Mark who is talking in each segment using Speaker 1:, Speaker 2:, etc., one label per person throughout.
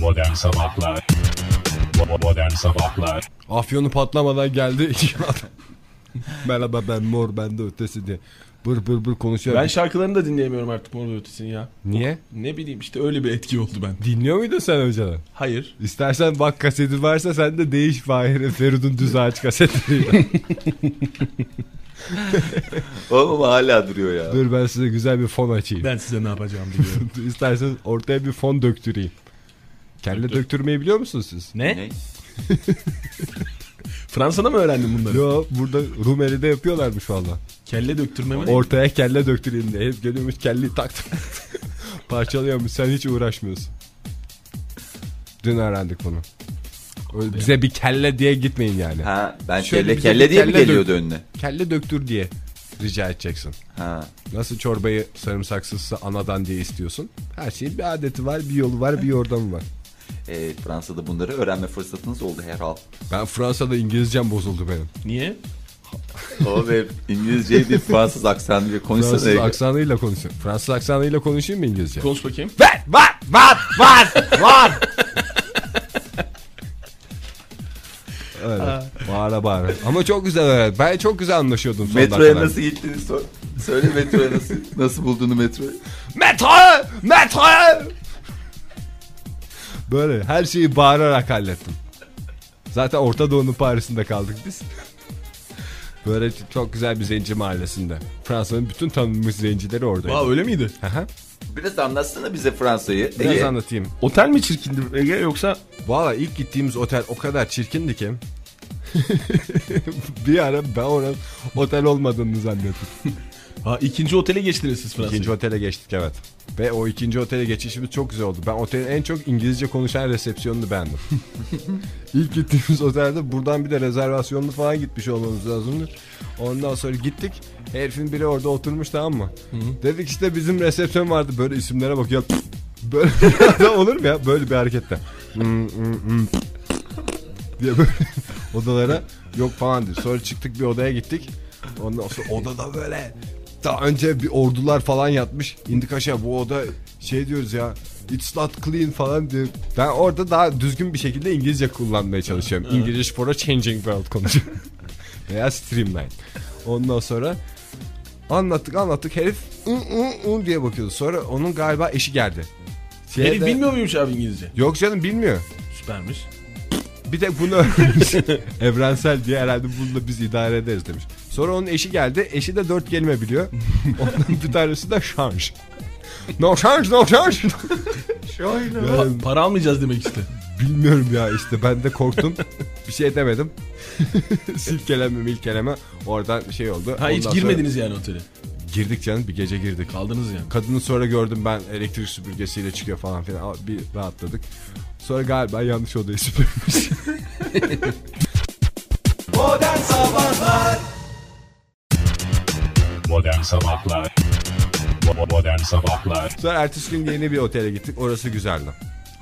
Speaker 1: Modern Sabahlar Bo- Modern Sabahlar
Speaker 2: Afyonu patlamadan geldi iki adam. Merhaba ben mor ben de ötesi diye. Bır bır bır konuşuyor.
Speaker 3: Ben şarkılarını da dinleyemiyorum artık Mor ve Ötesi'ni ya.
Speaker 2: Niye?
Speaker 3: Ne bileyim işte öyle bir etki oldu ben.
Speaker 2: Dinliyor muydun sen önceden?
Speaker 3: Hayır.
Speaker 2: İstersen bak kaseti varsa sen de değiş Fahir'e Feridun Düz Ağaç kasetleri.
Speaker 4: Oğlum hala duruyor ya.
Speaker 2: Dur ben size güzel bir fon açayım.
Speaker 3: Ben size ne yapacağım biliyorum.
Speaker 2: İsterseniz ortaya bir fon döktüreyim. Kendi döktürmeyi biliyor musunuz siz?
Speaker 4: Ne?
Speaker 3: Fransa'da mı öğrendin bunları?
Speaker 2: Yo burada Rumeli'de yapıyorlarmış valla.
Speaker 3: Kelle döktürme mi?
Speaker 2: Ortaya kelle döktüreyim diye. Hep geliyormuş kelleyi taktım. Parçalıyormuş sen hiç uğraşmıyorsun. Dün öğrendik bunu. Öyle Bize bir kelle diye gitmeyin yani.
Speaker 4: Ha ben
Speaker 2: Şöyle bir
Speaker 4: kelle
Speaker 2: de
Speaker 4: kelle
Speaker 2: bir
Speaker 4: diye mi
Speaker 2: kelle
Speaker 4: geliyordu
Speaker 2: dök-
Speaker 4: önüne?
Speaker 2: Kelle döktür diye rica edeceksin.
Speaker 4: Ha.
Speaker 2: Nasıl çorbayı sarımsaksızsa anadan diye istiyorsun. Her şeyin bir adeti var, bir yolu var, bir yordamı var.
Speaker 4: E, Fransa'da bunları öğrenme fırsatınız oldu herhal.
Speaker 2: Ben Fransa'da İngilizcem bozuldu benim.
Speaker 3: Niye?
Speaker 4: O ve İngilizceyi bir Fransız aksanı bir
Speaker 2: Fransız
Speaker 4: konuşsana.
Speaker 2: aksanıyla konuşayım. Fransız aksanıyla konuşayım mı İngilizce?
Speaker 3: Konuş bakayım.
Speaker 2: Var, var, var, var, var. Öyle. Bağıra bağıra. Ama çok güzel öğrendim. Ben çok güzel anlaşıyordum son
Speaker 4: Metroya
Speaker 2: dakikalarda.
Speaker 4: nasıl gittiğini sor. Söyle metroya nasıl nasıl bulduğunu metroyu.
Speaker 2: Metro! Metro! Böyle her şeyi bağırarak hallettim. Zaten Orta Doğu'nun Paris'inde kaldık biz. Böyle çok güzel bir zenci mahallesinde. Fransa'nın bütün tanınmış zencileri oradaydı.
Speaker 3: Aa öyle miydi?
Speaker 2: Aha.
Speaker 4: Biraz anlatsana bize Fransa'yı.
Speaker 2: Biraz
Speaker 4: Ege.
Speaker 2: anlatayım.
Speaker 3: Otel mi çirkindi Ege yoksa?
Speaker 2: Valla ilk gittiğimiz otel o kadar çirkindi ki. bir ara ben oranın otel olmadığını zannettim.
Speaker 3: Ha ikinci otele geçtiniz siz Fransa'ya.
Speaker 2: İkinci otele geçtik evet. Ve o ikinci otele geçişimiz çok güzel oldu. Ben otelin en çok İngilizce konuşan resepsiyonunu beğendim. İlk gittiğimiz otelde buradan bir de rezervasyonlu falan gitmiş olmamız lazımdı. Ondan sonra gittik. Herifin biri orada oturmuş tamam mı? Dedik işte bizim resepsiyon vardı. Böyle isimlere bakıyor. Böyle bir adam olur mu ya? Böyle bir harekette. Hmm, hmm, hmm. diye böyle odalara yok falan diyor. Sonra çıktık bir odaya gittik. Ondan sonra odada böyle daha önce bir ordular falan yatmış. İndik aşağı bu oda şey diyoruz ya it's not clean falan diyor. Ben orada daha düzgün bir şekilde İngilizce kullanmaya çalışıyorum. English for a changing world konuşuyorum. Veya streamline. Ondan sonra anlattık anlattık herif ı, ı, ı diye bakıyordu. Sonra onun galiba eşi geldi. Şeye
Speaker 3: Herif
Speaker 2: de-
Speaker 3: bilmiyor muymuş abi İngilizce?
Speaker 2: Yok canım bilmiyor.
Speaker 3: Süpermiş.
Speaker 2: Bir tek bunu öğrenmiş. Evrensel diye herhalde bunu da biz idare ederiz demiş. Sonra onun eşi geldi. Eşi de dört kelime biliyor. Ondan bir tanesi de şarj. No şarj, no şarj.
Speaker 3: Pa-
Speaker 2: Yani
Speaker 3: para almayacağız demek işte.
Speaker 2: bilmiyorum ya işte ben de korktum. bir şey demedim. silkeleme milkeleme oradan şey oldu.
Speaker 3: Ha hiç
Speaker 2: Ondan
Speaker 3: girmediniz yani otele.
Speaker 2: Sonra girdik canım bir gece girdik.
Speaker 3: Kaldınız yani.
Speaker 2: Kadını sonra gördüm ben elektrik süpürgesiyle çıkıyor falan filan. Aa, Bir rahatladık. Sonra galiba yanlış odayı süpürmüş.
Speaker 1: Modern Sabahlar Bo- Modern Sabahlar
Speaker 2: Sonra ertesi gün yeni bir otele gittik. Orası güzeldi.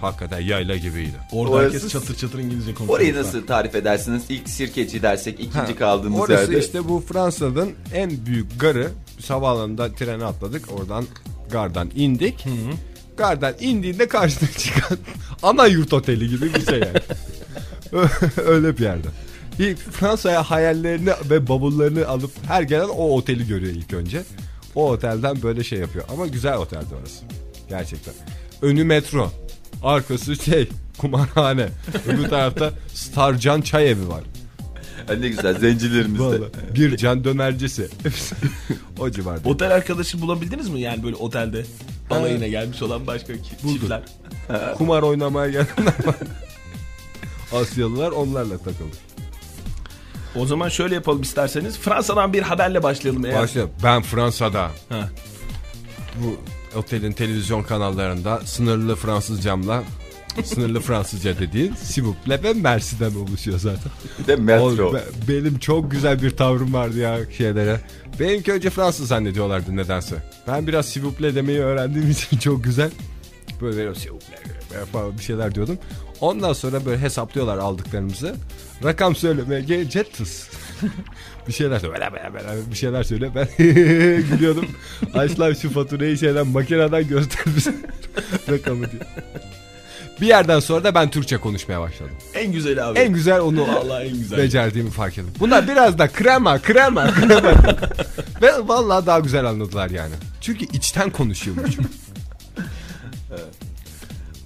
Speaker 2: Hakikaten yayla gibiydi.
Speaker 3: Orada
Speaker 4: Orası-
Speaker 3: herkes çatır çatır İngilizce konuşuyor.
Speaker 4: Orayı nasıl tarif edersiniz? İlk sirkeci dersek ikinci
Speaker 2: Ha,
Speaker 4: kaldığımız
Speaker 2: Orası
Speaker 4: yerde.
Speaker 2: işte bu Fransa'nın en büyük garı. Biz havaalanından trene atladık. Oradan gardan indik. Gardan indiğinde karşına çıkan ana yurt oteli gibi bir şey yani. Ö- Öyle bir yerde. İlk Fransa'ya hayallerini ve bavullarını alıp her gelen o oteli görüyor ilk önce. O otelden böyle şey yapıyor. Ama güzel oteldi orası. Gerçekten. Önü metro. Arkası şey kumarhane. Öbür tarafta Starcan Çay Evi var.
Speaker 4: Ha, ne güzel zencilerimizde.
Speaker 2: Vallahi bir can dönercisi. o civarda.
Speaker 3: Otel arkadaşı bulabildiniz mi yani böyle otelde? Balayına gelmiş olan başka ki- çiftler.
Speaker 2: kumar oynamaya gelenler var. Asyalılar onlarla takıldı.
Speaker 3: O zaman şöyle yapalım isterseniz. Fransa'dan bir haberle başlayalım eğer.
Speaker 2: Başla. Ben Fransa'da
Speaker 3: Ha.
Speaker 2: bu otelin televizyon kanallarında sınırlı Fransız camla sınırlı Fransızca dediğin Sivuple ve Mersi'den oluşuyor zaten.
Speaker 4: Bir de metro.
Speaker 2: Oğlum, be- benim çok güzel bir tavrım vardı ya şeylere. Benimki önce Fransız zannediyorlardı nedense. Ben biraz sivuple demeyi öğrendiğim için çok güzel. Böyle veriyorum sivuple falan bir şeyler diyordum. Ondan sonra böyle hesaplıyorlar aldıklarımızı. Rakam söylemeye gelince tıs. bir şeyler söyle böyle böyle böyle bir şeyler söyle ben gülüyordum. Açlar şu faturayı şeyden makineden göster bize rakamı diye. Bir yerden sonra da ben Türkçe konuşmaya başladım.
Speaker 3: En güzeli abi.
Speaker 2: En güzel onu
Speaker 3: Vallahi en güzel.
Speaker 2: becerdiğimi fark ettim. Bunlar biraz da krema krema krema. Ve vallahi daha güzel anladılar yani. Çünkü içten konuşuyormuş.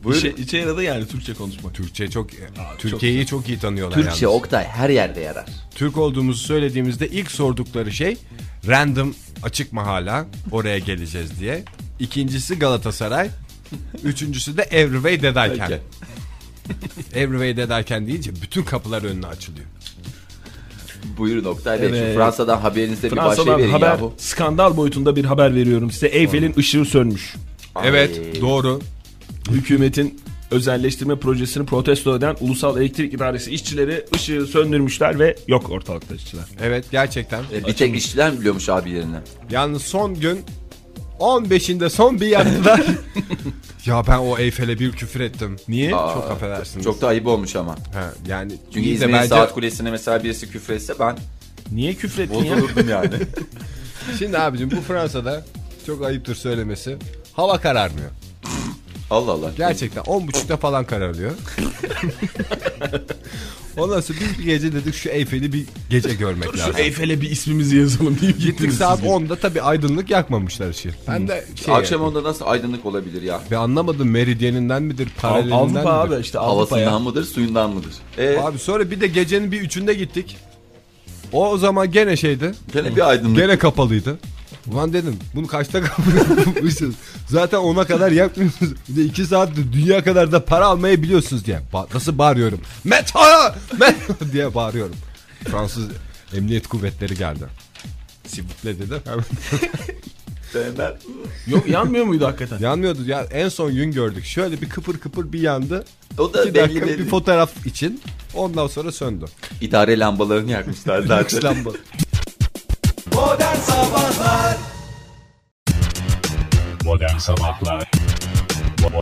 Speaker 4: Buyurun.
Speaker 3: İşe, işe yaradı yani Türkçe konuşmak.
Speaker 2: Türkçe çok Türkiye'yi çok, iyi tanıyorlar
Speaker 4: Türkçe
Speaker 2: yalnız.
Speaker 4: Oktay her yerde yarar.
Speaker 2: Türk olduğumuzu söylediğimizde ilk sordukları şey random açık mı hala oraya geleceğiz diye. İkincisi Galatasaray. Üçüncüsü de Everyway Dedarken.
Speaker 4: Peki.
Speaker 2: Everyway Dedarken deyince bütün kapılar önüne açılıyor.
Speaker 4: Buyurun Oktay Bey.
Speaker 3: Evet.
Speaker 4: Şu Fransa'dan haberinizde bir başlığı
Speaker 3: Fransa'dan
Speaker 4: verin
Speaker 3: haber,
Speaker 4: yahu.
Speaker 3: skandal boyutunda bir haber veriyorum size. Eyfel'in ışığı sönmüş.
Speaker 4: Ay.
Speaker 2: Evet doğru.
Speaker 3: Hükümetin özelleştirme projesini protesto eden Ulusal Elektrik İdaresi işçileri ışığı söndürmüşler ve yok ortalıkta işçiler.
Speaker 2: Evet gerçekten.
Speaker 4: E, Bir tek işçiler mi biliyormuş abilerini?
Speaker 2: Yalnız son gün 15'inde son bir yaptılar. ya ben o Eyfel'e bir küfür ettim. Niye?
Speaker 4: Aa,
Speaker 2: çok affedersiniz.
Speaker 4: Çok da ayıp olmuş ama.
Speaker 2: Ha, yani
Speaker 4: Çünkü
Speaker 2: iyi de
Speaker 4: İzmir'in
Speaker 2: bence-
Speaker 4: saat kulesine mesela birisi küfretse ben
Speaker 3: Niye küfrettin ya?
Speaker 4: bozulurdum yani.
Speaker 2: Şimdi abicim bu Fransa'da çok ayıptır söylemesi. Hava kararmıyor.
Speaker 4: Allah Allah.
Speaker 2: Gerçekten 10.30'da falan kararıyor. Ondan sonra biz bir gece dedik şu Eyfel'i bir gece görmek lazım.
Speaker 3: Eyfel'e bir ismimizi yazalım deyip
Speaker 2: Gittik
Speaker 3: gittiniz
Speaker 2: saat
Speaker 3: siz.
Speaker 2: 10'da tabii aydınlık yakmamışlar ışığı. Ben de şey
Speaker 4: Akşam onda nasıl aydınlık olabilir ya?
Speaker 2: ve anlamadım meridyeninden midir
Speaker 3: Av-
Speaker 2: paralelinden
Speaker 3: Avrupa
Speaker 2: midir?
Speaker 3: abi işte Avrupa ya.
Speaker 4: Havasından mıdır, suyundan mıdır? E,
Speaker 2: Abi sonra bir de gecenin bir üçünde gittik. O, o zaman gene şeydi.
Speaker 4: gene bir aydınlık.
Speaker 2: Gene kapalıydı. Ulan dedim bunu kaçta kapatmışsınız? Zaten ona kadar yapmıyorsunuz. Bir de iki saattir dünya kadar da para almayı biliyorsunuz diye. Ba- nasıl bağırıyorum? Metro! Metro! diye bağırıyorum. Fransız emniyet kuvvetleri geldi. Sivitle dedi. Hemen-
Speaker 4: Ben-
Speaker 3: Yok yanmıyor muydu hakikaten?
Speaker 2: Yanmıyordu ya en son gün gördük. Şöyle bir kıpır kıpır bir yandı.
Speaker 4: O da
Speaker 2: İki
Speaker 4: belli
Speaker 2: dakika
Speaker 4: belli.
Speaker 2: bir fotoğraf için. Ondan sonra söndü.
Speaker 4: İdare lambalarını yakmışlar zaten.
Speaker 2: Lamba.
Speaker 1: Modern Sabahlar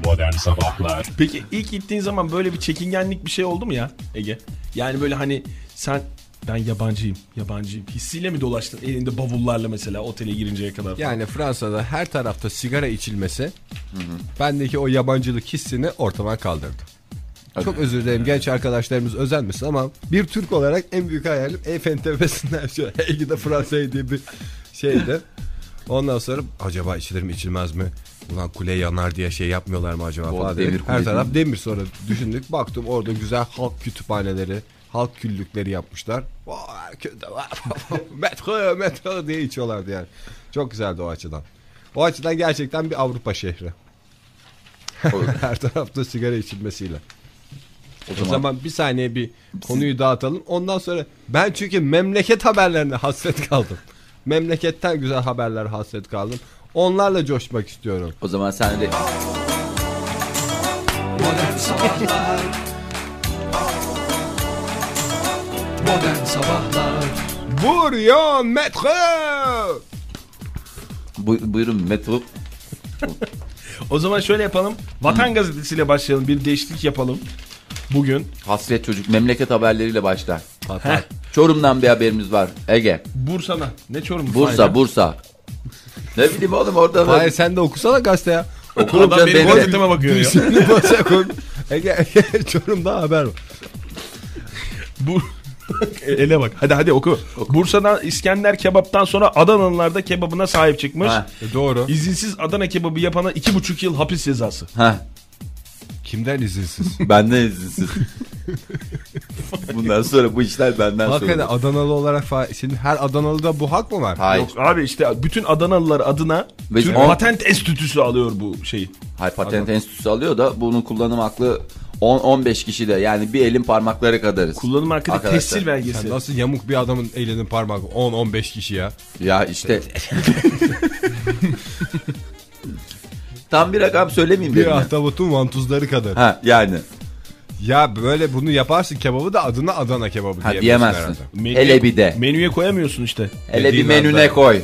Speaker 1: Modern Sabahlar
Speaker 3: Peki ilk gittiğin zaman böyle bir çekingenlik bir şey oldu mu ya Ege? Yani böyle hani sen ben yabancıyım, yabancıyım hissiyle mi dolaştın elinde bavullarla mesela otele girinceye kadar?
Speaker 2: Yani Fransa'da her tarafta sigara içilmesi bendeki o yabancılık hissini ortadan kaldırdı. Çok özür dilerim genç arkadaşlarımız özenmesin ama bir Türk olarak en büyük hayalim Eyfel'in tepesinden şu Ege'de Fransa'ya diye bir şeydi. Ondan sonra acaba içilir mi içilmez mi? Ulan kule yanar diye şey yapmıyorlar mı acaba
Speaker 4: Bu
Speaker 2: falan
Speaker 4: demir
Speaker 2: diye.
Speaker 4: kule
Speaker 2: Her taraf
Speaker 4: değil
Speaker 2: demir sonra düşündük. Baktım orada güzel halk kütüphaneleri, halk küllükleri yapmışlar. Vay, köyde var. metro metro diye içiyorlardı yani. Çok güzeldi o açıdan. O açıdan gerçekten bir Avrupa şehri.
Speaker 4: Olur.
Speaker 2: Her tarafta sigara içilmesiyle.
Speaker 4: O
Speaker 2: O
Speaker 4: zaman,
Speaker 2: zaman bir saniye bir konuyu dağıtalım. Ondan sonra ben çünkü memleket haberlerine hasret kaldım. Memleketten güzel haberler hasret kaldım. Onlarla coşmak istiyorum.
Speaker 4: o zaman sen de
Speaker 2: Vuryon metro!
Speaker 4: Bu- buyurun metro.
Speaker 3: O zaman şöyle yapalım. Vatan gazetesiyle başlayalım. Bir değişiklik yapalım. Bugün
Speaker 4: Hasret çocuk memleket haberleriyle başlar.
Speaker 2: Hatta
Speaker 4: Çorum'dan bir haberimiz var. Ege.
Speaker 3: Bursa'da. Ne Çorum?
Speaker 4: Bursa, Bursa. Ne bileyim oğlum orada da
Speaker 2: Hayır sen de okusana gazete ya.
Speaker 4: okurum
Speaker 3: Adam
Speaker 4: canım
Speaker 3: benim
Speaker 4: benim de.
Speaker 3: gazeteme bakıyor ya.
Speaker 2: Şimdi başa koy. Ege, Ege Çorum'da haber var.
Speaker 3: Bu... Ele bak. Hadi hadi oku. Bursa'dan İskender kebaptan sonra Adanalılar da kebabına sahip çıkmış.
Speaker 4: Ha.
Speaker 2: E, doğru.
Speaker 3: İzinsiz Adana kebabı yapana iki buçuk yıl hapis cezası.
Speaker 4: Ha,
Speaker 2: Kimden izinsiz?
Speaker 4: benden izinsiz. Bundan sonra bu işler benden
Speaker 2: Hakikaten
Speaker 4: sorulur.
Speaker 2: Adanalı olarak fa- şimdi her Adanalı'da bu hak mı var?
Speaker 4: Hayır.
Speaker 3: Yok abi işte bütün Adanalılar adına
Speaker 4: Ve-
Speaker 3: Türk
Speaker 4: On-
Speaker 3: Patent Enstitüsü alıyor bu şeyi.
Speaker 4: Hayır patent enstitüsü alıyor da bunun kullanım haklı 10-15 kişi de yani bir elin parmakları kadarız.
Speaker 3: Kullanım hakkında
Speaker 4: Arkadaşlar,
Speaker 3: tescil
Speaker 2: Sen
Speaker 3: belgesi.
Speaker 2: nasıl yamuk bir adamın elinin parmağı 10-15 kişi ya.
Speaker 4: Ya işte. Tam bir rakam söylemeyeyim dedim.
Speaker 2: Bir
Speaker 4: ya.
Speaker 2: ahtapotun vantuzları kadar.
Speaker 4: Ha yani.
Speaker 2: Ya böyle bunu yaparsın kebabı da adına Adana kebabı
Speaker 4: Ha
Speaker 2: diyemezsin
Speaker 4: diyemezsin.
Speaker 2: herhalde.
Speaker 3: Menüye-
Speaker 4: Hele bir de.
Speaker 3: Menüye koyamıyorsun işte.
Speaker 4: Hele bir
Speaker 2: Dediğin
Speaker 4: menüne
Speaker 2: anda.
Speaker 4: koy.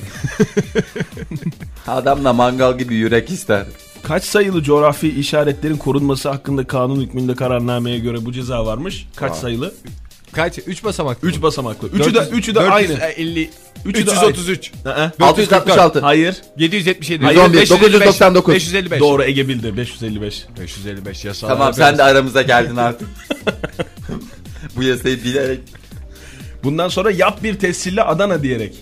Speaker 4: Adam da mangal gibi yürek ister.
Speaker 3: Kaç sayılı coğrafi işaretlerin korunması hakkında kanun hükmünde kararnameye göre bu ceza varmış? Kaç sayılı?
Speaker 2: Kaç? 3 basamak.
Speaker 3: Üç basamaklı. Üçü de
Speaker 2: 400,
Speaker 3: üçü de
Speaker 2: 400,
Speaker 3: aynı. 50 üçü de
Speaker 2: 333.
Speaker 3: aynı. Hı hı.
Speaker 4: 666.
Speaker 3: Hayır.
Speaker 2: 777.
Speaker 4: Hayır, 999.
Speaker 2: 555.
Speaker 3: Doğru Ege bildi 555.
Speaker 2: 555 yasal.
Speaker 4: Tamam sen de aramıza geldin artık. Bu yasayı bilerek
Speaker 3: Bundan sonra yap bir tescille Adana diyerek.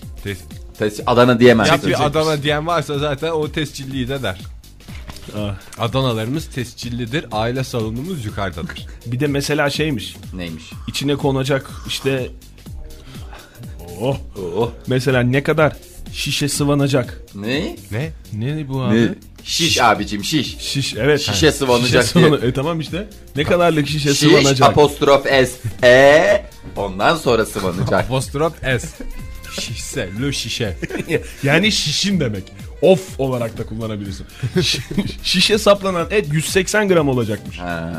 Speaker 4: Tes- Adana diyemezsin.
Speaker 2: Yap bir Adana diyen varsa zaten o tescilliyi de der.
Speaker 3: Ah.
Speaker 2: Adanalarımız tescillidir. Aile salonumuz yukarıdadır.
Speaker 3: Bir de mesela şeymiş.
Speaker 4: Neymiş?
Speaker 3: İçine konacak işte Oh.
Speaker 4: Oo.
Speaker 3: Mesela ne kadar şişe sıvanacak.
Speaker 4: Ne?
Speaker 2: ne?
Speaker 3: Ne bu abi?
Speaker 4: Ne? Şiş abicim şiş.
Speaker 3: Şiş evet.
Speaker 4: Şişe
Speaker 3: Ha.
Speaker 4: sıvanacak
Speaker 3: Şişe sıvanı- E tamam işte. Ne kadarlık şişe
Speaker 4: Şiş
Speaker 3: sıvanacak?
Speaker 4: apostrof s. E ondan sonra sıvanacak.
Speaker 2: Apostrop S. Şişse, lö şişe.
Speaker 3: Yani şişin demek. Of olarak da kullanabilirsin. Şi- Şişe saplanan et 180 gram olacakmış.
Speaker 4: Ha.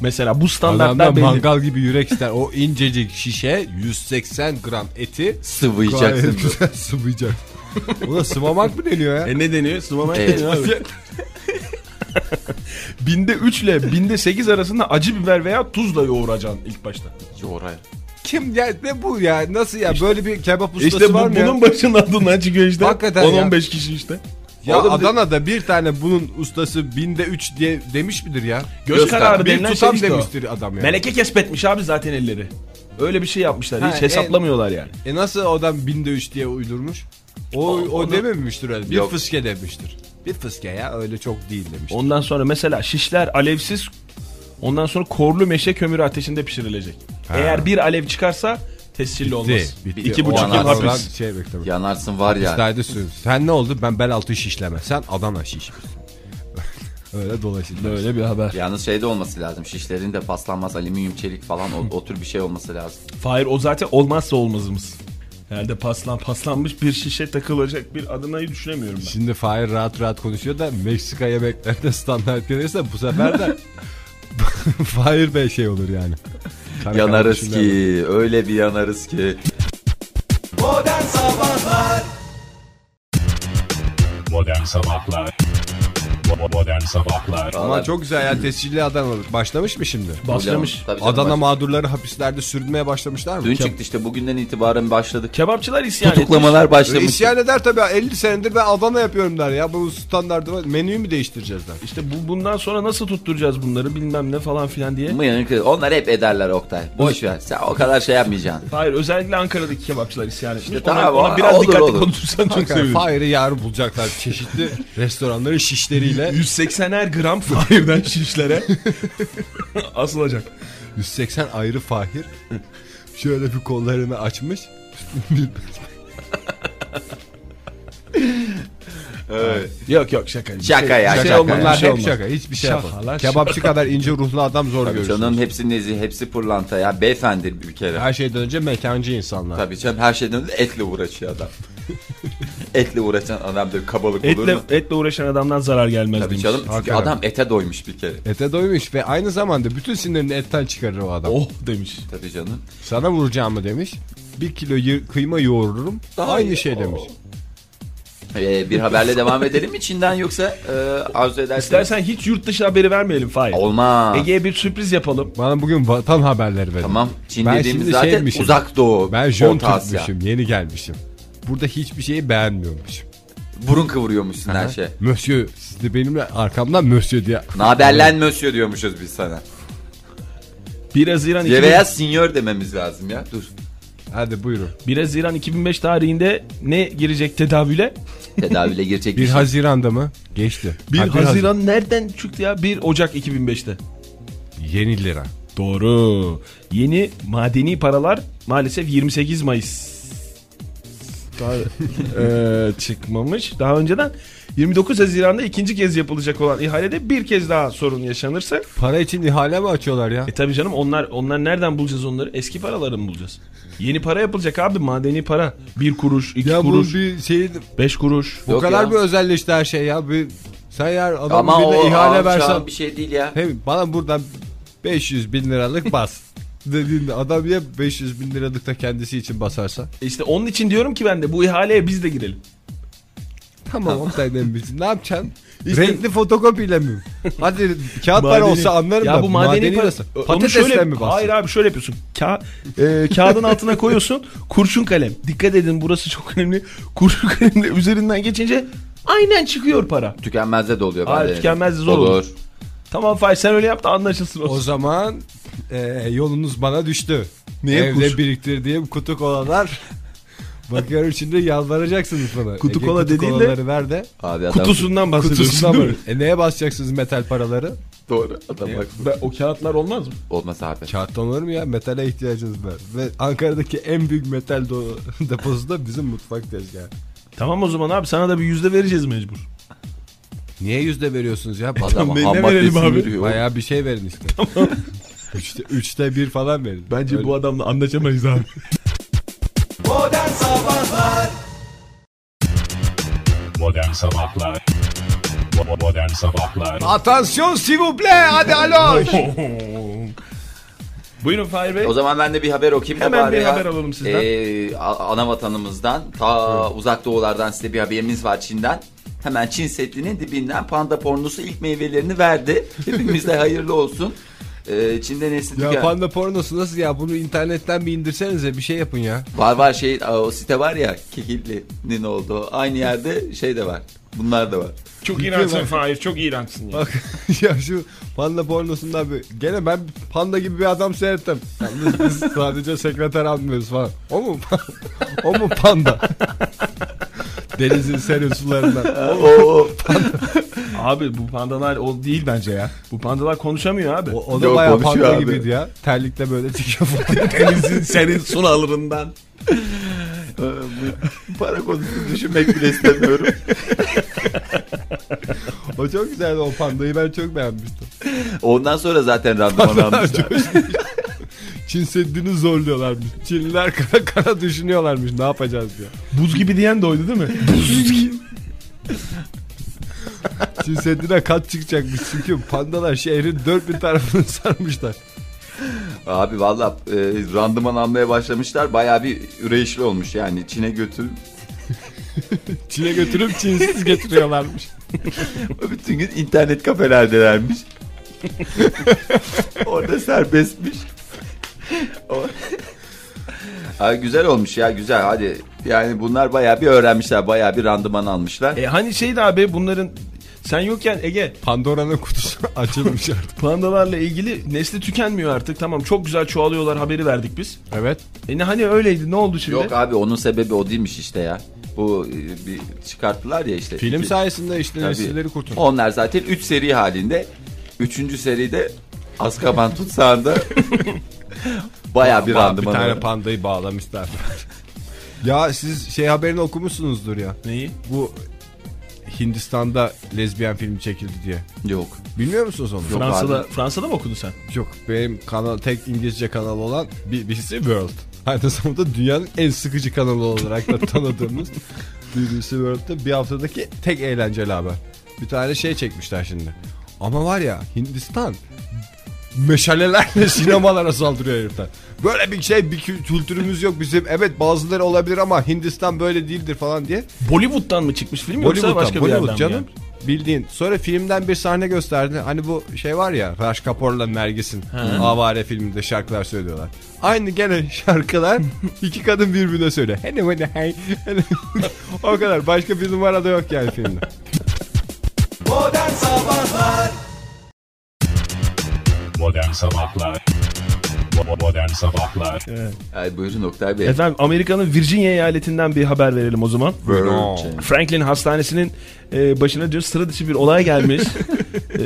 Speaker 3: Mesela bu standartlar
Speaker 2: Adamda
Speaker 3: belli.
Speaker 2: mangal gibi yürek ister. O incecik şişe 180 gram eti
Speaker 4: Sıvayacaksın.
Speaker 2: gayet güzel sıvayacak. Buna sıvamak mı deniyor ya?
Speaker 3: E ne deniyor? Sıvama
Speaker 4: Evet.
Speaker 3: deniyor abi. binde 3 ile binde 8 arasında acı biber veya tuzla yoğuracaksın ilk başta.
Speaker 4: Yoray.
Speaker 2: Kim ya ne bu ya? Nasıl ya? Böyle bir kebap ustası
Speaker 3: işte bu,
Speaker 2: var mı ya?
Speaker 3: bunun başının adından çıkıyor işte.
Speaker 2: Hakikaten ya.
Speaker 3: 10-15 kişi işte.
Speaker 2: Ya
Speaker 4: Oğlum de-
Speaker 2: Adana'da bir tane bunun ustası binde 3 diye demiş midir ya?
Speaker 3: Göz,
Speaker 4: Göz
Speaker 3: kararı
Speaker 4: kararı.
Speaker 2: Bir
Speaker 3: denilen şey
Speaker 2: tutam
Speaker 3: işte o.
Speaker 2: demiştir adam ya.
Speaker 3: Meleke kesbetmiş abi zaten elleri. Öyle bir şey yapmışlar.
Speaker 2: Ha,
Speaker 3: Hiç hesaplamıyorlar yani.
Speaker 2: E nasıl o adam binde 3 diye uydurmuş? O, o, dememiştir öyle. Bir
Speaker 4: Yok.
Speaker 2: fıske demiştir. Bir fıske ya öyle çok değil demiştir.
Speaker 3: Ondan sonra mesela şişler alevsiz ondan sonra korlu meşe kömürü ateşinde pişirilecek. Eğer bir alev çıkarsa tescilli olmaz.
Speaker 2: Bitti, bitti.
Speaker 3: İki
Speaker 4: O
Speaker 3: buçuk
Speaker 4: an
Speaker 3: yıl
Speaker 4: aslında-
Speaker 3: hapis.
Speaker 2: Şey beklemek.
Speaker 4: Yanarsın var ya.
Speaker 2: Saydı sür- Sen ne oldu? Ben bel altı şişleme. Sen Adana şiş. öyle dolaşıldı. Öyle bir haber.
Speaker 4: Yalnız şey de olması lazım. Şişlerin de paslanmaz alüminyum çelik falan o, o tür bir şey olması lazım.
Speaker 3: Hayır o zaten olmazsa olmazımız. Herhalde paslan paslanmış bir şişe takılacak bir Adana'yı düşünemiyorum ben.
Speaker 2: Şimdi Fahir rahat rahat konuşuyor da Meksika yemeklerinde standart gelirse bu sefer de Fahir Bey şey olur yani. Kara
Speaker 4: yanarız
Speaker 2: kardeşim
Speaker 4: ki. Öyle bir yanarız ki.
Speaker 1: Modern Sabahlar Bo- Modern Sabahlar
Speaker 2: Ama çok güzel ya tescilli Adanalık. Başlamış mı şimdi?
Speaker 3: Başlamış.
Speaker 4: Tabii canım,
Speaker 2: Adana
Speaker 4: başlamış.
Speaker 2: mağdurları hapislerde sürünmeye başlamışlar mı?
Speaker 4: Dün çıktı işte bugünden itibaren başladık.
Speaker 3: Kebapçılar isyan etmiş.
Speaker 4: Tutuklamalar
Speaker 2: E,
Speaker 4: başlamış.
Speaker 2: İsyan eder tabii. 50 senedir ben Adana yapıyorum der ya. Bu standartı var. menüyü mü değiştireceğiz der.
Speaker 3: İşte bu, bundan sonra nasıl tutturacağız bunları bilmem ne falan filan diye.
Speaker 4: Mıyanık- Onlar hep ederler Oktay. Boş ver. Sen o kadar şey yapmayacaksın.
Speaker 3: Hayır özellikle Ankara'daki kebapçılar isyan etmiş. ona,
Speaker 4: tamam,
Speaker 3: ona
Speaker 4: o-
Speaker 3: biraz
Speaker 4: olur,
Speaker 3: dikkatli
Speaker 4: olur.
Speaker 3: konuşursan çok sevinirim.
Speaker 2: Fahir'i yarın bulacaklar çeşitli restoranların şişleriyle.
Speaker 3: 180'er gram Fahir'den şişlere asılacak.
Speaker 2: 180 ayrı Fahir. Şöyle bir kollarını açmış.
Speaker 3: Yok yok şaka.
Speaker 4: Şaka ya
Speaker 2: şey
Speaker 4: şaka.
Speaker 2: bunlar
Speaker 4: ya.
Speaker 3: şey
Speaker 2: hep
Speaker 3: olmaz.
Speaker 2: şaka. Hiçbir şey
Speaker 3: Şakalar,
Speaker 2: yapamaz. Kebapçı kadar ince ruhlu adam zor
Speaker 4: Tabii
Speaker 2: görürsün.
Speaker 4: canım hepsi nezih, hepsi pırlanta ya. Beyefendi bir kere.
Speaker 2: Her şeyden önce mekancı insanlar.
Speaker 4: Tabii canım her şeyden önce etle uğraşıyor adam. etle uğraşan adam bir kabalık olur
Speaker 3: Etle,
Speaker 4: mu?
Speaker 3: etle uğraşan adamdan zarar gelmez
Speaker 4: Tabii
Speaker 3: demiş.
Speaker 4: canım çünkü
Speaker 2: Hakikaten.
Speaker 4: adam ete doymuş bir kere.
Speaker 2: Ete doymuş ve aynı zamanda bütün sinirini etten çıkarır o adam.
Speaker 3: Oh demiş.
Speaker 4: Tabii canım.
Speaker 2: Sana vuracağımı demiş. Bir kilo yı- kıyma yoğururum. aynı şey demiş.
Speaker 4: Ee, bir haberle devam edelim mi Çin'den yoksa e, arzu ederseniz?
Speaker 3: İstersen hiç yurt dışı haberi vermeyelim Fahir.
Speaker 4: Olmaz.
Speaker 3: Ege'ye bir sürpriz yapalım.
Speaker 2: Bana bugün vatan haberleri verin.
Speaker 4: Tamam. Çin
Speaker 2: Ben
Speaker 4: dediğimiz
Speaker 2: şimdi
Speaker 4: zaten
Speaker 2: şeymişim.
Speaker 4: uzak doğu.
Speaker 2: Ben jön
Speaker 4: Orta Asya.
Speaker 2: Türkmüşüm, yeni gelmişim. Burada hiçbir şeyi beğenmiyormuşum.
Speaker 4: Burun kıvırıyormuşsun her şey.
Speaker 2: Monsieur, siz de benimle arkamdan Monsieur diye.
Speaker 4: Naberlen mösyö diyormuşuz biz sana.
Speaker 3: 1 Haziran, 2000
Speaker 4: Veya sinyor dememiz lazım ya. Dur.
Speaker 2: Hadi buyurun.
Speaker 3: 1 Haziran 2005 tarihinde ne girecek tedavüle?
Speaker 4: Tedavüle girecek şey.
Speaker 2: 1 Haziran'da mı? Geçti.
Speaker 3: 1
Speaker 2: Ha,
Speaker 3: Haziran, nereden çıktı ya? 1 Ocak 2005'te.
Speaker 2: Yeni lira.
Speaker 3: Doğru. Yeni madeni paralar maalesef 28 Mayıs. Daha, eee, çıkmamış. Daha önceden 29 Haziran'da ikinci kez yapılacak olan ihalede bir kez daha sorun yaşanırsa
Speaker 2: Para için ihale mi açıyorlar ya?
Speaker 3: E tabi canım onlar onlar nereden bulacağız onları? Eski paraları mı bulacağız? Yeni para yapılacak abi madeni para. Bir kuruş, iki
Speaker 2: Ya bu
Speaker 3: kuruş,
Speaker 2: bir şey...
Speaker 3: beş kuruş.
Speaker 2: Bu
Speaker 4: Yok
Speaker 2: kadar
Speaker 4: ya.
Speaker 2: bir özelleşti her şey ya. Bir, sen eğer adamın
Speaker 4: Ama o
Speaker 2: birine ihale
Speaker 4: ihale
Speaker 2: versen...
Speaker 4: bir şey değil ya.
Speaker 2: Hem bana buradan 500 bin liralık bas. dediğinde adam ya 500 bin liralık da kendisi için basarsa.
Speaker 3: İşte onun için diyorum ki ben de bu ihaleye biz de girelim.
Speaker 2: Tamam Oktay demişsin. Ne yapacaksın?
Speaker 3: İşte-
Speaker 2: Renkli fotokopiyle mi? Hadi kağıt para
Speaker 3: Madeni-
Speaker 2: olsa anlarım
Speaker 3: ya
Speaker 2: da.
Speaker 3: bu madeni, parası.
Speaker 2: nasıl?
Speaker 3: Onu
Speaker 2: Patatesle
Speaker 3: şöyle,
Speaker 2: mi bastın?
Speaker 3: Hayır abi şöyle yapıyorsun. Ka e, kağıdın altına koyuyorsun. Kurşun kalem. Dikkat edin burası çok önemli. Kurşun kalemle üzerinden geçince aynen çıkıyor para.
Speaker 4: Tükenmezde de oluyor.
Speaker 3: Hayır,
Speaker 4: bende.
Speaker 3: tükenmez de zor olur. Tamam Fahir sen öyle yap da anlaşılsın.
Speaker 2: O
Speaker 3: olsun.
Speaker 2: zaman eee, yolunuz bana düştü.
Speaker 3: Neye
Speaker 2: Evde
Speaker 3: kuş?
Speaker 2: biriktirdiğim kutu kolalar. Bakıyorum şimdi yalvaracaksınız bana.
Speaker 3: Kutu
Speaker 2: Ege,
Speaker 3: kola
Speaker 2: kutu
Speaker 3: dediğin de-
Speaker 2: kolaları ver de.
Speaker 4: Abi adam
Speaker 3: Kutusundan bahsediyorsun.
Speaker 2: Kutusundan
Speaker 3: değil
Speaker 2: böyle.
Speaker 3: mi?
Speaker 2: E neye basacaksınız metal paraları?
Speaker 4: doğru. Adam bak.
Speaker 3: Ben- o kağıtlar olmaz mı?
Speaker 4: Olmaz abi.
Speaker 2: Kağıttan olur mu ya? Metale ihtiyacınız var. Ve Ankara'daki en büyük metal do- deposu da bizim mutfak tezgahı.
Speaker 3: Tamam o zaman abi sana da bir yüzde vereceğiz mecbur.
Speaker 2: Niye yüzde veriyorsunuz ya?
Speaker 4: Adam
Speaker 3: ne- ne
Speaker 4: ham
Speaker 3: verelim
Speaker 4: maddesini
Speaker 3: abi?
Speaker 4: veriyor.
Speaker 2: Bayağı bir şey verin işte. Üçte, üçte bir falan verin.
Speaker 3: Bence
Speaker 2: Öyle.
Speaker 3: bu adamla anlaşamayız abi.
Speaker 1: Modern Sabahlar Bo- Modern Sabahlar
Speaker 2: Atansiyon s'il vous plaît, hadi alo.
Speaker 3: Buyurun Fahir Bey.
Speaker 4: O zaman ben de bir haber okuyayım da
Speaker 3: Hemen
Speaker 4: bari
Speaker 3: bir
Speaker 4: ya.
Speaker 3: haber alalım sizden.
Speaker 4: Ee, a- ana vatanımızdan ta uzak doğulardan size bir haberimiz var Çin'den. Hemen Çin Seddi'nin dibinden panda pornosu ilk meyvelerini verdi. Hepimize hayırlı olsun. Ee, Çin'de nesli
Speaker 2: ya
Speaker 4: tüken-
Speaker 2: panda pornosu nasıl ya? Bunu internetten bir indirsenize bir şey yapın ya.
Speaker 4: Var var şey o site var ya Kekilli'nin olduğu aynı yerde şey de var. Bunlar da var.
Speaker 3: Çok iğrençsin Fahir çok iğrençsin. ya.
Speaker 2: Bak ya şu panda pornosundan bir... Gene ben panda gibi bir adam seyrettim. Yalnız biz sadece sekreter almıyoruz falan. O mu? o mu panda? Denizin serin sularından.
Speaker 4: Oo.
Speaker 3: Abi bu pandalar o değil bence ya. Bu pandalar konuşamıyor abi.
Speaker 2: O, o da
Speaker 4: Yok,
Speaker 2: bayağı
Speaker 4: konuşuyor
Speaker 2: panda
Speaker 4: abi.
Speaker 2: gibiydi ya. Terlikle böyle çıkıyor falan.
Speaker 3: denizin serin sularından.
Speaker 4: Ee, Para konusunu düşünmek bile istemiyorum.
Speaker 2: o çok güzeldi o pandayı ben çok beğenmiştim.
Speaker 4: Ondan sonra zaten randıman almışlar.
Speaker 2: Çin Seddi'ni zorluyorlarmış. Çinliler kara kara düşünüyorlarmış ne yapacağız diye.
Speaker 3: Buz gibi diyen de oydu değil mi?
Speaker 2: Çin Seddi'ne kat çıkacakmış çünkü pandalar şehrin dört bir tarafını sarmışlar.
Speaker 4: Abi valla e, randıman almaya başlamışlar. Bayağı bir üreyişli olmuş yani. Çin'e götür.
Speaker 2: Çin'e götürüp Çinsiz getiriyorlarmış.
Speaker 4: Bütün gün internet kafelerdelermiş. Orada serbestmiş. O- Abi güzel olmuş ya güzel hadi. Yani bunlar bayağı bir öğrenmişler. Bayağı bir randıman almışlar.
Speaker 3: E hani şeydi abi bunların sen yokken Ege
Speaker 2: Pandora'nın kutusu açılmış artık.
Speaker 3: pandalarla ilgili nesli tükenmiyor artık. Tamam çok güzel çoğalıyorlar haberi verdik biz.
Speaker 2: Evet.
Speaker 3: E ne hani öyleydi ne oldu şimdi?
Speaker 4: Yok abi onun sebebi o değilmiş işte ya. Bu e, bir çıkarttılar ya işte.
Speaker 2: Film
Speaker 4: İki-
Speaker 2: sayesinde işte
Speaker 4: Tabii.
Speaker 2: nesilleri kurtulmuş.
Speaker 4: Onlar zaten 3 seri halinde. 3. seride Azkaban tutsağında baya bir
Speaker 2: Aman, bir
Speaker 4: randıman.
Speaker 2: tane
Speaker 4: var.
Speaker 2: pandayı bağlamışlar. ya siz şey haberini okumuşsunuzdur ya.
Speaker 3: Neyi?
Speaker 2: Bu Hindistan'da lezbiyen filmi çekildi diye.
Speaker 4: Yok.
Speaker 2: Bilmiyor musunuz onu?
Speaker 4: Yok.
Speaker 3: Fransa'da
Speaker 4: abi.
Speaker 3: Fransa'da mı okudun sen?
Speaker 2: Yok benim kanal tek İngilizce kanal olan BBC World. Aynı zamanda dünyanın en sıkıcı kanalı olarak da tanıdığımız BBC World'da bir haftadaki tek eğlenceli haber. Bir tane şey çekmişler şimdi. Ama var ya Hindistan meşalelerle sinemalara saldırıyor herifler. Böyle bir şey bir kü- kültürümüz yok bizim. Evet bazıları olabilir ama Hindistan böyle değildir falan diye.
Speaker 3: Bollywood'dan mı çıkmış film yoksa
Speaker 2: Bollywood'dan,
Speaker 3: başka bir
Speaker 2: Bollywood
Speaker 3: yerden mi?
Speaker 2: canım.
Speaker 3: yani?
Speaker 2: Bildiğin. Sonra filmden bir sahne gösterdi. Hani bu şey var ya Raj Kapoor'la Nergis'in Avare filminde şarkılar söylüyorlar. Aynı gene şarkılar iki kadın birbirine söylüyor. Hani hani hey. hani- o kadar. Başka bir numara da yok yani filmde.
Speaker 1: Modern Sabahlar Bo- Modern Sabahlar
Speaker 4: Ay buyurun Oktay Bey.
Speaker 3: Efendim Amerika'nın Virginia eyaletinden bir haber verelim o zaman.
Speaker 4: Virgin.
Speaker 3: Franklin Hastanesi'nin e, başına diyor sıra dışı bir olay gelmiş. E,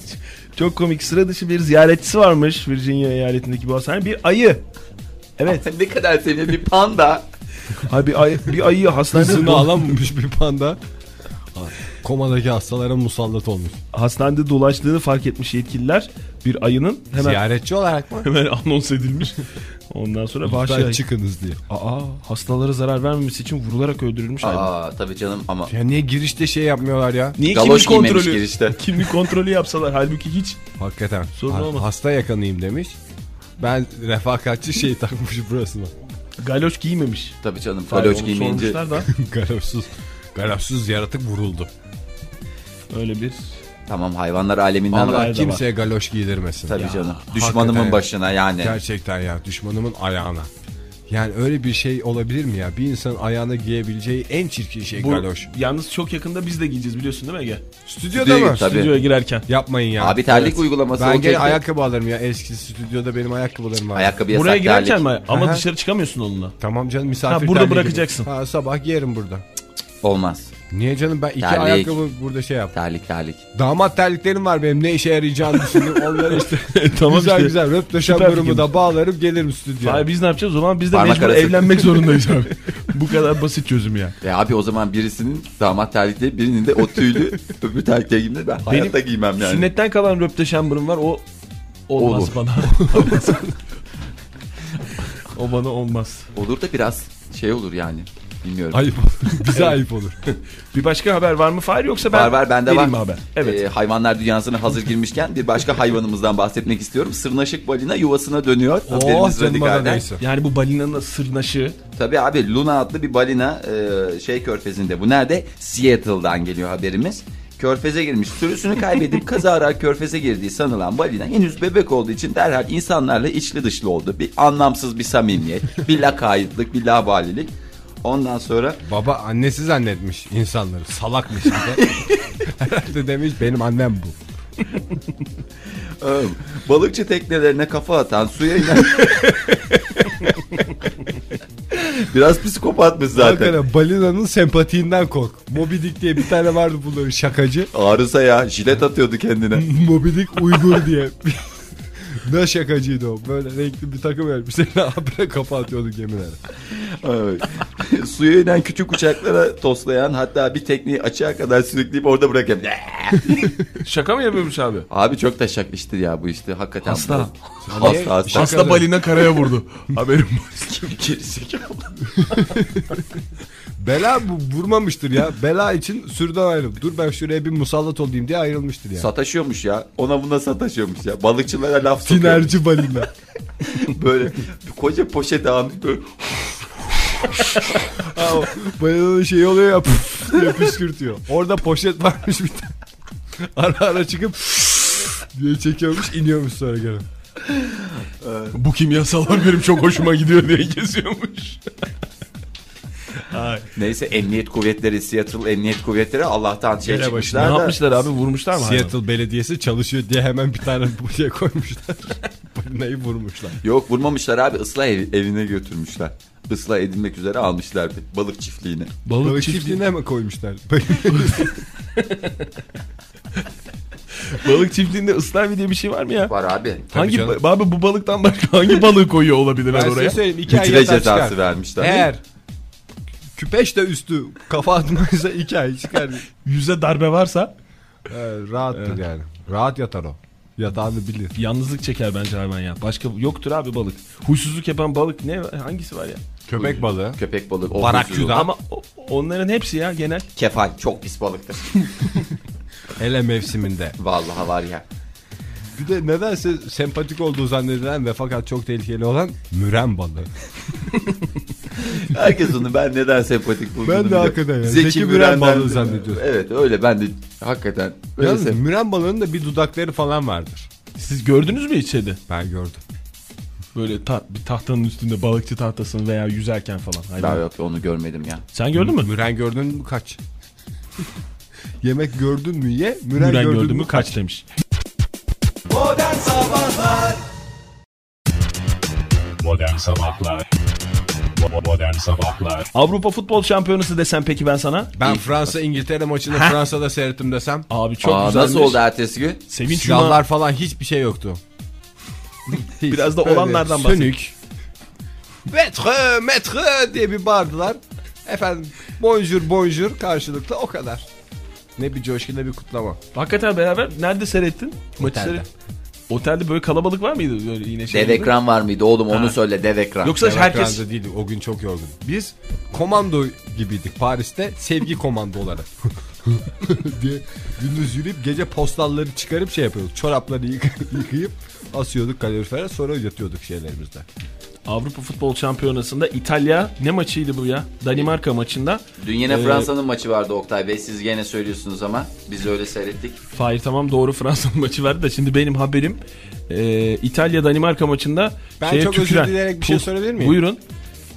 Speaker 3: çok komik sıra dışı bir ziyaretçisi varmış Virginia eyaletindeki bu hastane. Bir ayı. Evet.
Speaker 4: ne kadar seviyor bir panda.
Speaker 3: Abi bir, ayı, bir ayıyı hastanede,
Speaker 2: Kızını alamamış bir panda. Komadaki hastalara musallat olmuş.
Speaker 3: hastanede dolaştığını fark etmiş yetkililer. Bir ayının hemen
Speaker 2: Ziyaretçi olarak mı?
Speaker 3: hemen anons edilmiş. Ondan sonra vahşi
Speaker 2: Ben
Speaker 3: ayı.
Speaker 2: çıkınız diye.
Speaker 3: Aa, hastalara zarar vermemesi için vurularak öldürülmüş hayvan.
Speaker 4: Aa tabii canım ama.
Speaker 2: Ya niye girişte şey yapmıyorlar ya?
Speaker 3: Niye
Speaker 4: Galoş
Speaker 3: kimlik
Speaker 4: giymemiş
Speaker 3: kontrolü?
Speaker 4: girişte.
Speaker 3: Kimlik kontrolü yapsalar halbuki hiç
Speaker 2: Hakikaten.
Speaker 3: Sorun
Speaker 2: Ha-
Speaker 3: olmaz.
Speaker 2: Hasta yakanayım demiş. Ben refakatçi şey takmış burasına.
Speaker 3: galoş giymemiş.
Speaker 4: Tabii canım
Speaker 3: Onu
Speaker 4: kaloş giymeyince.
Speaker 3: sormuşlar da.
Speaker 2: Garapsız. Garapsız yaratık vuruldu.
Speaker 3: Öyle bir
Speaker 4: Tamam hayvanlar aleminden
Speaker 3: Allah
Speaker 4: var.
Speaker 3: da
Speaker 2: Kimseye galoş giydirmesin.
Speaker 4: Tabii
Speaker 2: Ya,
Speaker 4: canım.
Speaker 2: hakikaten
Speaker 4: Düşmanımın
Speaker 2: ya.
Speaker 4: başına yani.
Speaker 2: Gerçekten ya düşmanımın ayağına. Yani öyle bir şey olabilir mi ya? Bir insanın ayağına giyebileceği en çirkin şey
Speaker 3: Bu,
Speaker 2: galoş.
Speaker 3: Yalnız çok yakında biz de giyeceğiz biliyorsun değil mi Ege?
Speaker 2: Stüdyoda mı?
Speaker 4: Tabii.
Speaker 3: Stüdyoya girerken.
Speaker 2: Yapmayın ya.
Speaker 4: Abi terlik uygulaması
Speaker 2: Ben
Speaker 4: olacaktı.
Speaker 2: gene ayakkabı alırım ya. Eski stüdyoda benim ayakkabılarım var.
Speaker 4: Ayakkabıya
Speaker 3: Buraya
Speaker 4: sak
Speaker 3: girerken
Speaker 4: terlik.
Speaker 3: mi? Ama
Speaker 2: Aha.
Speaker 3: dışarı çıkamıyorsun onunla.
Speaker 2: Tamam canım misafir
Speaker 3: Ha, burada
Speaker 2: terliği
Speaker 3: bırakacaksın.
Speaker 2: gibi. Ha, sabah giyerim burada.
Speaker 4: Olmaz.
Speaker 2: Niye canım ben iki
Speaker 4: Terlik.
Speaker 2: ayakkabı burada şey yaptım.
Speaker 4: Terlik terlik.
Speaker 2: Damat terliklerim var benim ne işe yarayacağını düşündüm. Onları işte
Speaker 3: tamam
Speaker 2: güzel
Speaker 3: işte.
Speaker 2: güzel
Speaker 3: Süper
Speaker 2: röpteşen da bağlarım gelirim stüdyoya.
Speaker 3: Abi biz ne yapacağız o zaman biz de
Speaker 4: Parmak
Speaker 3: mecbur
Speaker 4: arası.
Speaker 3: evlenmek zorundayız abi. Bu kadar basit çözüm ya.
Speaker 4: Ve abi o zaman birisinin damat terlikleri birinin de o tüylü öbür terlikleri giydiğinde ben hayatta giymem yani.
Speaker 3: Sünnetten kalan röpte şambırım var o olmaz
Speaker 4: Olur.
Speaker 3: bana. o bana olmaz.
Speaker 4: Olur da biraz şey olur yani. Bilmiyorum.
Speaker 2: Ayıp olur. Bize ayıp olur.
Speaker 3: Bir başka haber var mı Fahir yoksa ben
Speaker 4: Var var bende var.
Speaker 3: vereyim mi haber? Evet.
Speaker 4: Ee, hayvanlar dünyasına hazır girmişken bir başka hayvanımızdan bahsetmek istiyorum. Sırnaşık balina yuvasına dönüyor.
Speaker 2: oh
Speaker 4: Haberimiz
Speaker 2: canıma da
Speaker 4: radikalden.
Speaker 2: neyse.
Speaker 3: Yani bu balinanın sırnaşı.
Speaker 4: Tabii abi Luna adlı bir balina e, şey körfezinde. Bu nerede? Seattle'dan geliyor haberimiz. Körfeze girmiş. Sürüsünü kaybedip kazara körfeze girdiği sanılan balina henüz bebek olduğu için derhal insanlarla içli dışlı oldu. Bir anlamsız bir samimiyet, bir lakaytlık, bir labalilik. Ondan sonra
Speaker 2: Baba annesi zannetmiş insanları. Salakmış bir de. Herhalde demiş benim annem bu.
Speaker 4: Ağam, Balıkçı teknelerine kafa atan suya inen... Biraz psikopatmış zaten.
Speaker 2: Hakikaten balinanın sempatiğinden kork. Moby Dick diye bir tane vardı bunların şakacı.
Speaker 4: Arıza ya jilet atıyordu kendine.
Speaker 2: Moby Dick Uygur diye. ne şakacıydı o. Böyle renkli bir takım elbiseyle habire kafa atıyordu gemilere.
Speaker 4: Evet. suya inen küçük uçaklara toslayan hatta bir tekneyi açığa kadar sürükleyip orada bırakıp
Speaker 3: Şaka mı yapıyormuş abi?
Speaker 4: Abi çok da şak işte ya bu işte hakikaten.
Speaker 3: Hasta.
Speaker 4: Bu. Hasta hasta.
Speaker 2: Şaka da-
Speaker 3: balina karaya vurdu. Haberim var.
Speaker 4: Gerizekalı.
Speaker 2: Bela bu vurmamıştır ya. Bela için sürden ayrıldı. Dur ben şuraya bir musallat olayım diye ayrılmıştır ya.
Speaker 4: Sataşıyormuş ya. Ona buna sataşıyormuş ya. Balıkçılara laf sokuyor.
Speaker 2: Sinerji balina.
Speaker 4: Böyle koca poşet almış böyle.
Speaker 2: Balinanın şeyi oluyor ya püf diye püskürtüyor. Orada poşet varmış bir tane. Ara ara çıkıp diye çekiyormuş iniyormuş sonra gene.
Speaker 3: Bu kimyasalar benim çok hoşuma gidiyor diye geziyormuş. Ay.
Speaker 4: Neyse emniyet kuvvetleri Seattle emniyet kuvvetleri Allah'tan şey
Speaker 2: Gele
Speaker 3: Ne
Speaker 4: çıkmışlar da.
Speaker 3: yapmışlar abi vurmuşlar mı? hayvanı?
Speaker 2: Seattle belediyesi çalışıyor diye hemen bir tane bu şey koymuşlar. Balinayı vurmuşlar.
Speaker 4: Yok vurmamışlar abi ıslah ev- evine götürmüşler. Islah edilmek üzere almışlar bir balık çiftliğini.
Speaker 2: Balık,
Speaker 3: Balık çiftliği.
Speaker 2: çiftliğine mi koymuşlar?
Speaker 3: Balık çiftliğinde ıslavi diye bir şey var mı ya?
Speaker 4: Var abi.
Speaker 3: hangi
Speaker 2: canım.
Speaker 3: ba- abi bu balıktan başka hangi balığı koyuyor olabilirler
Speaker 2: ben
Speaker 3: oraya?
Speaker 2: size söyleyeyim. iki ay
Speaker 4: Bitire
Speaker 2: yatağa
Speaker 4: cezası
Speaker 2: çıkar.
Speaker 4: vermişler.
Speaker 2: Eğer küpeş de üstü kafa atmaysa iki ay çıkar.
Speaker 3: Yüze darbe varsa
Speaker 2: Ee, rahattır yani. Rahat yatar o. Yatağını bilir.
Speaker 3: yalnızlık çeker bence hayvan ya. Başka yoktur abi balık. Huysuzluk yapan balık ne hangisi var ya?
Speaker 2: Köpek balığı.
Speaker 4: Köpek balığı. o
Speaker 2: Barakçuda.
Speaker 4: huzursuzluk.
Speaker 3: Ama o- onların hepsi ya genel.
Speaker 4: Kefal çok pis balıktır.
Speaker 2: Hele mevsiminde.
Speaker 4: Vallahi var ya.
Speaker 2: Bir de nedense sempatik olduğu zannedilen ve fakat çok tehlikeli olan müren balığı.
Speaker 4: Herkes onu ben neden sempatik buldum.
Speaker 2: Ben de hakikaten yani. Zeki Müren balığı zannediyorum.
Speaker 4: Evet öyle ben de hakikaten. Öyle
Speaker 2: Yalnız
Speaker 4: sem-
Speaker 2: müren balığının da bir dudakları falan vardır.
Speaker 3: Siz gördünüz mü hiç şeyde?
Speaker 2: Ben gördüm.
Speaker 3: Böyle ta- bir tahtanın üstünde balıkçı tahtasını veya yüzerken falan. hayvan.
Speaker 4: Daha yok onu görmedim ya.
Speaker 3: Sen gördün mü?
Speaker 2: Müren gördün mü kaç? Yemek gördün mü ye, müren,
Speaker 3: Müren
Speaker 2: gördün,
Speaker 3: gördün
Speaker 2: mü
Speaker 3: mü kaç demiş.
Speaker 1: Modern Sabahlar Bo- Modern Sabahlar
Speaker 3: Avrupa Futbol Şampiyonası desem peki ben sana?
Speaker 2: Ben Fransa İngiltere maçını Fransa'da seyrettim desem
Speaker 3: Abi çok
Speaker 4: Aa,
Speaker 3: güzelmiş.
Speaker 4: nasıl oldu ertesi gün?
Speaker 3: Sevinç Yunan-
Speaker 2: silahlar falan hiçbir şey yoktu. Hiç.
Speaker 3: Biraz da
Speaker 2: Böyle
Speaker 3: olanlardan bahset.
Speaker 2: Sönük. Metre, metre diye bir bağırdılar. Efendim bonjour bonjour karşılıklı o kadar. Ne bir coşku ne bir kutlama.
Speaker 3: Hakikaten beraber nerede seyrettin? Maçı
Speaker 2: Otelde.
Speaker 3: seyret- Otelde böyle kalabalık var mıydı? Böyle yine şey
Speaker 4: Dev
Speaker 3: gibi?
Speaker 4: ekran var mıydı oğlum onu söyle dev ekran.
Speaker 3: Yoksa
Speaker 2: Evet,
Speaker 3: herkes
Speaker 2: Fransa değildi. O gün çok yorgun. Biz komando gibiydik Paris'te. Sevgi komando olarak. diye gündüz yürüyüp gece postalları çıkarıp şey yapıyorduk. Çorapları yık- yıkayıp asıyorduk kalorifere sonra yatıyorduk şeylerimizde.
Speaker 3: Avrupa Futbol Şampiyonası'nda İtalya ne maçıydı bu ya? Danimarka maçında.
Speaker 4: Dün yine
Speaker 3: Ee,
Speaker 4: Fransa'nın maçı vardı Oktay Bey. Siz gene söylüyorsunuz ama biz öyle seyrettik.
Speaker 3: Fahir tamam doğru Fransa maçı verdi de şimdi benim haberim e, İtalya Danimarka maçında
Speaker 2: Ben
Speaker 3: şeye
Speaker 2: çok özür
Speaker 3: tüküren,
Speaker 2: dileyerek bir şey
Speaker 3: pus-
Speaker 2: sorabilir miyim?
Speaker 3: Buyurun.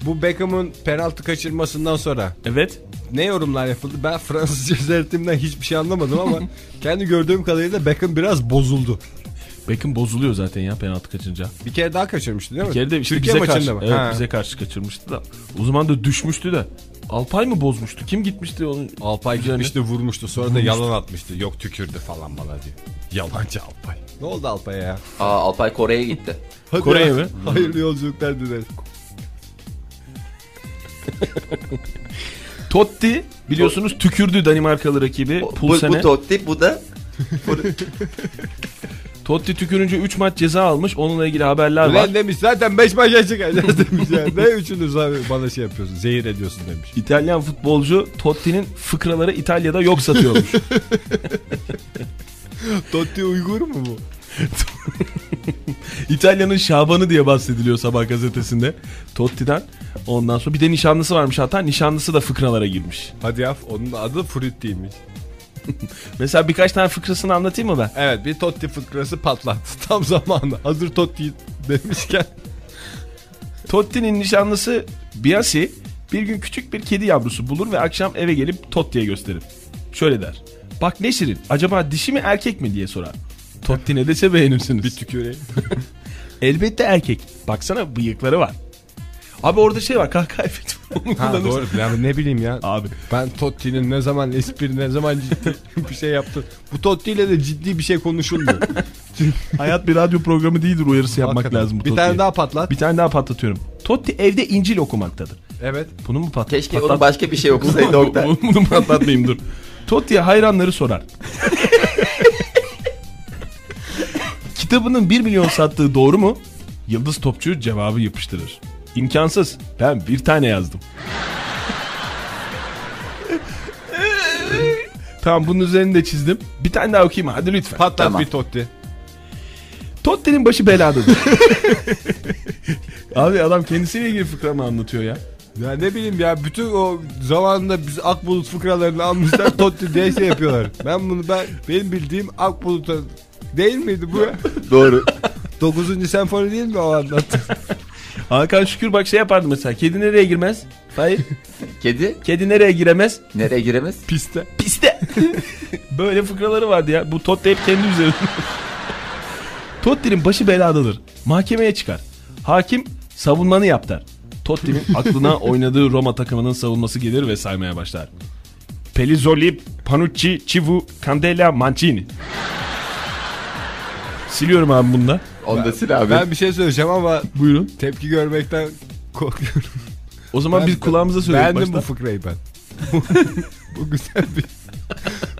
Speaker 2: Bu Beckham'ın penaltı kaçırmasından sonra
Speaker 3: Evet.
Speaker 2: ne yorumlar yapıldı? Ben Fransızca seyrettiğimden hiçbir şey anlamadım ama kendi gördüğüm kadarıyla Beckham biraz bozuldu.
Speaker 3: Beckham bozuluyor zaten ya penaltı kaçınca.
Speaker 2: Bir kere daha kaçırmıştı değil mi?
Speaker 3: Bir kere de işte
Speaker 2: Türkiye
Speaker 3: bize karşı,
Speaker 2: maçında mı?
Speaker 3: evet,
Speaker 2: Ha.
Speaker 3: bize karşı kaçırmıştı da. O zaman da düşmüştü de. Alpay mı bozmuştu? Kim gitmişti onun?
Speaker 2: Alpay
Speaker 3: Üzerine.
Speaker 2: gitmişti vurmuştu sonra da yalan atmıştı. Yok tükürdü falan bana diyor. Yalancı Alpay. Ne oldu Alpay'a ya?
Speaker 4: Aa Alpay Kore'ye gitti.
Speaker 2: Hadi
Speaker 3: Kore'ye
Speaker 2: ya.
Speaker 3: mi?
Speaker 2: Hayırlı yolculuklar dileriz.
Speaker 3: Totti biliyorsunuz tükürdü Danimarkalı rakibi
Speaker 4: Bu, bu,
Speaker 3: Pulsen'e.
Speaker 4: bu Totti bu da
Speaker 3: Totti tükürünce 3 maç ceza almış. Onunla ilgili haberler var.
Speaker 2: Ulan demiş zaten 5 maça çıkacağız demiş ya. Ne üçünüz abi bana şey yapıyorsun zehir ediyorsun demiş.
Speaker 3: İtalyan futbolcu Totti'nin fıkraları İtalya'da yok satıyormuş.
Speaker 2: Totti Uygur mu bu?
Speaker 3: İtalya'nın Şaban'ı diye bahsediliyor sabah gazetesinde. Totti'den. Ondan sonra bir de nişanlısı varmış hatta. Nişanlısı da fıkralara girmiş.
Speaker 2: Hadi ya onun adı Frutti'ymiş.
Speaker 3: Mesela birkaç tane fıkrasını anlatayım mı ben?
Speaker 2: Evet bir Totti fıkrası patlattı tam zamanında. Hazır Totti demişken.
Speaker 3: Totti'nin nişanlısı Biasi bir gün küçük bir kedi yavrusu bulur ve akşam eve gelip Totti'ye gösterir. Şöyle der. Bak ne şirin acaba dişi mi erkek mi diye sorar. Totti ne dese beğenirsiniz. Bir tüküreyim. Elbette erkek. Baksana bıyıkları var. Abi orada şey var kahkaha efekti. Onu kullanırsın.
Speaker 2: Yani ne bileyim ya.
Speaker 3: Abi
Speaker 2: Ben Totti'nin ne zaman espri ne zaman ciddi bir şey yaptı. Bu Totti ile de ciddi bir şey konuşulmuyor.
Speaker 3: hayat bir radyo programı değildir uyarısı yapmak
Speaker 2: Hakikaten.
Speaker 3: lazım. Bu
Speaker 2: Bir tane
Speaker 3: Totti'ye.
Speaker 2: daha patlat.
Speaker 3: bir tane daha patlatıyorum. Totti evde İncil okumaktadır.
Speaker 2: Evet.
Speaker 3: Bunu mu patlat?
Speaker 4: keşke
Speaker 3: patlat-
Speaker 4: onu başka bir şey okusaydı Oktay.
Speaker 3: Bunu- Bunu patlatmayayım dur. Totti'ye hayranları sorar. Kitabının 1 milyon sattığı doğru mu? Yıldız Topçu cevabı yapıştırır. İmkansız. Ben bir tane yazdım. tamam bunun üzerine de çizdim. Bir tane daha okuyayım hadi lütfen.
Speaker 2: Patlat
Speaker 4: Tamam.
Speaker 2: bir Totti.
Speaker 3: Totten'in başı beladadır. Abi adam kendisiyle ilgili fıkramı anlatıyor ya.
Speaker 2: Ya ne bileyim ya bütün o zamanında biz Akbulut fıkralarını almışlar Totti diye şey yapıyorlar. Ben bunu ben benim bildiğim Akbulut'a değil miydi bu? ya?
Speaker 4: Doğru.
Speaker 2: 9. senfoni değil mi o anlattı?
Speaker 3: Hakan Şükür bak şey yapardı mesela. Kedi nereye girmez? Hayır.
Speaker 4: Kedi
Speaker 3: Kedi nereye giremez?
Speaker 4: nereye giremez?
Speaker 2: Piste.
Speaker 3: Piste. Böyle fıkraları vardı ya. Bu Totti hep kendi üzerinde. Totti'nin başı beladadır. Mahkemeye çıkar. Hakim savunmanı yap der. Totti'nin aklına oynadığı Roma takımının savunması gelir ve saymaya başlar. Pelizzoli, Panucci, Civu, Candela, Mancini. Siliyorum abi bunda.
Speaker 4: Onda sil abi.
Speaker 2: Ben bir şey söyleyeceğim ama
Speaker 3: Buyurun.
Speaker 2: tepki görmekten korkuyorum.
Speaker 3: O zaman biz kulağımıza söyleyelim
Speaker 2: Beğendim
Speaker 3: başta.
Speaker 2: bu fıkrayı ben. bu güzel bir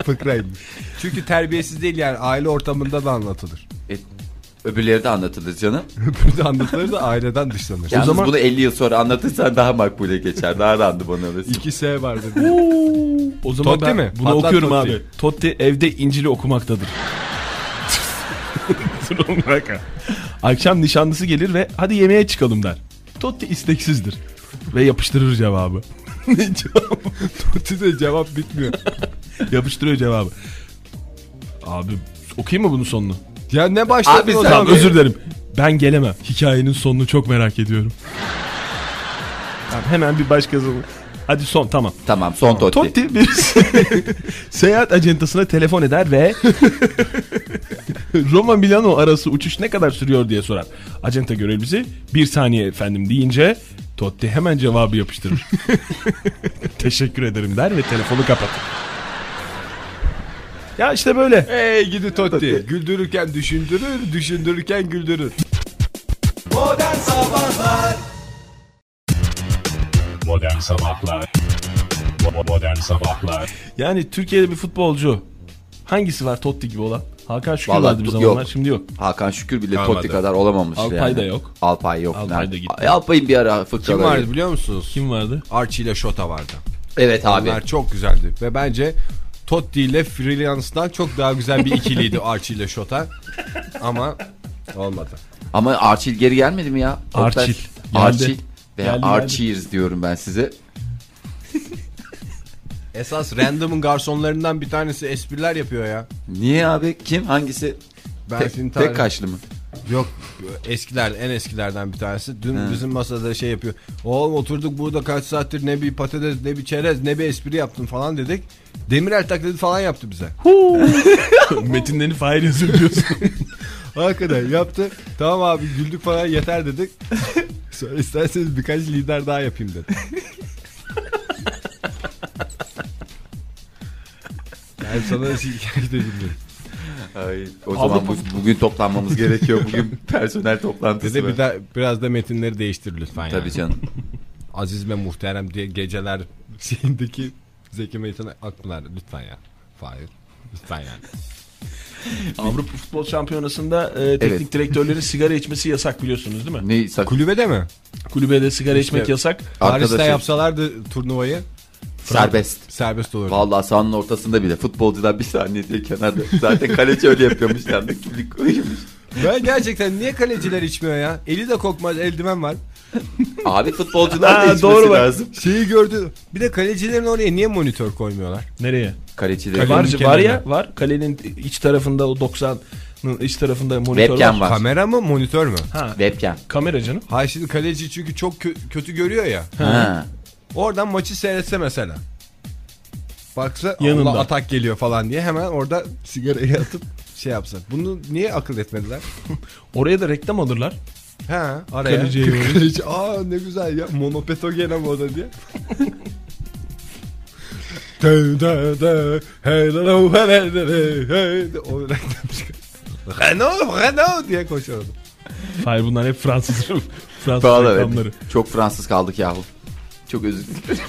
Speaker 2: fıkraymış. Çünkü terbiyesiz değil yani aile ortamında da anlatılır.
Speaker 4: E, öbürleri de anlatılır canım.
Speaker 2: Öbürü de anlatılır da aileden dışlanır.
Speaker 4: Yalnız
Speaker 3: zaman-
Speaker 4: bunu 50 yıl sonra anlatırsan daha makbule geçer. Daha randıman alırsın.
Speaker 2: İki S vardır.
Speaker 3: O zaman
Speaker 2: Totti
Speaker 3: ben
Speaker 2: mi?
Speaker 3: bunu
Speaker 2: Patlat
Speaker 3: okuyorum
Speaker 2: Totti.
Speaker 3: abi. Totti evde İncil'i okumaktadır. Dur oğlum, bir dakika. Akşam nişanlısı gelir ve hadi yemeğe çıkalım der. Totti isteksizdir. Ve yapıştırır cevabı. Ne cevabı?
Speaker 2: Totti de cevap bitmiyor.
Speaker 3: Yapıştırıyor cevabı. Abi okuyayım mı bunun sonunu?
Speaker 2: Ya ne başladın
Speaker 4: Abi
Speaker 2: o
Speaker 4: sen-
Speaker 2: zaman?
Speaker 3: Tamam özür dilerim. Ben gelemem. Hikayenin sonunu çok merak ediyorum. Tamam, hemen bir başkası. Hadi son tamam.
Speaker 4: Tamam son Totti.
Speaker 3: Totti bir seyahat acentasına telefon eder ve Roma Milano arası uçuş ne kadar sürüyor diye sorar. Acenta görevlisi bir saniye efendim deyince Totti hemen cevabı yapıştırır. Teşekkür ederim der ve telefonu kapatır. Ya işte böyle.
Speaker 2: Hey gidi Totti. Güldürürken düşündürür, düşündürürken güldürür.
Speaker 1: Modern Sabahlar Bo- Modern Sabahlar
Speaker 3: Yani Türkiye'de bir futbolcu hangisi var Totti gibi olan? Hakan Şükür
Speaker 4: Vallahi
Speaker 3: vardı bir
Speaker 4: yok.
Speaker 3: zamanlar şimdi yok.
Speaker 4: Hakan Şükür bile
Speaker 2: Kalmadı.
Speaker 4: Totti kadar olamamış
Speaker 3: Alpay
Speaker 4: yani.
Speaker 3: da yok.
Speaker 4: Alpay yok.
Speaker 3: Alpay da
Speaker 4: Nerede?
Speaker 3: gitti.
Speaker 4: Ay, Alpay'ın bir ara fıkraları.
Speaker 2: Kim vardı biliyor musunuz?
Speaker 3: Kim vardı?
Speaker 2: Archie ile Shota vardı.
Speaker 4: Evet abi.
Speaker 2: Onlar çok güzeldi ve bence Totti ile Freelance'dan çok daha güzel bir ikiliydi Archie ile Shota. Ama olmadı.
Speaker 4: Ama Arçil geri gelmedi mi ya? Oktay-
Speaker 3: Arçil.
Speaker 4: Archie veya
Speaker 3: Geldi, geldi.
Speaker 4: Archie's diyorum ben size.
Speaker 2: Esas random'ın garsonlarından bir tanesi espriler yapıyor ya.
Speaker 4: Niye abi? Kim? Hangisi?
Speaker 2: Ben
Speaker 4: Pe-
Speaker 2: şimdi tarih-
Speaker 4: pek kaçlı mı?
Speaker 2: Yok eskiler en eskilerden bir tanesi. Dün
Speaker 4: He.
Speaker 2: bizim masada şey yapıyor. Oğlum oturduk burada kaç saattir ne bir patates ne bir çerez ne bir espri yaptın falan dedik. Demirel taklidi falan yaptı bize.
Speaker 3: Metinlerini fail yazıyor diyorsun.
Speaker 2: Hakikaten yaptı. Tamam abi güldük falan yeter dedik. Sonra isterseniz birkaç lider daha yapayım dedi. Ben sana şey- şikayet edildim.
Speaker 4: Ay, o
Speaker 3: Avrupa
Speaker 4: zaman bu- bugün toplanmamız gerekiyor. Bugün personel toplantısı
Speaker 2: Dede
Speaker 4: var.
Speaker 2: bir daha, biraz da metinleri değiştir lütfen.
Speaker 4: Tabii
Speaker 2: yani.
Speaker 4: canım.
Speaker 2: Aziz ve muhterem diye geceler şeyindeki Zeki Metin Akpınar lütfen ya. Hayır. Lütfen yani.
Speaker 3: Avrupa Futbol Şampiyonası'nda e, teknik
Speaker 4: Evet.
Speaker 3: direktörlerin sigara içmesi yasak biliyorsunuz değil mi?
Speaker 4: Ne sak-
Speaker 2: Kulübede mi?
Speaker 3: Kulübede sigara içmek yasak.
Speaker 2: Paris'te
Speaker 4: arkadaşım
Speaker 2: yapsalardı turnuvayı
Speaker 4: serbest.
Speaker 2: serbest olurdu.
Speaker 4: Vallahi sahanın ortasında bile futbolcular bir saniye diye kenarda. Zaten kaleci öyle yapıyormuş yani. Kimlik koyuyormuş.
Speaker 2: ben gerçekten niye kaleciler içmiyor ya? Eli de kokmaz eldiven var.
Speaker 4: Abi futbolcular da
Speaker 3: Ha,
Speaker 4: içmesi
Speaker 3: doğru bak.
Speaker 4: lazım.
Speaker 2: Şeyi gördü. Bir de kalecilerin oraya niye monitör koymuyorlar?
Speaker 3: Nereye?
Speaker 4: Kalecileri.
Speaker 3: var,
Speaker 2: Kalenin
Speaker 3: var ya
Speaker 2: kenarına.
Speaker 3: var. Kalenin iç tarafında o 90'ın iç tarafında monitör
Speaker 4: Webcam
Speaker 3: var.
Speaker 4: var.
Speaker 2: Kamera mı monitör mü?
Speaker 3: Ha,
Speaker 4: Webcam.
Speaker 3: kamera canım.
Speaker 2: Hayır şimdi kaleci çünkü çok kö- kötü görüyor ya.
Speaker 4: Ha.
Speaker 2: Oradan maçı seyretse mesela. Baksa
Speaker 3: Yanında.
Speaker 2: Allah atak geliyor falan diye hemen orada sigarayı atıp şey yapsa. Bunu niye akıl etmediler?
Speaker 3: Oraya da reklam alırlar.
Speaker 2: Ha araya.
Speaker 3: Kaleciye yoruyor.
Speaker 2: Kaleci, Aa ne güzel ya monopetogen ama o da diye. Dö, dö, dö, hey, dö, dö, hey, dö, dö, hey, dö. O reklam çıkıyor. Renault Renault diye koşuyordu.
Speaker 3: Hayır bunlar hep Fransız Fransız
Speaker 4: Pahalı
Speaker 3: reklamları.
Speaker 4: evet. Çok Fransız kaldık yahu. Çok özür dilerim.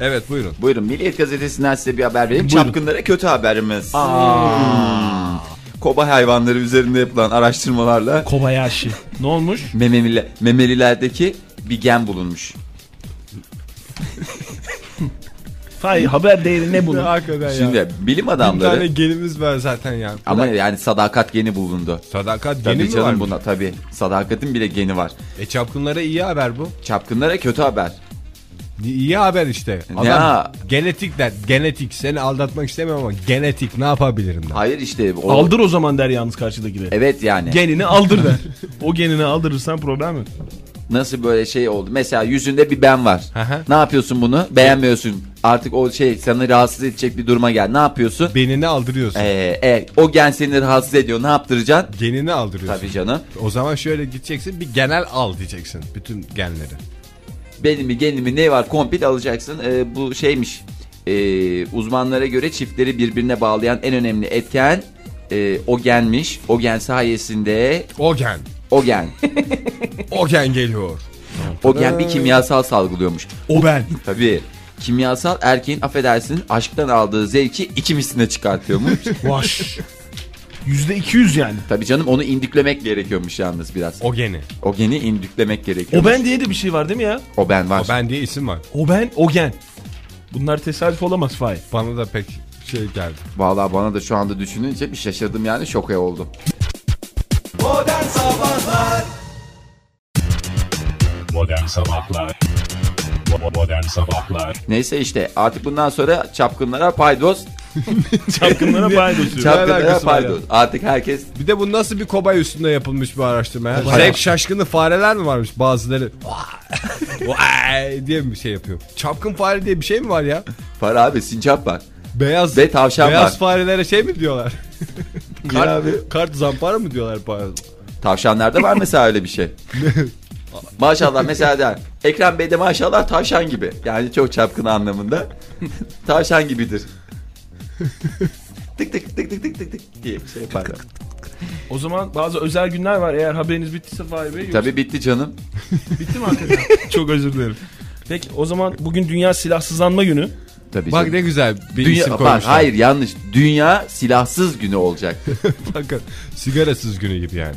Speaker 2: Evet buyurun.
Speaker 4: Buyurun Milliyet Gazetesi'nden size bir haber vereyim. Çapkınlara kötü haberimiz. Hmm. Kobay hayvanları üzerinde yapılan araştırmalarla
Speaker 3: Kobayashi. Ne olmuş?
Speaker 4: mememile, memelilerdeki bir gen bulunmuş.
Speaker 3: Hayır haber değeri ne bunun?
Speaker 2: Hakikaten
Speaker 4: Şimdi
Speaker 2: ya.
Speaker 4: bilim
Speaker 2: Bir tane
Speaker 4: adamları
Speaker 2: genimiz var zaten ya.
Speaker 4: ama yani sadakat geni bulundu.
Speaker 2: Sadakat
Speaker 4: Tabii
Speaker 2: geni mi
Speaker 4: canım
Speaker 2: var?
Speaker 4: buna tabii. Sadakatin bile geni var.
Speaker 2: E çapkınlara iyi haber bu.
Speaker 4: Çapkınlara kötü haber.
Speaker 2: İyi haber işte. Adam
Speaker 4: Ya.
Speaker 2: genetik der. Genetik. Seni aldatmak istemiyorum ama genetik ne yapabilirim der.
Speaker 4: Hayır işte o...
Speaker 3: Aldır o zaman der yalnız karşıdakine.
Speaker 4: Evet yani.
Speaker 3: Genini aldır der. o genini aldırırsan problem yok.
Speaker 4: Nasıl böyle şey oldu? Mesela yüzünde bir ben var.
Speaker 2: Hı hı.
Speaker 4: ne yapıyorsun bunu? Beğenmiyorsun. Artık o şey seni rahatsız edecek bir duruma gel. Ne yapıyorsun?
Speaker 2: Benini aldırıyorsun.
Speaker 4: Ee, evet, o gen seni rahatsız ediyor. Ne yaptıracaksın?
Speaker 2: Genini aldırıyorsun.
Speaker 4: Tabii canım.
Speaker 2: O zaman şöyle gideceksin bir genel al diyeceksin bütün genleri.
Speaker 4: Benim mi genimi ne var komple alacaksın. Ee, bu şeymiş. Ee, uzmanlara göre çiftleri birbirine bağlayan en önemli etken e, o genmiş. O gen sayesinde
Speaker 2: O gen.
Speaker 4: o gen.
Speaker 2: O gen geliyor.
Speaker 4: o gen bir kimyasal salgılıyormuş.
Speaker 3: O ben.
Speaker 4: Tabii. Kimyasal erkeğin affedersin aşktan aldığı zevki iki misline çıkartıyormuş.
Speaker 3: Vaş. Yüzde 200 yani.
Speaker 4: Tabii canım onu indüklemek gerekiyormuş yalnız biraz. O,
Speaker 2: O geni.
Speaker 4: geni indüklemek
Speaker 3: O
Speaker 4: gerekiyor.
Speaker 3: ben diye de bir şey var değil mi ya?
Speaker 4: O ben var.
Speaker 2: O ben diye isim var.
Speaker 3: O ben, o gen. Bunlar tesadüf olamaz Fahir.
Speaker 2: Bana da pek şey geldi.
Speaker 4: Vallahi bana da şu anda düşününce bir şaşırdım yani şoke oldum.
Speaker 1: Modern Sabahlar Bo- Modern Sabahlar
Speaker 4: Neyse işte artık bundan sonra çapkınlara paydos,
Speaker 3: Çapkınlara paylaşıyor.
Speaker 4: çapkınlara
Speaker 2: alakası var
Speaker 4: paydos. Artık herkes
Speaker 2: Bir de bu nasıl bir kobay üstünde yapılmış bir araştırma ya?
Speaker 3: Kobay.
Speaker 2: Zevk şaşkını fareler mi varmış bazıları? Vay, Vay diye bir şey yapıyor. Çapkın fare diye bir şey mi var ya?
Speaker 4: para abi sincap var.
Speaker 2: Beyaz
Speaker 4: Ve tavşan
Speaker 2: beyaz
Speaker 4: var.
Speaker 2: farelere şey mi diyorlar? kart, kart zampara mı diyorlar pardon?
Speaker 4: Tavşanlarda var mesela öyle bir şey. maşallah mesela der. Ekrem Bey de maşallah tavşan gibi. Yani çok çapkın anlamında. tavşan gibidir. tık tık tık tık tık tık tık diye bir şey yapar.
Speaker 3: O zaman bazı özel günler var eğer haberiniz bittiyse Fahir Bey. Yoksa
Speaker 4: Tabii bitti canım.
Speaker 3: bitti mi hakikaten? Çok özür dilerim. Peki o zaman bugün Dünya Silahsızlanma Günü.
Speaker 4: Tabii
Speaker 2: Bak
Speaker 4: canım.
Speaker 2: ne güzel bir
Speaker 4: Dünya,
Speaker 2: isim
Speaker 4: bak,
Speaker 2: koymuşlar.
Speaker 4: hayır yanlış. Dünya silahsız günü olacak.
Speaker 2: Bakın sigarasız günü gibi yani.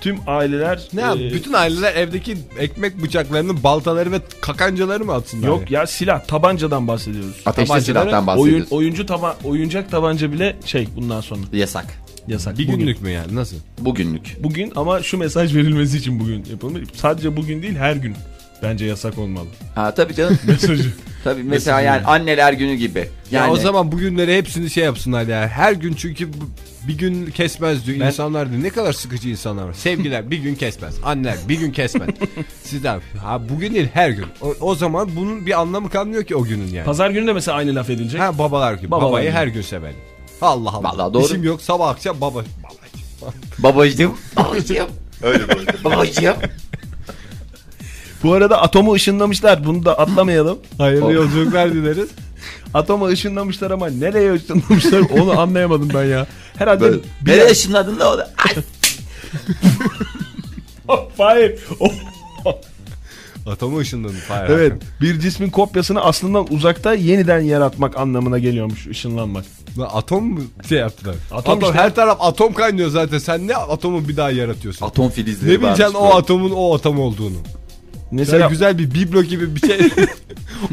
Speaker 3: Tüm aileler...
Speaker 2: Ne
Speaker 3: e,
Speaker 2: yap? Bütün aileler evdeki ekmek bıçaklarını, baltaları ve kakancaları mı atsınlar?
Speaker 3: Yok ya silah, tabancadan bahsediyoruz.
Speaker 4: Ateşli
Speaker 2: Tabancaları
Speaker 3: Oyun,
Speaker 4: silahtan bahsediyoruz.
Speaker 3: oyuncu taba, oyuncak tabanca bile şey bundan sonra.
Speaker 4: Yasak.
Speaker 3: Yasak.
Speaker 2: Bir
Speaker 3: Bugün.
Speaker 2: günlük mü yani nasıl?
Speaker 4: Bugünlük.
Speaker 3: Bugün ama şu mesaj verilmesi için bugün yapılmış. Sadece bugün değil her gün bence yasak olmalı.
Speaker 4: Ha tabii canım.
Speaker 3: Mesajı.
Speaker 4: tabii mesela yani anneler günü gibi. Yani
Speaker 2: Ya o zaman bugünleri hepsini şey yapsınlar ya. Her gün çünkü bu- bir gün kesmez diyor insanlar diyor. Ne kadar sıkıcı insanlar var. Sevgiler bir gün kesmez. Anneler bir gün kesmez. Sizden ha bugün değil her gün. O, o zaman bunun bir anlamı kalmıyor ki o günün yani.
Speaker 3: Pazar günü de mesela aynı laf edilecek.
Speaker 2: Ha babalar gibi.
Speaker 3: Babalar
Speaker 2: Babayı
Speaker 3: gibi.
Speaker 2: her gün severim. Allah Allah.
Speaker 4: Vallahi doğru.
Speaker 2: İşim yok sabah akşam baba. baba.
Speaker 4: babacığım. Babacığım. Öyle böyle. Babacığım.
Speaker 3: Bu arada atomu ışınlamışlar. Bunu da atlamayalım.
Speaker 2: Hayırlı yolculuklar dileriz.
Speaker 3: Atomu ışınlamışlar ama nereye ışınlamışlar onu anlayamadım ben ya. Herhalde
Speaker 4: Böyle.
Speaker 3: bir
Speaker 4: Nereye ışınladın da o da? Ay,
Speaker 3: Oh, Hayır. O-
Speaker 2: Atomu ışınladın Fahir
Speaker 3: evet.
Speaker 2: Hakan.
Speaker 3: Bir cismin kopyasını aslından uzakta yeniden yaratmak anlamına geliyormuş ışınlanmak.
Speaker 2: Lan atom mu şey yaptılar?
Speaker 3: Atom
Speaker 2: Atom,
Speaker 3: işte.
Speaker 2: her taraf atom kaynıyor zaten. Sen ne atomu bir daha yaratıyorsun?
Speaker 4: Atom filizleri
Speaker 2: ne bileceksin
Speaker 4: varmış
Speaker 2: o
Speaker 4: böyle.
Speaker 2: atomun o atom olduğunu?
Speaker 3: Mesela
Speaker 2: güzel bir biblo gibi bir şey.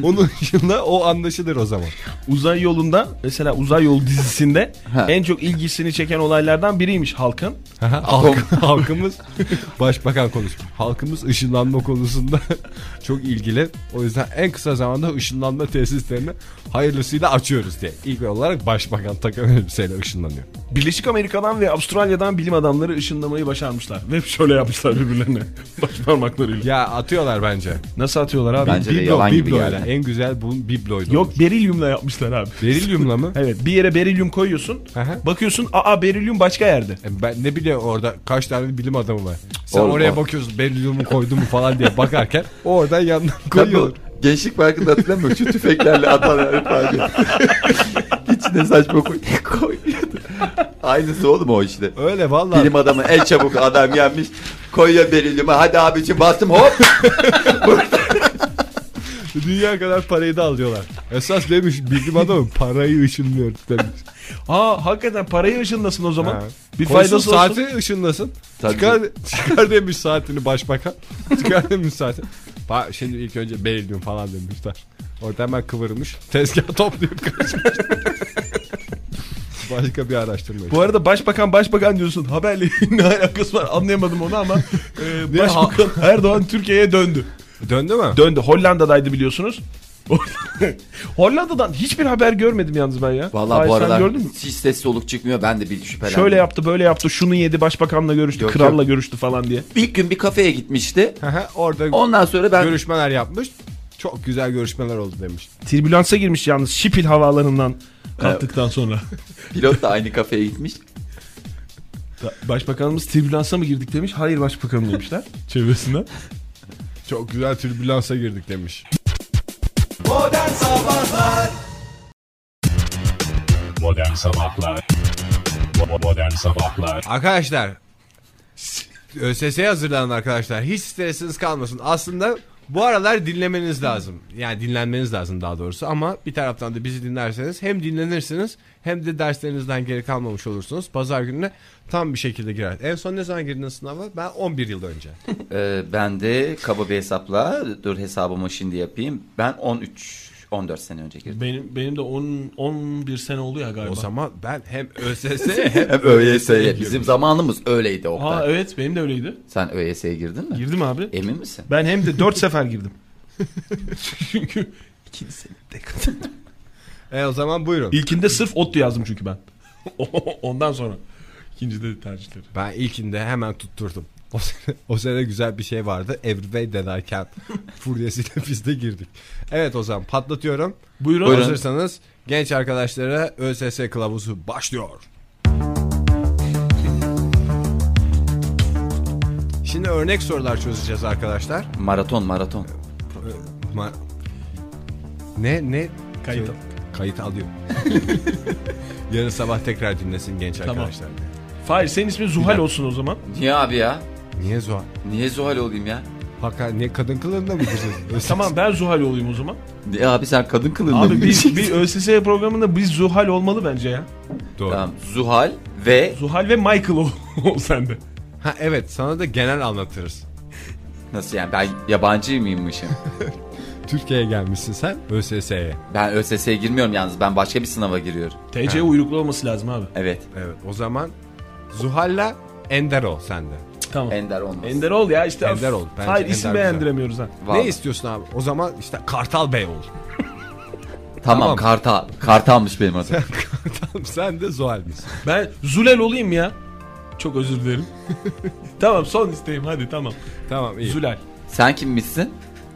Speaker 2: Onun ışığında o anlaşılır o zaman.
Speaker 3: uzay yolunda mesela uzay yol dizisinde
Speaker 4: Ha.
Speaker 3: en çok ilgisini çeken olaylardan biriymiş halkın.
Speaker 2: Halk, halkımız başbakan konuşmuş. Halkımız ışınlanma konusunda çok ilgili. O yüzden en kısa zamanda ışınlanma tesislerini hayırlısıyla açıyoruz diye. İlk olarak başbakan takım elbiseyle ışınlanıyor.
Speaker 3: Birleşik Amerika'dan ve Avustralya'dan bilim adamları ışınlamayı başarmışlar. Ve şöyle yapmışlar birbirlerine. Baş parmaklarıyla.
Speaker 2: Ya atıyorlar bence.
Speaker 3: Nasıl atıyorlar abi?
Speaker 4: Bence de yalan gibi
Speaker 2: bibloyla.
Speaker 4: geldi.
Speaker 2: En güzel bu bibloydu.
Speaker 3: Yok berilyumla yapmışlar abi.
Speaker 2: Berilyumla mı?
Speaker 3: Evet bir yere berilyum koyuyorsun.
Speaker 2: Aha.
Speaker 3: Bakıyorsun aa berilyum başka yerde.
Speaker 2: E Ben ne bileyim orada kaç tane bilim adamı var. Sen
Speaker 4: Oğlum,
Speaker 2: oraya
Speaker 4: o-
Speaker 2: bakıyorsun berilyumu koydu mu falan diye bakarken o oradan yandan
Speaker 4: Tabii
Speaker 2: koyuyor.
Speaker 4: o Gençlik parkında hatırlamıyor musun? Şu tüfeklerle atan herif vardı. İçine saçma koy koyuyordu. Aynısı oğlum o işte.
Speaker 2: Öyle vallahi.
Speaker 4: Bilim adamı en çabuk adam gelmiş. Koyuyor berilyumu. Hadi abicim bastım hop.
Speaker 2: Dünya kadar parayı da alıyorlar. Esas demiş bilim adamı parayı ışınlıyor demiş.
Speaker 3: Aa hakikaten parayı ışınlasın o zaman.
Speaker 2: Ha.
Speaker 3: Bir
Speaker 2: Koysun
Speaker 3: faydası olsun.
Speaker 2: saati ışınlasın.
Speaker 4: Tabii
Speaker 2: Çıkar, çıkar demiş saatini başbakan. çıkar demiş saati. Ba- Şimdi ilk önce berilyum falan demişler. Orada hemen kıvırmış. Tezgah toplayıp kaçmış. Başka bir araştırma.
Speaker 3: Bu arada başbakan başbakan diyorsun. Haberle ne alakası var anlayamadım onu ama e, başbakan Erdoğan Türkiye'ye döndü.
Speaker 2: Döndü mü?
Speaker 3: Döndü. Hollanda'daydı biliyorsunuz. Hollanda'dan hiçbir haber görmedim yalnız ben ya.
Speaker 4: Vallahi
Speaker 3: Hayır,
Speaker 4: bu
Speaker 3: sen
Speaker 4: aralar
Speaker 3: gördün mü?
Speaker 4: hiç ses soluk çıkmıyor. Ben de bir şüphelendim.
Speaker 3: Şöyle yaptı böyle yaptı şunu yedi başbakanla görüştü
Speaker 4: Yok,
Speaker 3: kralla görüştü falan diye.
Speaker 4: İlk gün bir kafeye gitmişti.
Speaker 2: Hı hı, Orada
Speaker 4: Ondan sonra ben
Speaker 2: görüşmeler yapmış. Çok güzel görüşmeler oldu demiş.
Speaker 3: Tribülansa girmiş yalnız Şipil havalarından kalktıktan sonra.
Speaker 4: pilot da aynı kafeye gitmiş.
Speaker 3: Başbakanımız tribülansa mı girdik demiş. Hayır başbakanım demişler çevresinden.
Speaker 2: Çok güzel türbülansa girdik demiş.
Speaker 1: Modern Sabahlar Bo- Modern Sabahlar
Speaker 2: Arkadaşlar ÖSS'ye hazırlanan arkadaşlar hiç stresiniz kalmasın. Aslında bu aralar dinlemeniz lazım. Yani dinlenmeniz lazım daha doğrusu ama bir taraftan da bizi dinlerseniz hem dinlenirsiniz hem de derslerinizden geri kalmamış olursunuz. Pazar gününe tam bir şekilde girer. En son ne zaman girdiniz sınava? Ben 11 yıl önce.
Speaker 4: Ee, ben de kaba bir hesapla dur hesabımı şimdi yapayım. Ben 13 14 sene önce girdim.
Speaker 3: Benim benim de 10 11 sene oluyor galiba.
Speaker 2: o zaman ben hem ÖSS'ye hem
Speaker 4: Hem ÖYS'ye bizim zamanımız öyleydi Oktay.
Speaker 3: Aa evet benim de öyleydi.
Speaker 4: Sen ÖYS'ye girdin mi?
Speaker 3: Girdim abi.
Speaker 4: Emin misin?
Speaker 3: Ben hem de 4 sefer girdim. çünkü
Speaker 2: E o zaman buyurun.
Speaker 3: ilkinde sırf ODTÜ yazdım çünkü ben. Ondan sonra ikincide tercihleri.
Speaker 2: Ben ilkinde hemen tutturdum. O sene, o sene güzel bir şey vardı. Everyway denerken furyasıyla biz de girdik. Evet o zaman patlatıyorum.
Speaker 3: Buyurun.
Speaker 2: Hazırsanız genç arkadaşlara ÖSS kılavuzu başlıyor. Şimdi örnek sorular çözeceğiz arkadaşlar.
Speaker 4: Maraton maraton.
Speaker 2: Ma- ne ne
Speaker 3: Kayıt
Speaker 2: Şey- kayıt alıyor. Yarın sabah tekrar dinlesin genç
Speaker 3: Tamam.
Speaker 2: arkadaşlar.
Speaker 3: Fahir senin ismin Zuhal olsun o zaman.
Speaker 4: Niye abi ya?
Speaker 2: Niye Zuhal?
Speaker 4: Niye Zuhal olayım ya?
Speaker 2: Hakikaten niye kadın kılığında mı gireceğiz?
Speaker 3: Tamam ben Zuhal olayım o zaman.
Speaker 4: Niye abi sen kadın kılığında
Speaker 3: Abi
Speaker 4: mı
Speaker 3: bir,
Speaker 4: gireceksin?
Speaker 3: bir ÖSS programında biz Zuhal olmalı bence ya.
Speaker 2: Doğru.
Speaker 4: Tamam. Zuhal ve
Speaker 3: Zuhal ve Michael ol, ol sende.
Speaker 2: Ha evet sana da genel anlatırız.
Speaker 4: nasıl yani ben yabancı mıymışım?
Speaker 2: Türkiye'ye gelmişsin sen ÖSS'ye.
Speaker 4: ben ÖSS'ye girmiyorum yalnız ben başka bir sınava giriyorum.
Speaker 3: TC uyruklu olması lazım abi.
Speaker 4: Evet.
Speaker 2: Evet o zaman Zuhalla Endero sende.
Speaker 3: Tamam.
Speaker 4: Ender olmaz.
Speaker 3: Ender ol ya işte.
Speaker 2: Ender ol, bence
Speaker 3: Hayır
Speaker 2: Ender
Speaker 3: isim
Speaker 2: güzel.
Speaker 3: beğendiremiyoruz ha.
Speaker 4: Vallahi.
Speaker 2: Ne istiyorsun abi? O zaman işte Kartal Bey ol.
Speaker 4: Tamam,
Speaker 2: Tamam.
Speaker 4: kartal. Kartalmış benim adım.
Speaker 2: Kartal sen de Zuhal misin?
Speaker 3: Ben Zulel olayım ya. Çok özür dilerim. tamam son isteğim hadi tamam.
Speaker 2: Tamam iyi.
Speaker 3: Zulel.
Speaker 4: Sen kimmişsin?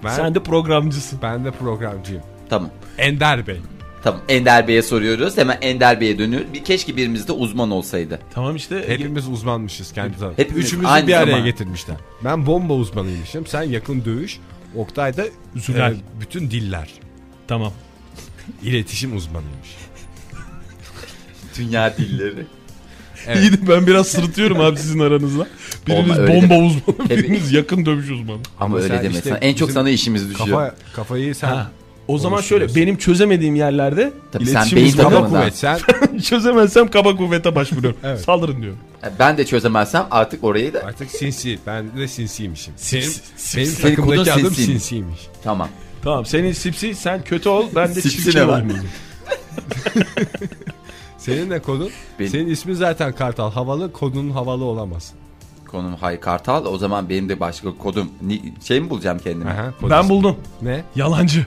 Speaker 2: ben,
Speaker 3: Sen de programcısın.
Speaker 2: ben de programcıyım.
Speaker 4: Tamam.
Speaker 2: Ender Bey.
Speaker 4: Tamam. Ender Bey'e soruyoruz. Hemen Ender Bey'e dönüyoruz. Bir, keşke birimiz de uzman olsaydı.
Speaker 3: Tamam işte.
Speaker 2: Hepimiz uzmanmışız kendi tarafı.
Speaker 4: Hepimiz
Speaker 2: Üçümüzü
Speaker 4: aynı
Speaker 2: bir araya
Speaker 4: zaman.
Speaker 2: getirmişler. Ben bomba uzmanıymışım. Sen yakın dövüş. Oktay da
Speaker 3: Zülal.
Speaker 2: e, bütün diller.
Speaker 3: Tamam.
Speaker 2: İletişim uzmanıymış.
Speaker 4: Dünya dilleri.
Speaker 2: Evet.
Speaker 3: İyiydi ben biraz sırıtıyorum abi sizin aranızda. Biriniz
Speaker 4: Olma, öyle
Speaker 3: bomba
Speaker 4: deme.
Speaker 3: uzmanı,
Speaker 4: Tabii.
Speaker 3: biriniz yakın dövüş uzmanı.
Speaker 4: Ama
Speaker 2: Ama
Speaker 4: öyle
Speaker 2: sen
Speaker 4: deme.
Speaker 2: işte
Speaker 4: Sana- en çok
Speaker 2: bizim
Speaker 4: sana işimiz düşüyor.
Speaker 2: Kafa, kafayı sen...
Speaker 3: Ha. O zaman
Speaker 2: Konuşuyoruz.
Speaker 3: şöyle benim çözemediğim yerlerde
Speaker 4: Tabii sen
Speaker 3: iletişim
Speaker 4: beyin
Speaker 3: uzmanı-
Speaker 2: Kaba
Speaker 4: Tamam da.
Speaker 2: kuvvet sen.
Speaker 3: çözemezsem kaba kuvvete başvuruyorum.
Speaker 2: Evet.
Speaker 3: Saldırın diyorum.
Speaker 4: E, Ben de çözemezsem artık orayı da...
Speaker 2: Artık sinsi. Ben de sinsiymişim. Benim,
Speaker 3: Sinsi-
Speaker 2: benim
Speaker 3: sinsi.
Speaker 2: takımdaki
Speaker 4: Senin kodun
Speaker 2: adım
Speaker 4: sinsi.
Speaker 2: sinsiymiş.
Speaker 4: Tamam.
Speaker 3: Tamam senin sipsi sen kötü ol ben de
Speaker 4: Sipsi
Speaker 3: çirkin
Speaker 2: şey
Speaker 4: ne var?
Speaker 3: olayım.
Speaker 2: Senin de kodun.
Speaker 4: Benim.
Speaker 2: Senin ismin zaten Kartal. Havalı kodun havalı olamaz.
Speaker 4: Konum Hay Kartal. O zaman benim de başka kodum. Ni- Şey mi bulacağım kendime?
Speaker 2: Aha, kodun.
Speaker 3: Ben buldum.
Speaker 2: Ne?
Speaker 3: Yalancı.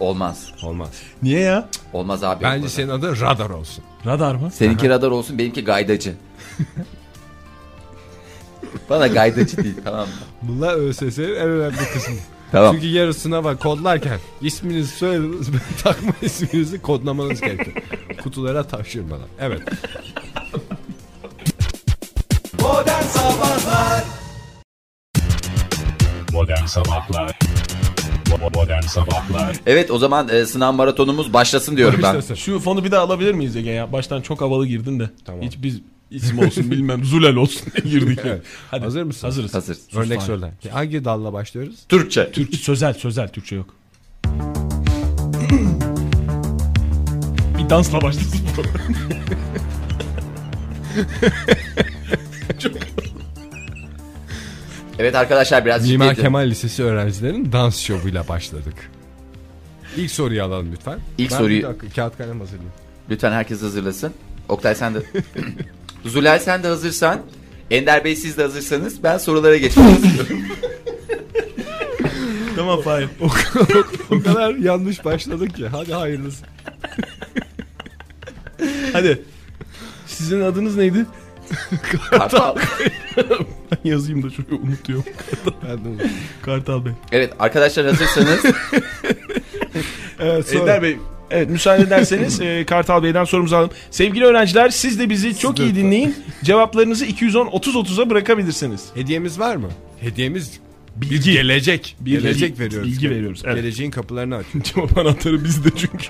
Speaker 4: Olmaz.
Speaker 2: Olmaz.
Speaker 3: Niye ya?
Speaker 4: Olmaz abi.
Speaker 2: Bence şey-
Speaker 4: o
Speaker 2: senin adın radar olsun.
Speaker 3: Radar mı?
Speaker 4: Seninki radar olsun benimki gaydacı. Bana gaydacı değil tamam mı?
Speaker 2: Bunlar ÖSS'nin en önemli kısmı.
Speaker 4: Tamam.
Speaker 2: Çünkü yarın sınava kodlarken isminizi soyadınız takma isminizi kodlamanız gerekiyor. Kutulara taşırmadan. Evet.
Speaker 1: Modern Sabahlar Modern Sabahlar
Speaker 4: Evet o zaman e, sınav maratonumuz başlasın diyorum ben.
Speaker 2: Başlasın.
Speaker 3: Şu fonu bir daha alabilir miyiz Ege ya? Baştan çok havalı girdin de.
Speaker 2: Tamam.
Speaker 3: Hiç biz isim olsun bilmem Zulel olsun diye girdik. ya.
Speaker 2: Evet.
Speaker 3: Hadi.
Speaker 2: Hazır mısın?
Speaker 3: Hazırız.
Speaker 4: Hazır.
Speaker 2: Örnek
Speaker 3: Fahir.
Speaker 2: söyle. Hangi dalla başlıyoruz?
Speaker 4: Türkçe.
Speaker 3: Türkçe sözel sözel Türkçe yok. bir dansla başlasın.
Speaker 4: Evet arkadaşlar biraz
Speaker 2: Mimar
Speaker 4: ciddi edin.
Speaker 2: Kemal Lisesi öğrencilerinin dans şovuyla başladık. İlk soruyu alalım lütfen.
Speaker 4: İlk
Speaker 2: ben
Speaker 4: soruyu-
Speaker 2: bir dakika kağıt kalem hazırlayayım.
Speaker 4: Lütfen herkes hazırlasın. Oktay sen de. Zulay sen de hazırsan. Ender Bey siz de hazırsanız ben sorulara geçmek istiyorum.
Speaker 3: tamam Fahir.
Speaker 2: O kadar yanlış başladık ki. Hadi hayırlısı.
Speaker 3: Hadi. Sizin adınız neydi?
Speaker 4: Kartal.
Speaker 3: Ben yazayım da şuraya unutuyorum.
Speaker 2: Ben de unuttum.
Speaker 3: Kartal Bey.
Speaker 4: Evet arkadaşlar hazırsanız
Speaker 2: evet, sonra.
Speaker 3: Ee, Ender Bey. Evet müsaade ederseniz e, Kartal Bey'den sorumuzu alalım. Sevgili öğrenciler siz de bizi çok iyi dinleyin. Cevaplarınızı 210 30 30'a bırakabilirsiniz.
Speaker 2: Hediyemiz var mı? Hediyemiz bilgi. Gelecek.
Speaker 3: Bilgi.
Speaker 2: Gelecek veriyoruz.
Speaker 3: Bilgi veriyoruz, evet.
Speaker 2: Geleceğin kapılarını aç.
Speaker 3: Cevap anahtarı bizde çünkü.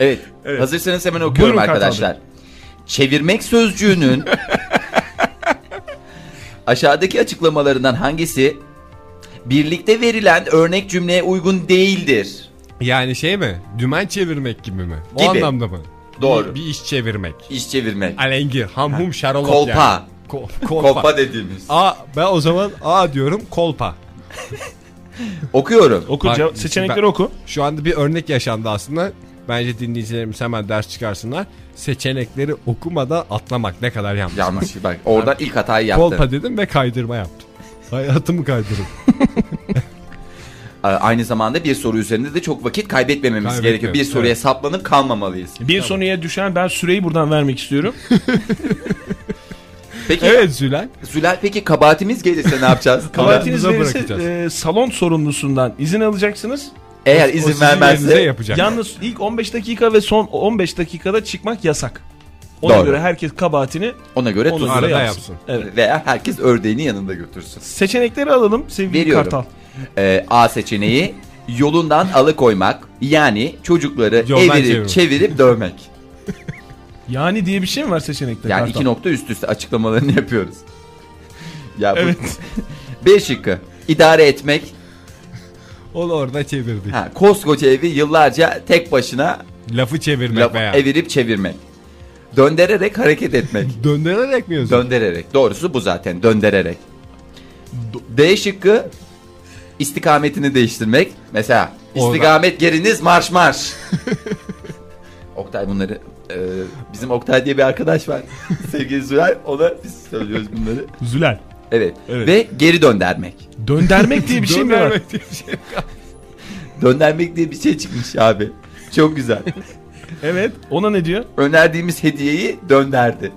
Speaker 4: Evet.
Speaker 3: Evet.
Speaker 4: Hazırsanız hemen okuyorum
Speaker 3: Buyurun Kartal
Speaker 4: arkadaşlar. Çevirmek sözcüğünün aşağıdaki açıklamalarından hangisi birlikte verilen örnek cümleye uygun değildir?
Speaker 2: Yani şey mi? Dümen çevirmek gibi mi? O
Speaker 4: Gibi.
Speaker 2: anlamda mı? Bir,
Speaker 4: Doğru.
Speaker 2: bir iş çevirmek.
Speaker 4: İş çevirmek.
Speaker 2: Alengir, hamhum, şarolop
Speaker 4: Kolpa.
Speaker 2: yani. Ko- kolpa. Ah.
Speaker 4: Kolpa dediğimiz.
Speaker 2: A, ben o zaman A diyorum kolpa.
Speaker 4: Okuyorum.
Speaker 3: Oku
Speaker 2: Bak,
Speaker 3: cevap- seçenekleri
Speaker 2: ben-
Speaker 3: oku.
Speaker 2: Şu anda bir örnek yaşandı aslında. Bence dinleyicilerimiz hemen ders çıkarsınlar. Seçenekleri okumadan atlamak ne kadar yanlış.
Speaker 4: Yanlış bak. Oradan ilk hatayı yaptı.
Speaker 2: Kolpa dedim ve kaydırma yaptım. Hayatımı kaydırdım.
Speaker 4: A- Ee, Aynı zamanda bir soru üzerinde de çok vakit kaybetmememiz
Speaker 2: Kaybetmiyorum,
Speaker 4: gerekiyor. Bir soruya
Speaker 2: evet.
Speaker 4: saplanıp kalmamalıyız.
Speaker 3: Bir soruya düşen ben süreyi buradan vermek istiyorum.
Speaker 4: Peki
Speaker 2: Evet Zülal.
Speaker 4: Zülal peki kabahatimiz gelirse ne yapacağız?
Speaker 3: Kabahatiniz
Speaker 2: Kabahatimize
Speaker 3: verirse
Speaker 2: bırakacağız.
Speaker 3: e, salon sorumlusundan izin alacaksınız.
Speaker 4: Eğer
Speaker 2: O
Speaker 4: izin
Speaker 2: sizin yerinize
Speaker 4: vermezse
Speaker 2: yapacak.
Speaker 3: Yalnız ilk 15 dakika ve son 15 dakikada çıkmak yasak. Ona
Speaker 4: Doğru.
Speaker 3: göre herkes kabahatini
Speaker 4: ona göre
Speaker 3: ona
Speaker 4: tuzlu
Speaker 2: Arada
Speaker 3: göre yapsın.
Speaker 2: yapsın.
Speaker 3: Evet.
Speaker 4: veya herkes ördeğini yanında götürsün.
Speaker 3: Seçenekleri alalım sevgili
Speaker 4: Veriyorum.
Speaker 3: Kartal.
Speaker 4: Ee, A seçeneği yolundan alıkoymak yani çocukları
Speaker 2: Yoldan
Speaker 4: evirip
Speaker 2: çevirmek.
Speaker 4: çevirip dövmek.
Speaker 3: Yani diye bir şey mi var seçenekte?
Speaker 4: Yani
Speaker 3: Kartal?
Speaker 4: iki nokta üst üste açıklamalarını yapıyoruz. Ya bu
Speaker 3: Evet.
Speaker 4: B şıkkı idare etmek.
Speaker 2: Onu orada çevirdik.
Speaker 4: Ha, koskoca evi yıllarca tek başına
Speaker 2: Lafı çevirmek
Speaker 4: laf-
Speaker 2: veya.
Speaker 4: evirip çevirmek. Döndürerek hareket etmek.
Speaker 2: Döndürerek mi yazıyor?
Speaker 4: Döndürerek. Doğrusu bu zaten. Döndürerek. D şıkkı istikametini değiştirmek. Mesela
Speaker 2: Orada.
Speaker 4: istikamet geriniz marş marş. Oktay bunları Ee, bizim Oktay diye bir arkadaş var. Sevgili Zülay. Ona biz söylüyoruz bunları.
Speaker 3: Zülal.
Speaker 4: Evet.
Speaker 3: Evet.
Speaker 4: Ve geri döndermek.
Speaker 3: Döndermek diye bir şey mi var?
Speaker 2: Dönmemek diye bir şey.
Speaker 4: Döndermek diye bir şey çıkmış abi. Çok güzel.
Speaker 3: Evet. Ona ne diyor?
Speaker 4: Önerdiğimiz hediyeyi dönderdi.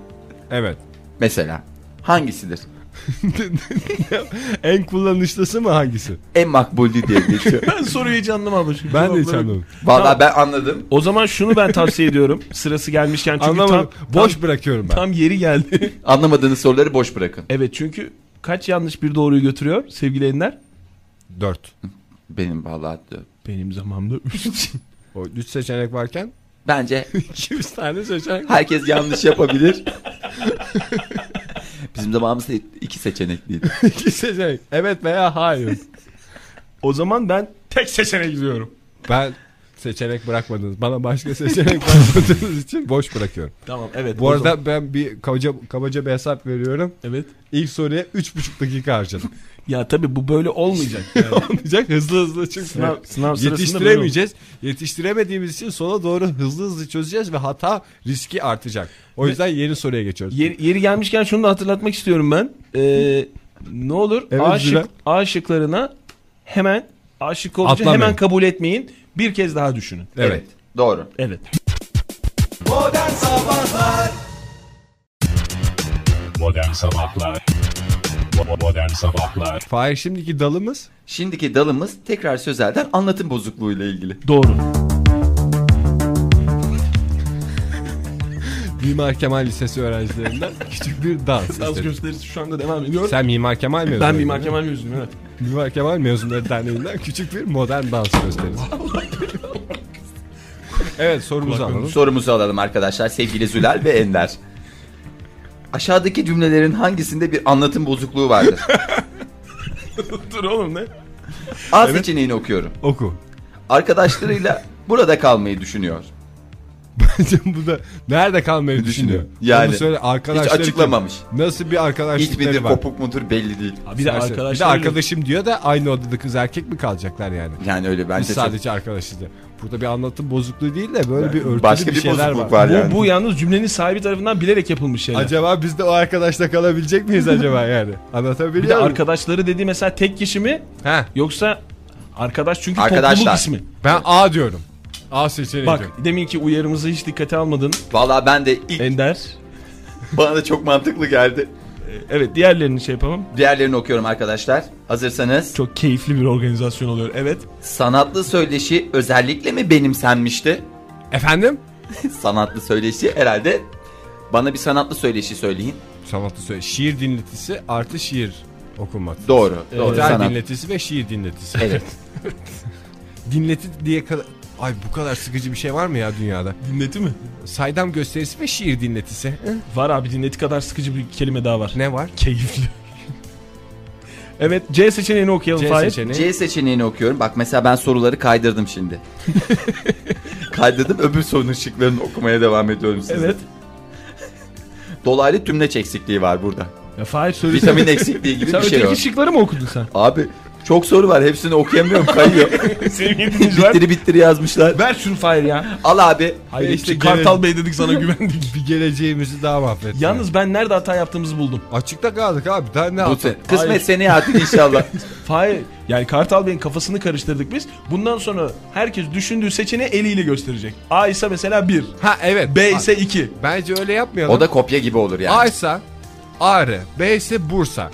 Speaker 2: Evet.
Speaker 4: Mesela. Hangisidir?
Speaker 2: en kullanışlısı mı hangisi?
Speaker 4: En makbulü diye geçiyor.
Speaker 3: Ben soruyu hiç anlamadım. Şimdi
Speaker 2: Ben de hiç
Speaker 3: Cevapları-
Speaker 2: anlamadım.
Speaker 4: Vallahi ben anladım.
Speaker 3: O zaman şunu ben tavsiye ediyorum. Sırası gelmişken çünkü
Speaker 2: Anlamadım.
Speaker 3: tam
Speaker 2: Boş
Speaker 3: tam,
Speaker 2: bırakıyorum ben.
Speaker 3: tam yeri geldi.
Speaker 4: Anlamadığınız soruları boş bırakın.
Speaker 3: evet çünkü kaç yanlış bir doğruyu götürüyor sevgili Enler?
Speaker 2: Dört.
Speaker 4: Benim vallahi diyor.
Speaker 3: Benim zamanımda 3.
Speaker 2: O üç seçenek varken
Speaker 4: Bence
Speaker 2: 200 tane seçenek.
Speaker 4: herkes yanlış yapabilir. Bizim zamanımızda iki seçenekliydi.
Speaker 2: İki seçenek. Evet veya hayır.
Speaker 3: o zaman ben tek seçeneğe gidiyorum.
Speaker 2: Ben seçenek bırakmadınız. Bana başka seçenek bırakmadığınız için boş bırakıyorum.
Speaker 3: Tamam evet.
Speaker 2: Bu
Speaker 3: o
Speaker 2: arada
Speaker 3: zaman-
Speaker 2: ben bir kabaca, kabaca bir hesap veriyorum.
Speaker 3: evet.
Speaker 2: İlk soruya 3,5 dakika harcadım.
Speaker 3: Ya tabii bu böyle olmayacak. Yani.
Speaker 2: Olmayacak hızlı hızlı çıksın.
Speaker 3: sınav, sınav sırasında böyle
Speaker 2: Yetiştiremeyeceğiz. Yetiştiremediğimiz için sola doğru hızlı hızlı çözeceğiz ve hata riski artacak. O yüzden yeni soruya geçiyoruz.
Speaker 3: Yeri, yeri gelmişken şunu da hatırlatmak istiyorum ben. Ee, ne olur
Speaker 2: Evet, Zülal.
Speaker 3: aşık aşıklarına hemen aşık olunca
Speaker 2: Atlamayın.
Speaker 3: hemen kabul etmeyin. Bir kez daha düşünün.
Speaker 2: Evet.
Speaker 4: Doğru.
Speaker 3: Evet.
Speaker 1: Modern Sabahlar Modern Sabahlar
Speaker 2: Fahir şimdiki dalımız
Speaker 4: Şimdiki dalımız tekrar sözelden anlatım bozukluğuyla ilgili.
Speaker 3: Doğru.
Speaker 2: Mimar Kemal Lisesi öğrencilerinden küçük bir dans.
Speaker 3: Dans
Speaker 2: istedim.
Speaker 3: gösterisi şu anda devam ediyor.
Speaker 2: Sen Mimar Kemal mezunu.
Speaker 3: ben Mimar Kemal mezunuyum evet.
Speaker 2: Mimar Kemal mezunları derneğinden küçük bir modern dans gösterisi. evet sorumuzu alalım.
Speaker 4: Sorumuzu alalım arkadaşlar sevgili Zülal ve Ender. Aşağıdaki cümlelerin hangisinde bir anlatım bozukluğu vardır?
Speaker 3: Dur oğlum ne?
Speaker 4: A seçeneğini okuyorum.
Speaker 2: Oku.
Speaker 4: Arkadaşlarıyla burada kalmayı düşünüyor.
Speaker 2: Bence bu da nerede kalmayı düşünüyor.
Speaker 4: Yani.
Speaker 2: Onu söyle arkadaşlar.
Speaker 4: Hiç açıklamamış.
Speaker 2: Nasıl bir
Speaker 4: Hiç
Speaker 2: arkadaşlıkları
Speaker 4: midir
Speaker 2: var?
Speaker 4: kopuk mudur belli değil.
Speaker 3: Bir de
Speaker 2: Sersen.
Speaker 3: arkadaşlar.
Speaker 2: Bir de arkadaşım diyor da aynı odada kız erkek mi kalacaklar yani?
Speaker 4: Yani öyle
Speaker 2: Biz
Speaker 4: bence. çok-
Speaker 2: sadece arkadaşız diyor. Burada bir anlatım bozukluğu değil de böyle bir örtülü
Speaker 4: Başka
Speaker 2: bir,
Speaker 4: bir
Speaker 2: şeyler
Speaker 4: bozukluk
Speaker 2: var.
Speaker 4: var
Speaker 3: Bu,
Speaker 4: yani.
Speaker 3: bu yalnız cümlenin sahibi tarafından bilerek yapılmış şeyler.
Speaker 2: Acaba biz de o arkadaşla kalabilecek miyiz acaba yani? Anlatabiliyor
Speaker 3: bir de
Speaker 2: muyum?
Speaker 3: arkadaşları dediği mesela tek kişi mi
Speaker 2: Heh,
Speaker 3: yoksa arkadaş çünkü
Speaker 4: Arkadaşlar.
Speaker 3: topluluk ismi.
Speaker 2: ben A diyorum. A seçeneği diyorum.
Speaker 3: Bak deminki uyarımızı hiç dikkate almadın
Speaker 4: Vallahi ben de ilk
Speaker 3: Ender.
Speaker 4: bana da çok mantıklı geldi.
Speaker 3: Evet diğerlerini şey yapalım.
Speaker 4: Diğerlerini okuyorum arkadaşlar. Hazırsanız.
Speaker 3: Çok keyifli bir organizasyon oluyor. Evet.
Speaker 4: Sanatlı söyleşi özellikle mi benimsenmişti?
Speaker 2: Efendim?
Speaker 4: sanatlı söyleşi herhalde. Bana bir sanatlı söyleşi söyleyin.
Speaker 2: Sanatlı söyle. Şiir dinletisi artı şiir okunması.
Speaker 4: Doğru. Doğru.
Speaker 2: Gitar
Speaker 4: sanat. E,
Speaker 2: dinletisi ve şiir dinletisi.
Speaker 4: Evet.
Speaker 2: Dinleti diye kadar... Ay bu kadar sıkıcı bir şey var mı ya dünyada?
Speaker 3: Dinleti mi?
Speaker 2: Saydam gösterisi ve şiir dinletisi.
Speaker 3: Var abi dinleti kadar sıkıcı bir kelime daha var.
Speaker 2: Ne var?
Speaker 3: Keyifli. evet C seçeneğini okuyalım
Speaker 2: C
Speaker 3: Fahir.
Speaker 2: seçeneği.
Speaker 4: C seçeneğini okuyorum. Bak mesela ben soruları kaydırdım şimdi. Kaydırdım öbür sorunun şıklarını okumaya devam ediyorum size.
Speaker 3: Evet.
Speaker 4: Dolaylı tümleç eksikliği var burada.
Speaker 3: Ya Fahir söyle.
Speaker 4: Vitamin eksikliği gibi
Speaker 3: Sen
Speaker 4: bir şey
Speaker 3: öteki
Speaker 4: var.
Speaker 3: şıkları mı okudun sen?
Speaker 4: Abi çok soru var hepsini okuyamıyorum kayıyor.
Speaker 3: Sevgili dinleyiciler.
Speaker 4: bittiri bittiri yazmışlar.
Speaker 3: Ver şunu Fahir ya.
Speaker 4: Al abi.
Speaker 3: Hayır
Speaker 2: Ve
Speaker 3: işte
Speaker 2: işte
Speaker 3: Kartal
Speaker 2: gene-
Speaker 3: Bey dedik sana güvendik.
Speaker 2: Bir geleceğimizi daha mahvettik.
Speaker 3: Yalnız ben nerede hata yaptığımızı buldum.
Speaker 2: Açıkta kaldık abi. Daha ne
Speaker 4: Bu
Speaker 2: yapalım?
Speaker 4: se- kısmet
Speaker 3: Hayır.
Speaker 4: seneye artık inşallah.
Speaker 3: Fahir yani Kartal Bey'in kafasını karıştırdık biz. Bundan sonra herkes düşündüğü seçeneği eliyle gösterecek. A ise mesela 1.
Speaker 2: Ha evet.
Speaker 3: B ise 2.
Speaker 2: Bence öyle yapmayalım.
Speaker 4: o da kopya gibi olur yani.
Speaker 2: A ise Ağrı, B ise Bursa,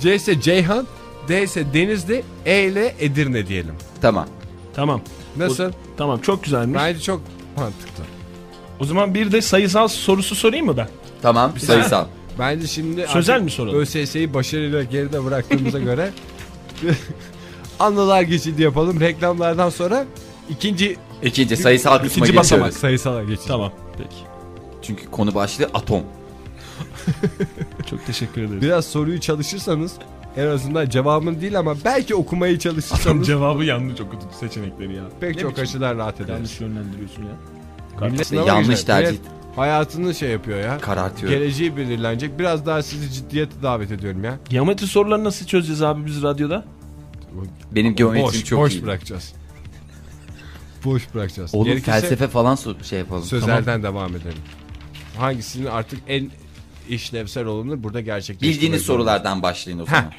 Speaker 2: C ise Ceyhan, D ise Denizli, E ile Edirne diyelim.
Speaker 4: Tamam.
Speaker 3: Tamam.
Speaker 2: Nasıl?
Speaker 3: O- tamam çok güzelmiş.
Speaker 2: Bence çok mantıklı.
Speaker 3: O zaman bir de sayısal sorusu sorayım mı ben?
Speaker 4: Tamam sayısal.
Speaker 2: Bence şimdi
Speaker 3: Sözel
Speaker 2: artık
Speaker 3: mi soralım?
Speaker 2: ÖSS'yi başarıyla geride bıraktığımıza göre anılar geçidi yapalım. Reklamlardan sonra ikinci
Speaker 4: İkinci sayısal kısma
Speaker 3: İkinci
Speaker 4: geçiyoruz.
Speaker 3: basamak.
Speaker 2: sayısala geçidi.
Speaker 3: Tamam. Peki.
Speaker 4: Çünkü konu başlığı atom.
Speaker 3: Çok teşekkür ederim.
Speaker 2: Biraz soruyu çalışırsanız en azından cevabını değil ama belki okumayı
Speaker 3: Tam
Speaker 2: çalışırsanız
Speaker 3: cevabı yanlış okudun seçenekleri ya.
Speaker 2: pek
Speaker 3: Ne
Speaker 2: çok
Speaker 3: biçim-
Speaker 2: açıdan rahat ederiz.
Speaker 3: Yanlış yönlendiriyorsun ya.
Speaker 2: Millet
Speaker 4: İşte
Speaker 2: sınava
Speaker 4: yanlış
Speaker 2: girecek.
Speaker 4: tercih.
Speaker 2: Millet hayatını şey yapıyor ya.
Speaker 4: Karartıyor.
Speaker 2: Geleceği belirlenecek. Biraz daha sizi ciddiyete davet ediyorum ya.
Speaker 3: Geometri sorularını nasıl çözeceğiz abi biz radyoda?
Speaker 4: Benim geometrim
Speaker 2: boş,
Speaker 4: çok
Speaker 2: boş
Speaker 4: iyi.
Speaker 2: bırakacağız. boş bırakacağız.
Speaker 4: Oğlum
Speaker 2: Gerekirse
Speaker 4: felsefe falan so- şey yapalım.
Speaker 2: Sözelden
Speaker 4: Tamam.
Speaker 2: devam edelim. Hangisinin artık en işlevsel olanı burada gerçekleştirmek.
Speaker 4: Bildiğiniz
Speaker 2: zorunda.
Speaker 4: sorulardan başlayın o zaman.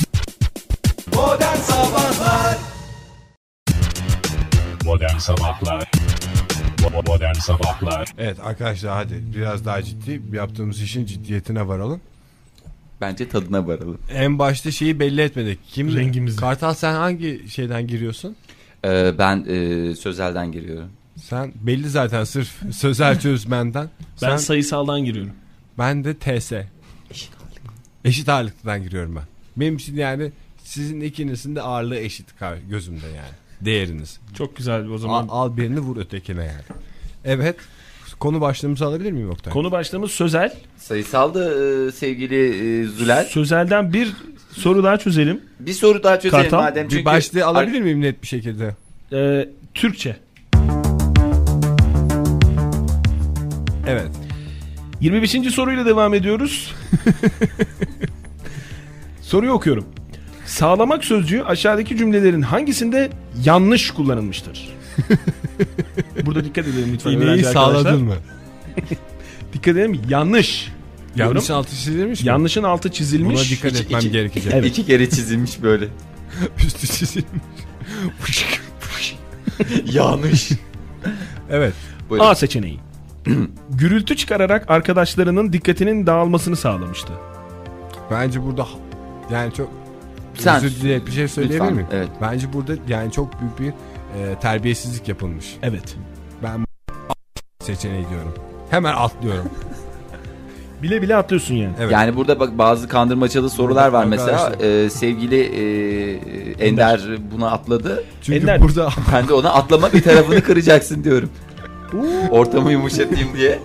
Speaker 1: Modern Sabahlar Bo- Modern Sabahlar
Speaker 2: Evet arkadaşlar hadi biraz daha ciddi yaptığımız işin ciddiyetine varalım.
Speaker 4: Bence tadına varalım.
Speaker 2: En başta şeyi belli etmedik. Kim?
Speaker 3: Rengimizi.
Speaker 2: Kartal sen hangi şeyden giriyorsun?
Speaker 4: Ee, ben e, sözelden giriyorum.
Speaker 2: Sen belli zaten sırf sözel çözmenden.
Speaker 3: Ben
Speaker 2: Sen,
Speaker 3: sayısaldan giriyorum.
Speaker 2: ben de TS. Eşit ağırlıktan giriyorum ben. Benim için yani sizin ikinizin de ağırlığı eşit ka- gözümde yani. Değeriniz.
Speaker 3: Çok güzel o
Speaker 2: Al,
Speaker 3: zaman.
Speaker 2: al birini vur ötekine yani. Evet. Konu başlığımızı alabilir miyim Oktay?
Speaker 3: Konu başlığımız sözel.
Speaker 4: Sayısal da e, sevgili e, Zülal.
Speaker 3: Sözelden bir soru daha çözelim.
Speaker 4: Bir soru daha çözelim
Speaker 3: Kartal,
Speaker 4: madem.
Speaker 2: bir
Speaker 4: çünkü-
Speaker 2: başlığı alabilir miyim net bir şekilde?
Speaker 3: Ee, Türkçe.
Speaker 2: Evet.
Speaker 3: 25. soruyla devam ediyoruz. Soruyu okuyorum. Sağlamak sözcüğü aşağıdaki cümlelerin hangisinde yanlış kullanılmıştır? Burada dikkat edelim lütfen.
Speaker 2: İğneyi
Speaker 3: öğrenci arkadaşlar.
Speaker 2: sağladın mı?
Speaker 3: Dikkat edelim. Yanlış.
Speaker 2: Yanlış
Speaker 3: Yanlış
Speaker 2: altı çizilmiş mi?
Speaker 3: Yanlışın altı çizilmiş.
Speaker 2: Buna dikkat
Speaker 4: İki-
Speaker 2: etmem
Speaker 4: iki-
Speaker 2: gerekecek.
Speaker 3: Evet.
Speaker 4: İki kere çizilmiş böyle.
Speaker 2: Üstü çizilmiş.
Speaker 4: Yanlış.
Speaker 2: evet.
Speaker 3: A seçeneği. Gürültü çıkararak arkadaşlarının dikkatinin dağılmasını sağlamıştı.
Speaker 2: Bence burada ha- yani çok
Speaker 4: Sen-
Speaker 2: özür dileyerek bir şey söyleyebilir
Speaker 4: Lütfen,
Speaker 2: miyim?
Speaker 4: evet.
Speaker 2: Bence burada yani çok büyük bir e, terbiyesizlik yapılmış.
Speaker 3: Evet.
Speaker 2: Ben seçeneği diyorum. Hemen atlıyorum.
Speaker 3: Bile bile atlıyorsun yani.
Speaker 2: Evet.
Speaker 4: Yani burada bak bazı kandırmacalı sorular var mesela. Ee, sevgili e, Ender buna atladı.
Speaker 2: Çünkü
Speaker 3: Ender.
Speaker 2: burada
Speaker 4: Ben de ona atlama bir tarafını kıracaksın diyorum. Ortamı yumuşatayım diye.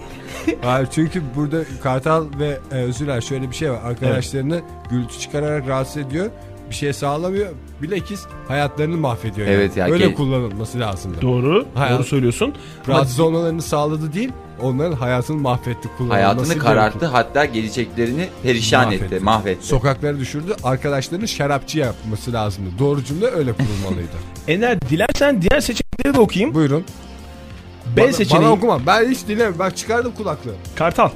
Speaker 2: Hayır, çünkü burada Kartal ve e, Zülal şöyle bir şey var. Arkadaşlarını gürültü çıkararak rahatsız ediyor. Bir şey sağlamıyor. Bilakis hayatlarını mahvediyor. yani.
Speaker 4: Evet ya,
Speaker 2: Öyle
Speaker 4: ke-
Speaker 2: kullanılması lazım.
Speaker 3: Doğru.
Speaker 2: Hayal-
Speaker 3: Doğru söylüyorsun. Ama
Speaker 2: Rahatsız olmalarını sağladı değil, onların hayatını mahvetti kullanılması.
Speaker 4: Hayatını
Speaker 2: gerekiyor.
Speaker 4: kararttı hatta geleceklerini perişan etti, mahvetti.
Speaker 2: Sokaklara düşürdü. Arkadaşlarının şarapçı yapması lazımdı. Doğru cümle öyle kurulmalıydı.
Speaker 3: Ener dilersen diğer seçenekleri de okuyayım.
Speaker 2: Buyurun.
Speaker 3: B
Speaker 2: Bana-
Speaker 3: seçeneği.
Speaker 2: Bana okuma. Ben hiç dinlemiyorum. Ben çıkardım kulaklığı.
Speaker 3: Kartal.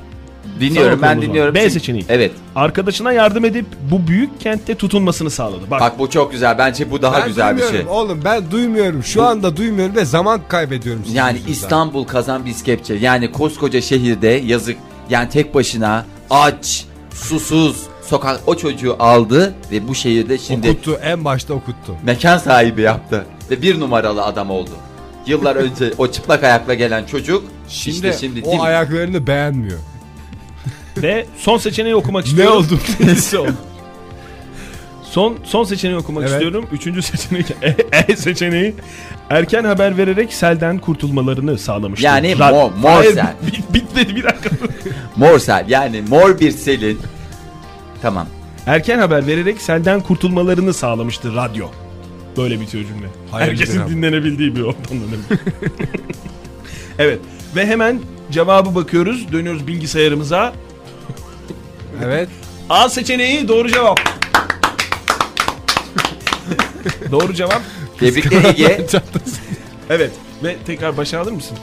Speaker 4: Dinliyorum
Speaker 3: Sana
Speaker 4: ben
Speaker 3: okuyorum o zaman.
Speaker 4: dinliyorum.
Speaker 3: B
Speaker 4: Çünkü-
Speaker 3: seçeneği.
Speaker 4: Evet.
Speaker 3: Arkadaşına yardım edip bu büyük kentte tutunmasını sağladı. Bak,
Speaker 4: Bak bu çok güzel. Bence bu daha
Speaker 2: ben
Speaker 4: güzel bir
Speaker 2: duymuyorum
Speaker 4: şey.
Speaker 2: oğlum. Ben duymuyorum. Şu anda duymuyorum ve zaman kaybediyorum. sizin
Speaker 4: Yani
Speaker 2: yüzünüzden.
Speaker 4: İstanbul kazan biz kepçe. Yani koskoca şehirde yazık. Yani tek başına aç, susuz sokak o çocuğu aldı ve bu şehirde şimdi
Speaker 2: Okuttu. En başta okuttu.
Speaker 4: mekan sahibi yaptı ve bir numaralı adam oldu. Yıllar önce o çıplak ayakla gelen çocuk
Speaker 2: Şimdi,
Speaker 4: şimdi işte şimdi değil
Speaker 2: o
Speaker 4: mi?
Speaker 2: ayaklarını beğenmiyor.
Speaker 3: Ve son seçeneği okumak istiyorum.
Speaker 2: oldum?
Speaker 3: Neyse oldum. Son, son seçeneği okumak
Speaker 2: Evet.
Speaker 3: istiyorum. Üçüncü seçenek E, E seçeneği. Erken haber vererek selden kurtulmalarını sağlamıştı.
Speaker 4: Yani
Speaker 3: Ra-
Speaker 4: mor- mor
Speaker 3: Hayır,
Speaker 4: sel.
Speaker 3: bit- Bitmedi bir dakika.
Speaker 4: Mor sel yani mor bir selin. Tamam.
Speaker 3: Erken haber vererek selden kurtulmalarını sağlamıştı radyo. Böyle bitiyor cümle.
Speaker 2: Hayırlı
Speaker 3: Herkesin
Speaker 2: günler.
Speaker 3: dinlenebildiği bir ortamda. değil mi? evet ve hemen cevabı bakıyoruz. Dönüyoruz bilgisayarımıza.
Speaker 2: Evet.
Speaker 3: A seçeneği doğru cevap. doğru cevap.
Speaker 4: Tebrikler Ege.
Speaker 2: Çantası.
Speaker 3: Evet ve tekrar başa alır mısın?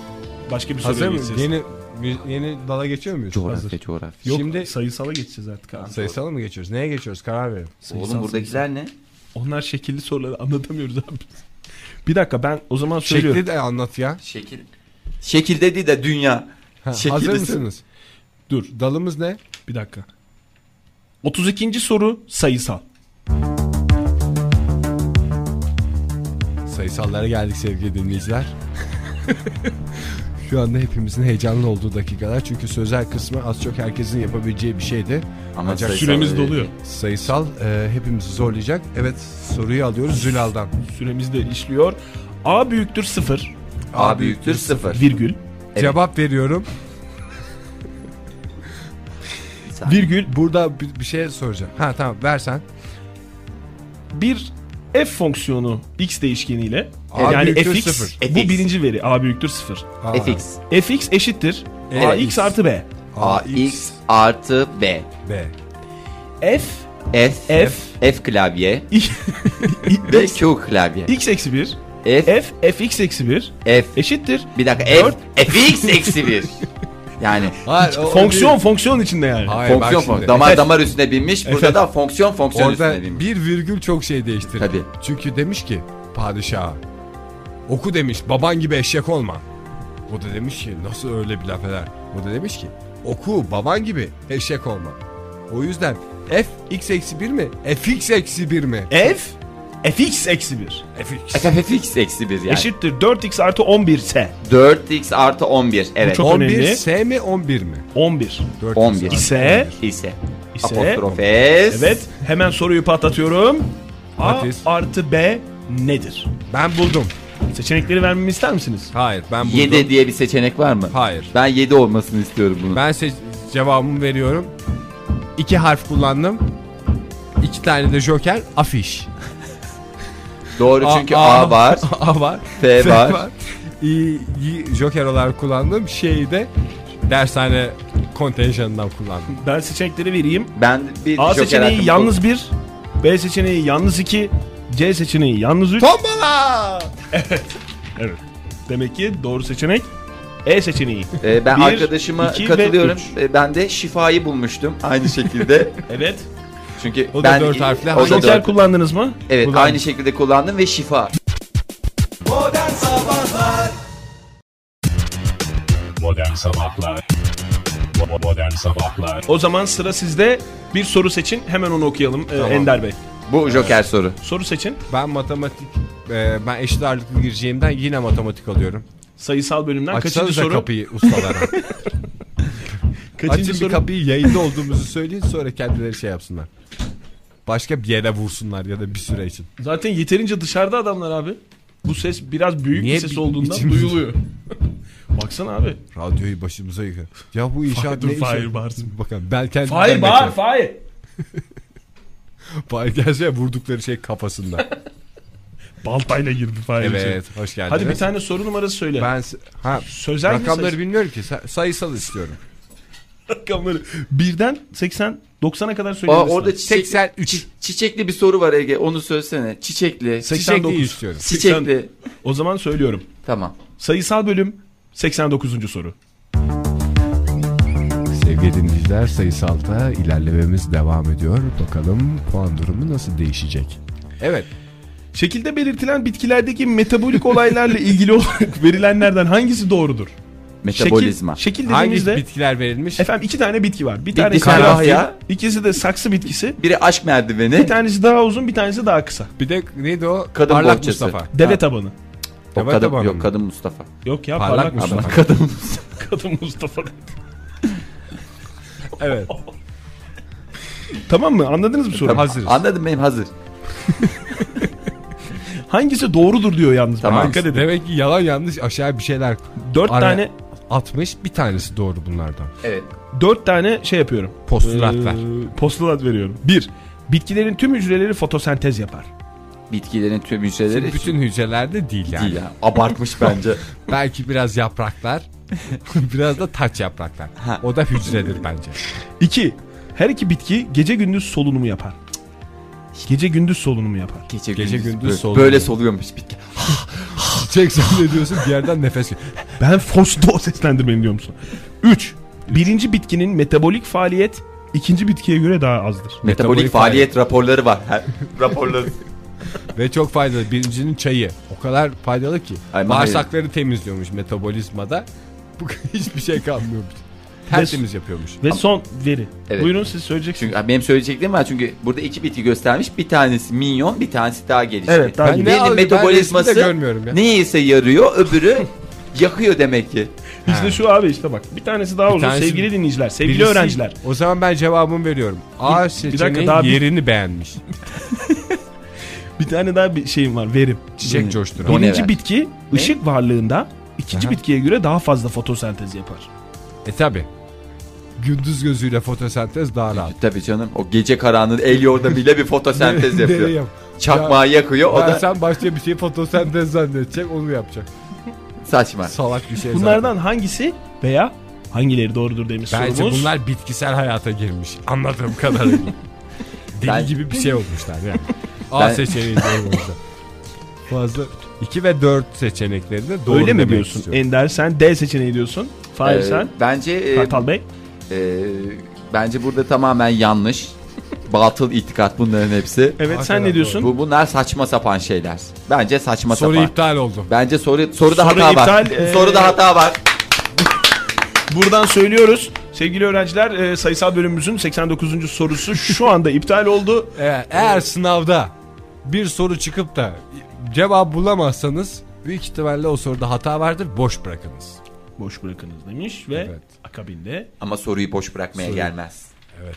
Speaker 3: Başka bir
Speaker 2: Hazır
Speaker 3: soruya
Speaker 2: mıyız?
Speaker 3: geçeceğiz.
Speaker 2: Yeni, yeni dala geçiyor muyuz?
Speaker 4: coğrafya coğrafya.
Speaker 2: Yok,
Speaker 3: Şimdi
Speaker 2: Şimdi-
Speaker 3: sayısala geçeceğiz artık abi.
Speaker 2: Sayısala mı geçiyoruz? Neye geçiyoruz? Karar verin.
Speaker 4: Oğlum buradakiler ne?
Speaker 3: Onlar şekilli soruları anlatamıyoruz abi. Bir dakika ben o zaman söylüyorum.
Speaker 2: Şekli de anlat ya.
Speaker 4: Şekil. Şekil dedi de dünya.
Speaker 2: Ha,
Speaker 4: Şekil
Speaker 2: hazır
Speaker 4: desin.
Speaker 2: mısınız?
Speaker 3: Dur.
Speaker 2: Dalımız ne?
Speaker 3: Bir dakika. 32. soru sayısal.
Speaker 2: Sayısallara geldik sevgili dinleyiciler. Şu anda hepimizin heyecanlı olduğu dakikalar. Çünkü sözel kısmı az çok herkesin yapabileceği bir şeydi.
Speaker 4: Ama
Speaker 2: Ancak
Speaker 4: sayısal
Speaker 3: Süremiz
Speaker 4: öyle
Speaker 3: doluyor.
Speaker 4: değil.
Speaker 2: Sayısal e, hepimizi zorlayacak. Evet soruyu alıyoruz Zülal'dan.
Speaker 3: Süremiz de işliyor. A büyüktür 0
Speaker 4: A büyüktür sıfır.
Speaker 3: virgül
Speaker 2: Cevap veriyorum.
Speaker 3: virgül
Speaker 2: Burada bir, bir şey soracağım. Ha tamam versen.
Speaker 3: bir f fonksiyonu x değişkeniyle
Speaker 2: A
Speaker 3: yani
Speaker 2: büyüktür
Speaker 3: fx,
Speaker 2: sıfır.
Speaker 3: bu
Speaker 4: Fx.
Speaker 3: birinci veri a büyüktür 0.
Speaker 2: Aa,
Speaker 4: Fx.
Speaker 3: fx eşittir
Speaker 2: E,
Speaker 3: ax artı b.
Speaker 4: AX artı B.
Speaker 2: B.
Speaker 3: f
Speaker 4: F.
Speaker 3: f,
Speaker 4: F klavye.
Speaker 3: i-
Speaker 4: Ve Q klavye.
Speaker 3: x eksi 1
Speaker 4: F,
Speaker 3: F fx eksi 1
Speaker 4: F.
Speaker 3: eşittir.
Speaker 4: Bir dakika F,
Speaker 3: Dört.
Speaker 4: fx eksi 1. Yani
Speaker 2: Hayır, o- o
Speaker 3: Fonksiyon
Speaker 2: değil.
Speaker 3: fonksiyon içinde yani.
Speaker 2: Hayır, bak
Speaker 4: fonksiyon
Speaker 2: şimdi.
Speaker 4: fonksiyon. Damar damar üstüne binmiş. Burada da fonksiyon fonksiyon
Speaker 2: Orada
Speaker 4: üstüne binmiş.
Speaker 2: bir virgül çok şey değiştirdi.
Speaker 4: Tabii.
Speaker 2: Çünkü demiş ki padişaha oku demiş baban gibi eşek olma. O da demiş ki nasıl öyle bir laf eder. O da demiş ki oku baban gibi eşek olma. O yüzden f x eksi 1 mi? f x eksi 1 mi?
Speaker 3: F fx eksi 1
Speaker 2: f x.
Speaker 4: F, fx eksi 1 yani.
Speaker 3: eşittir 4x artı 11 s.
Speaker 4: 4x artı 11. Evet.
Speaker 3: çok-
Speaker 2: 11
Speaker 3: önemli.
Speaker 2: s mi 11 mi?
Speaker 3: 11
Speaker 2: 4
Speaker 4: 11.
Speaker 3: ise
Speaker 4: ise.
Speaker 3: ise
Speaker 4: Apostrof S.
Speaker 3: evet hemen soruyu patlatıyorum. A
Speaker 2: Patis.
Speaker 3: artı B nedir?
Speaker 2: Ben buldum.
Speaker 3: Seçenekleri vermemi ister misiniz?
Speaker 2: Hayır ben buldum.
Speaker 4: 7 diye bir seçenek var mı?
Speaker 2: Hayır.
Speaker 4: Ben 7 olmasını istiyorum bunun.
Speaker 2: Ben seç- cevabımı veriyorum. İki harf kullandım. İki tane de joker afiş.
Speaker 4: Doğru
Speaker 2: A-
Speaker 4: E çünkü A, var.
Speaker 2: A var.
Speaker 4: F var.
Speaker 2: İyi, iyi joker olarak kullandım. Şeyi de dershane kontenjanından kullandım.
Speaker 3: Ben seçenekleri vereyim.
Speaker 4: Ben bir
Speaker 3: A
Speaker 4: joker
Speaker 3: seçeneği
Speaker 4: hakkım
Speaker 3: yalnız 1, B seçeneği yalnız 2, C seçeneği yalnız 3.
Speaker 2: Tombala!
Speaker 3: Evet. Demek ki doğru seçenek E seçeneği.
Speaker 4: Ee, ben
Speaker 3: Bir,
Speaker 4: arkadaşıma
Speaker 3: iki ve
Speaker 4: katılıyorum.
Speaker 3: üç.
Speaker 4: Ee, ben de şifayı bulmuştum aynı şekilde.
Speaker 3: Evet.
Speaker 4: Çünkü
Speaker 2: O da
Speaker 4: ben
Speaker 2: dört harfli.
Speaker 4: O da
Speaker 2: Hangi-
Speaker 4: dört.
Speaker 3: Joker kullandınız mı?
Speaker 4: Evet
Speaker 2: Kullandım.
Speaker 4: aynı şekilde kullandım ve şifa.
Speaker 1: Modern Sabahlar Bo- Modern Sabahlar
Speaker 3: O zaman sıra sizde. Bir soru seçin. Hemen onu okuyalım ee, Ender Bey.
Speaker 4: Bu joker soru.
Speaker 3: Soru seçin.
Speaker 2: Ben matematik, e, ben eşit ağırlıklı gireceğimden yine matematik alıyorum.
Speaker 3: Sayısal bölümden kaçıncı
Speaker 2: Açsanıza
Speaker 3: soru?
Speaker 2: kapıyı ustalara.
Speaker 3: Kaçıncı
Speaker 2: Açın bir
Speaker 3: soru?
Speaker 2: kapıyı yayında olduğumuzu söyleyin sonra kendileri şey yapsınlar. Başka bir yere vursunlar ya da bir süre için.
Speaker 3: Zaten yeterince dışarıda adamlar abi. Bu ses biraz büyük
Speaker 2: Niye
Speaker 3: bir ses
Speaker 2: bir-
Speaker 3: olduğundan
Speaker 2: içimiz-
Speaker 3: duyuluyor. Baksana abi.
Speaker 2: Radyoyu başımıza yıkıyor. Ya bu inşaat
Speaker 3: dur,
Speaker 2: ne
Speaker 3: Fahir
Speaker 2: işi?
Speaker 3: bağırsın.
Speaker 2: Bakın ben kendim
Speaker 3: Fahir bağır Fahir.
Speaker 2: Fahir gelse vurdukları şey kafasında.
Speaker 3: Baltayla girdi Fahir.
Speaker 2: evet hoş geldiniz.
Speaker 3: şey. Hadi bir tane soru numarası söyle.
Speaker 2: Ben s- ha,
Speaker 3: Sözel mi,
Speaker 2: rakamları
Speaker 3: sayısal?
Speaker 2: bilmiyorum ki Sa- sayısal istiyorum.
Speaker 3: Rakamları. Birden 80, 90'a kadar
Speaker 4: Aa,
Speaker 3: söyleyebilirsin.
Speaker 4: orada çiçek,
Speaker 2: 83.
Speaker 4: çiçekli bir soru var Ege onu söylesene. Çiçekli.
Speaker 3: 89.
Speaker 2: Çiçekliği istiyorum.
Speaker 4: Çiçekli.
Speaker 3: O zaman söylüyorum.
Speaker 4: Tamam.
Speaker 3: Sayısal bölüm 89. soru.
Speaker 2: Sevgili dinleyiciler sayısalda ilerlememiz devam ediyor. Bakalım puan durumu nasıl değişecek? Evet.
Speaker 3: Şekilde belirtilen bitkilerdeki metabolik olaylarla ilgili olarak verilenlerden hangisi doğrudur?
Speaker 4: Metabolizma.
Speaker 3: Şekil, şekil
Speaker 2: Hangi
Speaker 3: dediğimizde
Speaker 2: bitkiler verilmiş?
Speaker 3: efendim iki tane bitki var. Bir tanesi
Speaker 4: tane
Speaker 3: karanfil,
Speaker 4: ya.
Speaker 3: ikisi de saksı bitkisi.
Speaker 4: Biri aşk merdiveni.
Speaker 3: Bir tanesi daha uzun, bir tanesi daha kısa.
Speaker 2: Bir de neydi o?
Speaker 4: Kadın
Speaker 2: Parlak
Speaker 4: bohçası.
Speaker 2: Mustafa.
Speaker 3: Deve tabanı.
Speaker 4: O
Speaker 2: Evet,
Speaker 4: kadın,
Speaker 2: tamam.
Speaker 4: yok kadın Mustafa.
Speaker 3: Yok ya
Speaker 2: Parlak
Speaker 3: parlak,
Speaker 2: Mustafa.
Speaker 3: Mustafa.
Speaker 4: Ama kadın
Speaker 3: Kadın Mustafa.
Speaker 2: Evet.
Speaker 3: tamam mı? Anladınız mı soruyu?
Speaker 2: Hazırız.
Speaker 4: Anladım benim hazır.
Speaker 3: Hangisi doğrudur diyor yalnız.
Speaker 4: Tamam.
Speaker 3: Bak, Dikkat edin.
Speaker 2: Demek ki yalan yanlış aşağı bir şeyler
Speaker 3: Dört
Speaker 2: Ara-
Speaker 3: tane
Speaker 2: atmış. Bir tanesi doğru bunlardan.
Speaker 4: Evet.
Speaker 3: dört tane şey yapıyorum.
Speaker 2: Postulat
Speaker 3: Ee,
Speaker 2: ver.
Speaker 3: Postulat veriyorum. Bir, bitkilerin tüm hücreleri fotosentez yapar.
Speaker 4: Bitkilerin tüm hücreleri
Speaker 2: Bütün hücrelerde değil yani.
Speaker 4: Ee, değil ya. Abartmış bence.
Speaker 2: Belki biraz yapraklar. biraz da taç yapraklar. O da hücredir bence.
Speaker 3: İki, her iki bitki gece gündüz solunumu yapar. Gece gündüz solunumu yapar.
Speaker 4: Gece,
Speaker 2: Gece
Speaker 4: gündüz,
Speaker 2: gündüz
Speaker 4: böyle,
Speaker 2: soluyor.
Speaker 4: böyle soluyormuş bitki.
Speaker 2: Çek sen ne diyorsun bir yerden nefes gel.
Speaker 3: Ben Fosto seslendirmeni diyor musun? 3. Birinci bitkinin metabolik faaliyet ikinci bitkiye göre daha azdır.
Speaker 4: Metabolik faaliyet raporları var. Her- raporları.
Speaker 2: Ve çok faydalı. Birincinin çayı. O kadar faydalı ki.
Speaker 4: Ay,
Speaker 2: Bağırsakları temizliyormuş metabolizmada. Bu hiçbir şey kalmıyormuş. Tertemiz yapıyormuş.
Speaker 3: Ve son veri.
Speaker 4: Evet.
Speaker 3: Buyurun siz söyleyeceksiniz.
Speaker 4: Çünkü benim söyleyeceklerim var çünkü burada iki bitki göstermiş. Bir tanesi minyon, bir tanesi daha gelişti.
Speaker 3: Evet, daha Ben
Speaker 2: gelişti. ne
Speaker 4: Birinin
Speaker 2: algı- ben
Speaker 4: metabolizması
Speaker 2: resmi de görmüyorum ya.
Speaker 4: neyse yarıyor, öbürü yakıyor demek ki.
Speaker 3: İşte şu abi işte bak. Bir tanesi daha uzun.
Speaker 2: tanesi-
Speaker 3: sevgili dinleyiciler, sevgili
Speaker 2: Birisi-
Speaker 3: öğrenciler.
Speaker 2: O zaman ben cevabımı veriyorum. A seçeneği
Speaker 3: daha bir-
Speaker 2: yerini beğenmiş.
Speaker 3: Bir tane daha bir şeyim var verim.
Speaker 2: Çiçek
Speaker 4: Hı.
Speaker 2: coşturan.
Speaker 4: Don- ne
Speaker 3: Birinci
Speaker 4: ver?
Speaker 3: bitki ışık varlığında ikinci bitkiye göre daha fazla fotosentez yapar.
Speaker 2: E tabi. Gündüz gözüyle fotosentez daha rahat.
Speaker 4: Tabii canım o gece karanlığı eliyor da bile bir fotosentez
Speaker 2: Nereye
Speaker 4: yapıyor.
Speaker 2: yap-
Speaker 4: Çakmağı yakıyor o
Speaker 2: Ben
Speaker 4: da
Speaker 2: sen başka bir şey fotosentez zannedecek onu yapacak.
Speaker 4: saçma.
Speaker 2: Salak bir şey zaten.
Speaker 3: Bunlardan hangisi veya hangileri doğrudur demiş
Speaker 2: Bence
Speaker 3: sorumuz.
Speaker 2: bunlar bitkisel hayata girmiş. Anladığım kadarıyla. Deli
Speaker 4: Ben-
Speaker 2: gibi bir şey olmuşlar yani. A
Speaker 4: Ben-
Speaker 2: seçeneği diyorum o yüzden. Fazla 2 ve 4 seçenekleri de doğru
Speaker 3: Öyle mi
Speaker 2: demek
Speaker 3: diyorsun?
Speaker 2: istiyorum.
Speaker 3: Ender sen D seçeneği diyorsun. Fahir
Speaker 4: Ee,
Speaker 3: sen.
Speaker 4: Bence e,
Speaker 3: Kartal Bey.
Speaker 4: e, bence burada tamamen yanlış. Batıl itikat bunların hepsi.
Speaker 3: Evet sen
Speaker 2: hakikaten
Speaker 3: ne diyorsun?
Speaker 4: Bu bunlar saçma sapan şeyler. Bence saçma
Speaker 2: Soru
Speaker 4: sapan.
Speaker 2: iptal oldu.
Speaker 4: Bence soru soruda
Speaker 3: Soru
Speaker 4: hata var.
Speaker 3: iptal, e,
Speaker 4: Soruda hata var.
Speaker 3: Buradan söylüyoruz. Sevgili öğrenciler e, sayısal bölümümüzün 89. sorusu şu anda iptal oldu.
Speaker 2: Eğer, eğer sınavda bir soru çıkıp da cevap bulamazsanız büyük ihtimalle o soruda hata vardır. Boş bırakınız.
Speaker 3: Boş bırakınız demiş ve
Speaker 2: Evet.
Speaker 3: akabinde
Speaker 4: Ama soruyu boş bırakmaya gelmez.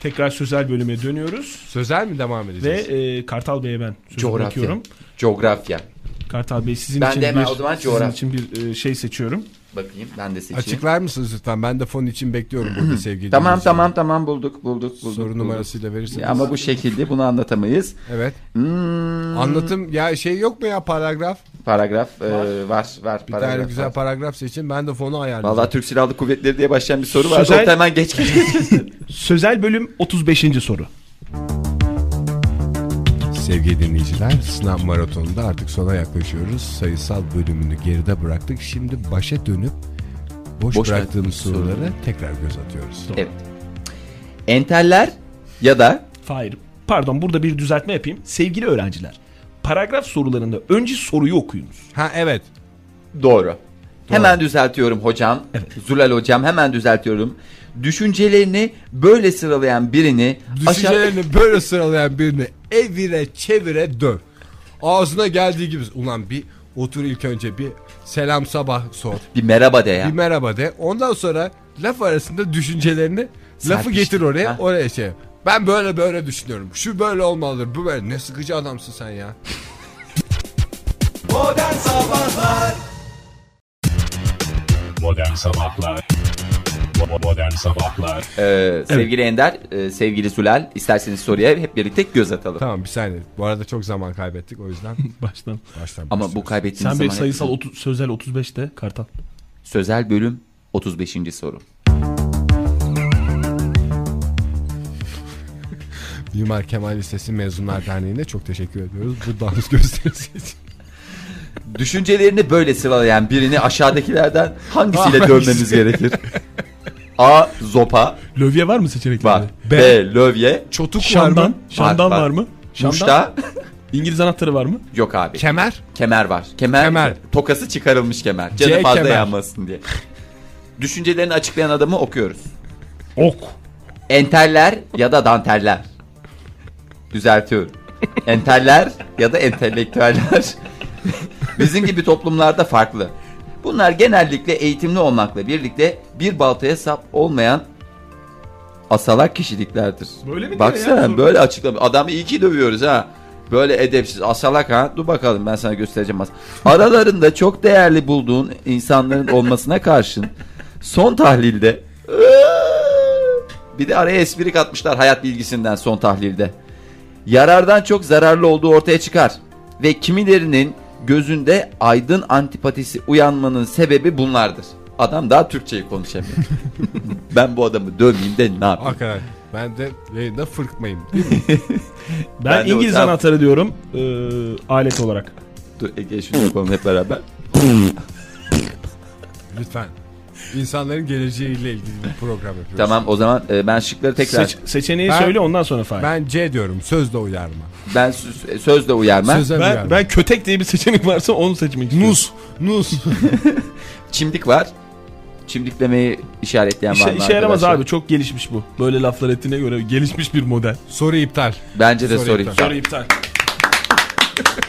Speaker 3: tekrar sözel bölüme dönüyoruz.
Speaker 2: Sözel mi devam
Speaker 3: Ve
Speaker 2: edeceğiz?
Speaker 3: e, Kartal Bey'e ben sözü
Speaker 4: Coğrafya.
Speaker 3: bırakıyorum.
Speaker 4: Coğrafya.
Speaker 3: Kartal Bey sizin
Speaker 4: Ben
Speaker 3: için
Speaker 4: de hemen
Speaker 3: bir,
Speaker 4: o zaman
Speaker 3: sizin
Speaker 4: coğrafya.
Speaker 3: için bir e, şey seçiyorum.
Speaker 4: Bakayım ben de seçeyim.
Speaker 2: Açıklar mısınız lütfen? Ben de fon için bekliyorum burada sevgili
Speaker 4: Tamam
Speaker 2: dinleyiciler.
Speaker 4: tamam tamam bulduk bulduk bulduk.
Speaker 2: Soru
Speaker 4: bulduk.
Speaker 2: numarasıyla verirseniz.
Speaker 4: Ya Ama bu şekilde bunu anlatamayız.
Speaker 2: Evet.
Speaker 4: Hmm,
Speaker 2: Anlatım ya şey yok mu ya paragraf?
Speaker 4: paragraf e, var var,
Speaker 2: Bir
Speaker 4: paragraf.
Speaker 2: tane güzel
Speaker 4: var.
Speaker 2: paragraf seçin. Ben de fonu ayarlayacağım.
Speaker 4: Vallahi Türk Silahlı Kuvvetleri diye başlayan bir soru vardı.
Speaker 3: Sözel-
Speaker 4: Orada hemen geç geç.
Speaker 3: Sözel bölüm 35. soru.
Speaker 2: Sevgili dinleyiciler, sınav maratonunda artık sona yaklaşıyoruz. Sayısal bölümünü geride bıraktık. Şimdi başa dönüp boş,
Speaker 4: Boş
Speaker 2: bıraktığımız
Speaker 4: bıraktığımız
Speaker 2: sorulara tekrar göz atıyoruz.
Speaker 4: evet. Enteller ya da
Speaker 3: Hayır. Pardon burada bir düzeltme yapayım. Sevgili öğrenciler. Paragraf sorularında önce soruyu okuyunuz.
Speaker 2: Ha evet.
Speaker 4: Doğru. Hemen düzeltiyorum hocam. Zulal hocam hemen düzeltiyorum. Düşüncelerini böyle sıralayan birini aşağı...
Speaker 2: Düşüncelerini böyle sıralayan birini evire çevire döv. Ağzına geldiği gibi. Ulan bir otur ilk önce bir selam sabah sor.
Speaker 4: Bir merhaba de ya.
Speaker 2: Bir merhaba de. Ondan sonra laf arasında düşüncelerini lafı getir oraya.
Speaker 4: Ha.
Speaker 2: Oraya şey. Ben böyle böyle düşünüyorum. Şu böyle olmalıdır. Bu böyle. Ne sıkıcı adamsın sen ya.
Speaker 1: Modern Sabahlar Bo- Modern Sabahlar
Speaker 4: Ee, sevgili Ender, e, sevgili Zulal isterseniz soruya hep birlikte göz atalım.
Speaker 2: Tamam bir saniye. Bu arada çok zaman kaybettik o yüzden
Speaker 3: Baştan.
Speaker 2: baştan
Speaker 4: Ama bu
Speaker 2: başlıyoruz.
Speaker 4: kaybettiğiniz
Speaker 3: Sen
Speaker 4: zaman...
Speaker 3: bir sayısal otuz- sözel 35'te Kartal.
Speaker 4: Sözel bölüm 35. soru.
Speaker 2: Mimar Kemal Lisesi Mezunlar Derneği'ne çok teşekkür ediyoruz. Bu dans gösterisi için.
Speaker 4: Düşüncelerini böyle sıralayan birini aşağıdakilerden hangisiyle dövmemiz gerekir? A. Zopa
Speaker 3: Lövye var mı seçeneklerde?
Speaker 4: var. B. Lövye.
Speaker 2: Çotuk var
Speaker 3: Şamdan.
Speaker 2: mı?
Speaker 3: Şamdan
Speaker 4: Var,
Speaker 3: var,
Speaker 4: var.
Speaker 3: mı? Şamdan.
Speaker 4: Muşta.
Speaker 3: İngiliz anahtarı var mı?
Speaker 4: Yok abi.
Speaker 2: Kemer.
Speaker 4: Kemer var. Kemer,
Speaker 2: Kemer.
Speaker 4: tokası çıkarılmış kemer. Canı
Speaker 2: C
Speaker 4: fazla
Speaker 2: kemer.
Speaker 4: yanmasın diye. Düşüncelerini açıklayan adamı okuyoruz.
Speaker 3: Ok.
Speaker 4: Enteller ya da danteller. Düzeltiyorum. Enteller ya da entelektüeller. Bizim gibi toplumlarda farklı. Bunlar genellikle eğitimli olmakla birlikte bir baltaya sap olmayan asalak kişiliklerdir.
Speaker 3: Böyle mi diyor
Speaker 4: Baksana
Speaker 3: ya?
Speaker 4: böyle açıklama. Adamı iyi ki dövüyoruz ha. Böyle edepsiz asalak ha. Dur bakalım ben sana göstereceğim. az- Aralarında çok değerli bulduğun insanların olmasına karşın son tahlilde bir de araya espri katmışlar hayat bilgisinden son tahlilde. Yarardan çok zararlı olduğu ortaya çıkar. Ve kimilerinin gözünde aydın antipatisi uyanmanın sebebi bunlardır. Adam daha Türkçeyi konuşamıyor. ben bu adamı dövmeyeyim de ne yapayım?
Speaker 2: Hakikaten. Ben de yayında fırkmayayım.
Speaker 3: Ben,
Speaker 4: Ben de
Speaker 3: İngiliz
Speaker 4: hocam-
Speaker 3: anahtarı diyorum ee, alet olarak.
Speaker 4: Dur Ege şunu yapalım hep beraber.
Speaker 2: Lütfen. İnsanların geleceğiyle ilgili bir program yapıyoruz.
Speaker 4: Tamam o zaman e, ben şıkları tekrar
Speaker 3: Seç- seçeneği
Speaker 2: Ben-
Speaker 3: söyle ondan sonra Fahir. Ben,
Speaker 2: Ben C diyorum. Sözle uyarma.
Speaker 4: ben sö- sözle uyarma.
Speaker 2: Söze
Speaker 3: ben,
Speaker 2: uyarma.
Speaker 3: kötek diye bir seçenek varsa onu seçmek istiyorum.
Speaker 2: Nus. Nus.
Speaker 4: Çimdik var. Çimdiklemeyi işaretleyen var
Speaker 3: İşe,
Speaker 4: mı
Speaker 3: işe yaramaz
Speaker 4: arkadaşlar?
Speaker 3: abi çok gelişmiş bu. Böyle laflar ettiğine göre gelişmiş bir model.
Speaker 2: Soru iptal.
Speaker 4: Bence de
Speaker 2: Soru
Speaker 4: sorayım.
Speaker 2: iptal.
Speaker 3: Soru iptal.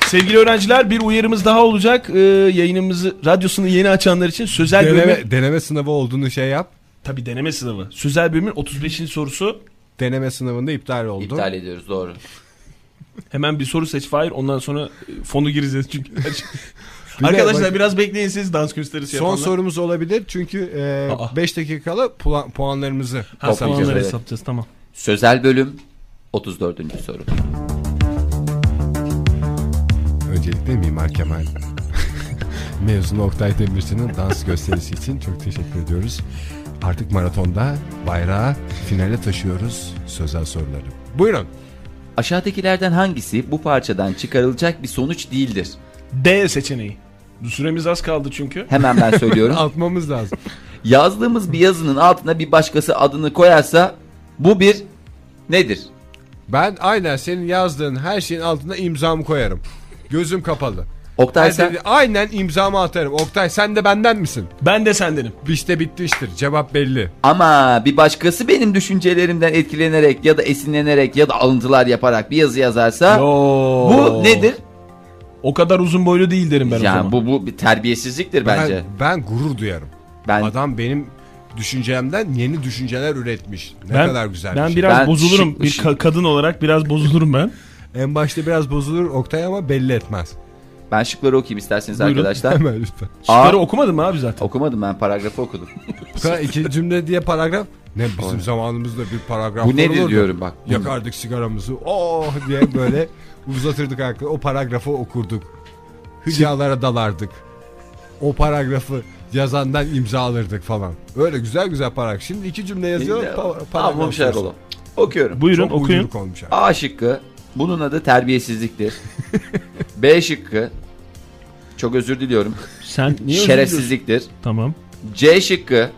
Speaker 3: Sevgili öğrenciler bir uyarımız daha olacak. Ee, yayınımızı radyosunu yeni açanlar için sözel bölümün
Speaker 2: Deneme, deneme sınavı olduğunu şey yap.
Speaker 3: tabi deneme sınavı. Sözel bölümün 35. sorusu.
Speaker 2: Deneme sınavında iptal oldu.
Speaker 4: İptal ediyoruz doğru.
Speaker 3: Hemen bir soru seç Fahir ondan sonra e, fonu gireceğiz çünkü.
Speaker 2: de
Speaker 3: Arkadaşlar
Speaker 2: bak-
Speaker 3: biraz bekleyin siz dans gösterisi
Speaker 2: Son
Speaker 3: yapanlar.
Speaker 2: sorumuz olabilir çünkü
Speaker 3: Aa.
Speaker 2: 5 dakikalı puan, puanlarımızı
Speaker 3: Ha,
Speaker 4: Toplayacağız,
Speaker 3: puanları
Speaker 4: evet.
Speaker 3: hesaplayacağız tamam.
Speaker 4: Sözel bölüm 34. soru.
Speaker 2: Öncelikle Mimar Kemal mezunu Oktay Demirci'nin dans gösterisi için çok teşekkür ediyoruz. Artık maratonda bayrağı finale taşıyoruz sözel soruları. Buyurun.
Speaker 4: Aşağıdakilerden hangisi bu parçadan çıkarılacak bir sonuç değildir?
Speaker 3: D seçeneği. Süremiz az kaldı çünkü.
Speaker 4: Hemen ben söylüyorum.
Speaker 2: Atmamız lazım.
Speaker 4: Yazdığımız bir yazının altına bir başkası adını koyarsa bu bir nedir?
Speaker 2: Ben aynen senin yazdığın her şeyin altına imzamı koyarım. Gözüm kapalı.
Speaker 4: Oktay
Speaker 2: Ben
Speaker 4: sen
Speaker 2: de- aynen imzamı atarım. Oktay sen de benden misin?
Speaker 3: Ben de sendenim.
Speaker 2: İşte bitti iştir. Cevap belli.
Speaker 4: ama bir başkası benim düşüncelerimden etkilenerek ya da esinlenerek ya da alıntılar yaparak bir yazı yazarsa
Speaker 3: Yo.
Speaker 4: bu nedir?
Speaker 3: O kadar uzun boylu değil derim ben o
Speaker 4: yani
Speaker 3: zaman.
Speaker 4: bu bu bir terbiyesizliktir bence.
Speaker 2: Ben, ben gurur duyarım.
Speaker 4: Ben
Speaker 2: Adam benim düşüncemden yeni düşünceler üretmiş. Ne
Speaker 3: ben,
Speaker 2: kadar güzel
Speaker 3: Ben
Speaker 2: bir şey.
Speaker 3: biraz
Speaker 4: Ben
Speaker 3: bozulurum.
Speaker 4: şık-
Speaker 3: bir
Speaker 4: şık.
Speaker 3: ka- kadın olarak biraz bozulurum ben.
Speaker 2: En başta biraz bozulur Oktay ama belli etmez.
Speaker 4: ben şıkları okuyayım isterseniz
Speaker 3: Buyurun.
Speaker 4: arkadaşlar.
Speaker 2: Hemen lütfen.
Speaker 4: A
Speaker 3: Şıkları okumadım abi zaten.
Speaker 4: okumadım ben paragrafı okudum.
Speaker 2: Ka- İkinci cümle diye paragraf. Ne bizim zamanımızda bir paragraf
Speaker 4: bu nedir
Speaker 2: olurdu.
Speaker 4: diyorum bak.
Speaker 2: Yakardık sigaramızı. Oh diye böyle uzatırdık aklını. O paragrafı okurduk. Hülyalara dalardık. O paragrafı yazandan imza alırdık falan. Öyle güzel güzel paragraf. Şimdi iki cümle yazıyor. pa- paragraf
Speaker 4: Tamam
Speaker 2: yazıyor.
Speaker 4: Şerol'um. Okuyorum.
Speaker 3: Buyurun
Speaker 2: Çok
Speaker 3: okuyun.
Speaker 2: uyduruk olmuş abi.
Speaker 4: A şıkkı bunun adı terbiyesizliktir. B şıkkı çok özür diliyorum.
Speaker 3: Sen niye özür diliyorsun?
Speaker 4: şerefsizliktir.
Speaker 3: Tamam.
Speaker 4: C şıkkı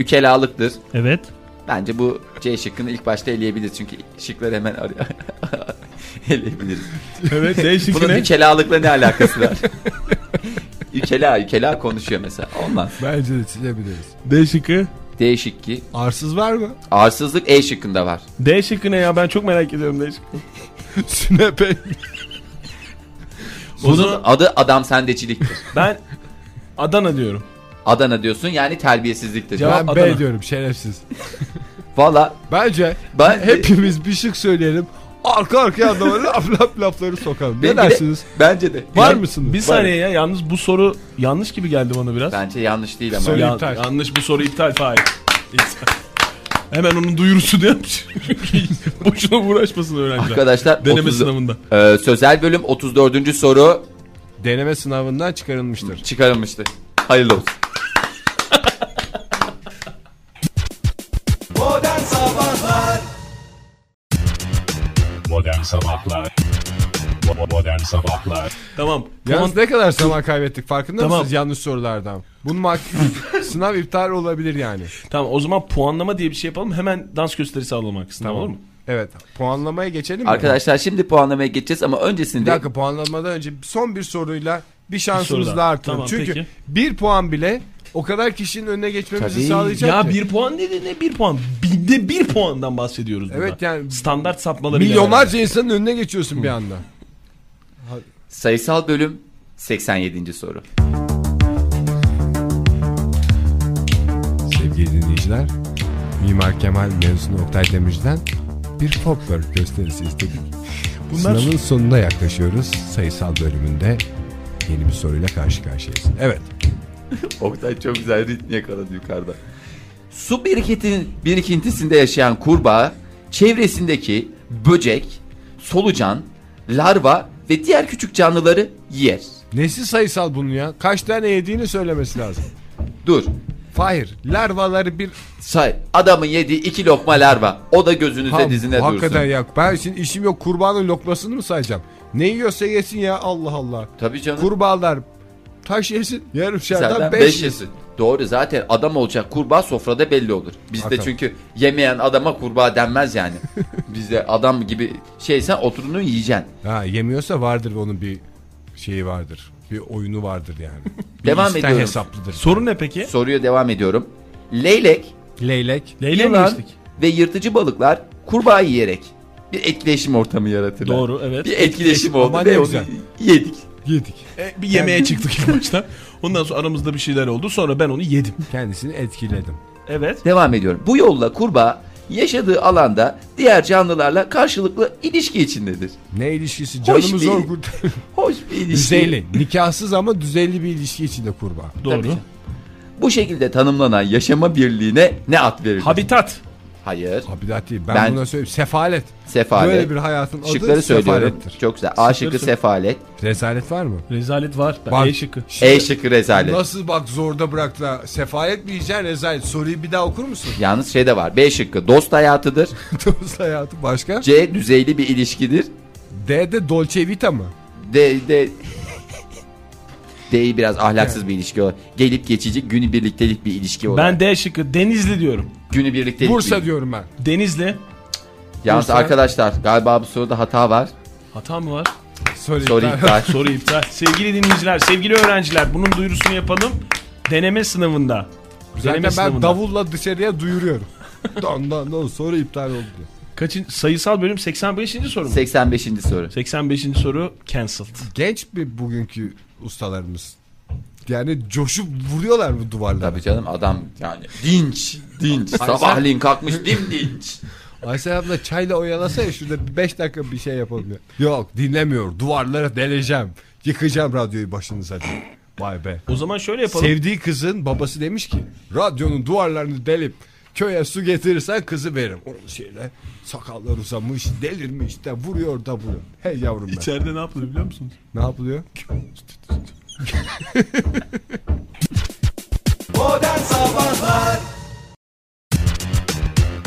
Speaker 4: ükelalıktır.
Speaker 3: Evet.
Speaker 4: Bence bu C şıkkını ilk başta eleyebiliriz çünkü şıkları hemen arıyor. eleyebiliriz.
Speaker 3: Evet D
Speaker 4: Bunun
Speaker 3: şıkkı
Speaker 4: ükelalıkla ne alakası var? Ükela, ükela konuşuyor mesela. Olmaz.
Speaker 2: Bence de çizebiliriz.
Speaker 3: D şıkkı.
Speaker 4: D şıkkı.
Speaker 2: Arsız var mı?
Speaker 4: Arsızlık E şıkkında var.
Speaker 3: D şıkkı ne ya ben çok merak ediyorum D şıkkı.
Speaker 2: Sünepe.
Speaker 3: O
Speaker 4: Bunun
Speaker 3: zaman
Speaker 4: adı adam sendeciliktir.
Speaker 3: ben Adana diyorum.
Speaker 4: Adana diyorsun yani terbiyesizliktir.
Speaker 3: Cevap-
Speaker 2: Ben
Speaker 3: Adana.
Speaker 2: B diyorum şerefsiz.
Speaker 4: Valla
Speaker 2: Bence
Speaker 4: ben
Speaker 2: hepimiz bir şık söyleyelim. Arka arkaya adama laf laf lafları sokalım.
Speaker 4: Bir- bir
Speaker 2: Ne
Speaker 4: de-
Speaker 2: dersiniz?
Speaker 4: bence de.
Speaker 2: Var
Speaker 3: Ya,
Speaker 2: mısınız?
Speaker 3: Bir saniye ya yalnız bu soru yanlış gibi geldi bana biraz.
Speaker 4: Bence yanlış değil ama.
Speaker 2: Söyle.
Speaker 3: Ya-
Speaker 2: İptal.
Speaker 3: yanlış bu soru iptal Fahir. İptal. Hemen onun duyurusu diye Boşuna uğraşmasın öğrenciler.
Speaker 4: Arkadaşlar
Speaker 3: Deneme
Speaker 4: 30
Speaker 3: sınavında.
Speaker 4: Ee, sözel bölüm 34. soru
Speaker 2: Deneme sınavından çıkarılmıştır.
Speaker 4: çıkarılmıştı. Hayırlı olsun.
Speaker 1: Modern Sabahlar Modern Sabahlar
Speaker 3: Tamam.
Speaker 2: Yalnız ne kadar zaman kaybettik farkında
Speaker 3: Tamam.
Speaker 2: mısınız yanlış sorulardan? Bunun mak- sınav iptal olabilir yani.
Speaker 3: Tamam o zaman puanlama diye bir şey yapalım. Hemen dans gösterisi alalım arkasından olur mu?
Speaker 2: Evet puanlamaya geçelim mi?
Speaker 4: Arkadaşlar şimdi puanlamaya geçeceğiz ama
Speaker 2: Bir
Speaker 4: öncesinde
Speaker 2: dakika puanlamadan önce son bir soruyla bir
Speaker 3: soru
Speaker 2: şansımızla
Speaker 3: daha.
Speaker 2: artıralım.
Speaker 3: Tamam,
Speaker 2: Çünkü
Speaker 3: peki.
Speaker 2: bir puan bile o kadar kişinin önüne geçmemizi
Speaker 4: Tabii.
Speaker 2: sağlayacak
Speaker 3: Ya
Speaker 2: şey ki.
Speaker 3: bir puan dedi ne bir puan. Binde bir puandan bahsediyoruz burada.
Speaker 2: Evet yani-
Speaker 3: Standart sapmaları.
Speaker 2: Milyonlarca insanın önüne geçiyorsun bir anda.
Speaker 4: sayısal bölüm 87. soru.
Speaker 2: Sevgili dinleyiciler, Mimar Kemal mezunu Oktay Demirci'den bir folklor gösterisi istedik.
Speaker 3: Bunlar-
Speaker 2: Sınavın sonuna yaklaşıyoruz. Sayısal bölümünde yeni bir soruyla karşı karşıyayız. Evet.
Speaker 4: Oktay çok güzel ritmi yakaladı yukarıda. Su birikintinin birikintisinde yaşayan kurbağa, çevresindeki böcek, solucan, larva ve diğer küçük canlıları yer.
Speaker 2: Nesi sayısal bunun ya? Kaç tane yediğini söylemesi lazım.
Speaker 4: Dur.
Speaker 2: Hayır. Larvaları bir...
Speaker 4: Say. Adamın yediği iki lokma larva. O da gözünüze
Speaker 2: Tam,
Speaker 4: dizine dursun.
Speaker 2: hakikaten ya. Ben şimdi işim yok. Kurbanın lokmasını mı sayacağım? Ne yiyorsa yesin ya. Allah Allah.
Speaker 4: Tabii canım.
Speaker 2: Kurbağalar taş yesin. Yarım şerden
Speaker 4: Zaten
Speaker 2: beş,
Speaker 4: beş
Speaker 2: yesin.
Speaker 4: yesin. Doğru zaten adam olacak kurbağa sofrada belli olur. Bizde
Speaker 2: Hakikaten.
Speaker 4: çünkü yemeyen adama kurbağa denmez yani. Bizde adam gibi şeysen oturunu yiyeceksin.
Speaker 2: Ha yemiyorsa vardır onun bir şeyi vardır. Bir oyunu vardır yani. Bir
Speaker 4: Devam
Speaker 2: isten
Speaker 4: ediyorum.
Speaker 2: hesaplıdır.
Speaker 3: Soru ne peki?
Speaker 4: Soruya devam ediyorum. Leylek
Speaker 2: Leylek.
Speaker 3: Leyle mi
Speaker 4: Yılan
Speaker 3: geçtik?
Speaker 4: ve yırtıcı balıklar kurbağa yiyerek bir etkileşim ortamı yaratırlar.
Speaker 3: Doğru evet.
Speaker 4: Bir etkileşim oldu
Speaker 2: Aman
Speaker 4: ve
Speaker 2: ne
Speaker 4: onu
Speaker 2: güzel.
Speaker 4: yedik.
Speaker 2: Yedik.
Speaker 3: E, bir yemeğe çıktık ilk başta. Ondan sonra aramızda bir şeyler oldu. Sonra ben onu yedim.
Speaker 2: Kendisini etkiledim.
Speaker 3: Evet.
Speaker 4: Devam ediyorum. Bu yolla kurbağa yaşadığı alanda diğer canlılarla karşılıklı ilişki içindedir.
Speaker 2: Ne ilişkisi?
Speaker 4: Hoş
Speaker 2: Canımı
Speaker 4: bir-
Speaker 2: zor kurtar.
Speaker 4: Hoş bir ilişki.
Speaker 2: Düzeyli. Nikahsız ama düzeyli bir ilişki içinde kurbağa.
Speaker 4: Tabii
Speaker 3: Doğru.
Speaker 4: ki. Bu şekilde tanımlanan yaşama birliğine ne ad verilir?
Speaker 3: Habitat.
Speaker 4: Hayır.
Speaker 2: Habidat değil. Ben,
Speaker 4: Ben-
Speaker 2: buna söyleyeyim. Sefalet.
Speaker 4: Sefalet.
Speaker 2: Böyle bir hayatın adı
Speaker 4: Şıkları söylüyorum.
Speaker 2: sefalettir.
Speaker 4: Çok güzel. A şıkkı
Speaker 3: sö-
Speaker 4: sefalet.
Speaker 2: Rezalet var mı?
Speaker 3: Rezalet var. Ben
Speaker 2: Var.
Speaker 3: E şıkkı.
Speaker 2: Şimdi-
Speaker 4: E şıkkı rezalet.
Speaker 2: Nasıl bak zorda bıraktılar. Sefalet mi yiyeceksin rezalet? Soruyu bir daha okur musun?
Speaker 4: Yalnız şey de var. B şıkkı dost hayatıdır.
Speaker 2: Dost hayatı başka.
Speaker 4: C düzeyli bir ilişkidir.
Speaker 2: D'de Dolce Vita mı?
Speaker 4: D, D D'yi biraz ahlaksız bir ilişki o. Gelip geçici günü birliktelik bir ilişki olarak.
Speaker 3: Ben D şıkkı Denizli diyorum.
Speaker 4: günü birliktelik.
Speaker 2: Bursa
Speaker 4: bir...
Speaker 2: diyorum ben.
Speaker 3: Denizli.
Speaker 4: Yalnız
Speaker 2: Bursa.
Speaker 4: arkadaşlar galiba bu soruda hata var.
Speaker 3: Hata mı var?
Speaker 2: Sorry.
Speaker 4: Soru iptal.
Speaker 3: Soru iptal. Sevgili dinleyiciler, sevgili öğrenciler bunun duyurusunu yapalım. Deneme sınavında.
Speaker 2: Zaten
Speaker 3: Deneme
Speaker 2: ben
Speaker 3: sınavında.
Speaker 2: davulla dışarıya duyuruyorum. don don don soru iptal oldu. diye.
Speaker 3: Kaçın, sayısal bölüm 85. soru mu?
Speaker 4: 85. soru.
Speaker 3: 85. soru cancelled.
Speaker 2: Genç bir bugünkü ustalarımız. Yani coşup vuruyorlar bu duvarlara.
Speaker 4: Tabii canım adam yani dinç, dinç. Sabahleyin kalkmış dimdinç.
Speaker 2: Aysel abla çayla oyalasa ya şurada 5 dakika bir şey yapalım ya. Yok dinlemiyor. Duvarlara deleceğim. Yıkacağım radyoyu başınıza diye. Vay be.
Speaker 3: O zaman şöyle yapalım.
Speaker 2: Sevdiği kızın babası demiş ki radyonun duvarlarını delip köye su getirirsen kızı veririm. Onun şeyle sakallar uzamış delirmiş de vuruyor da vuruyor. Hey yavrum ben.
Speaker 3: İçeride ne yapılır biliyor musunuz?
Speaker 2: Ne yapılıyor?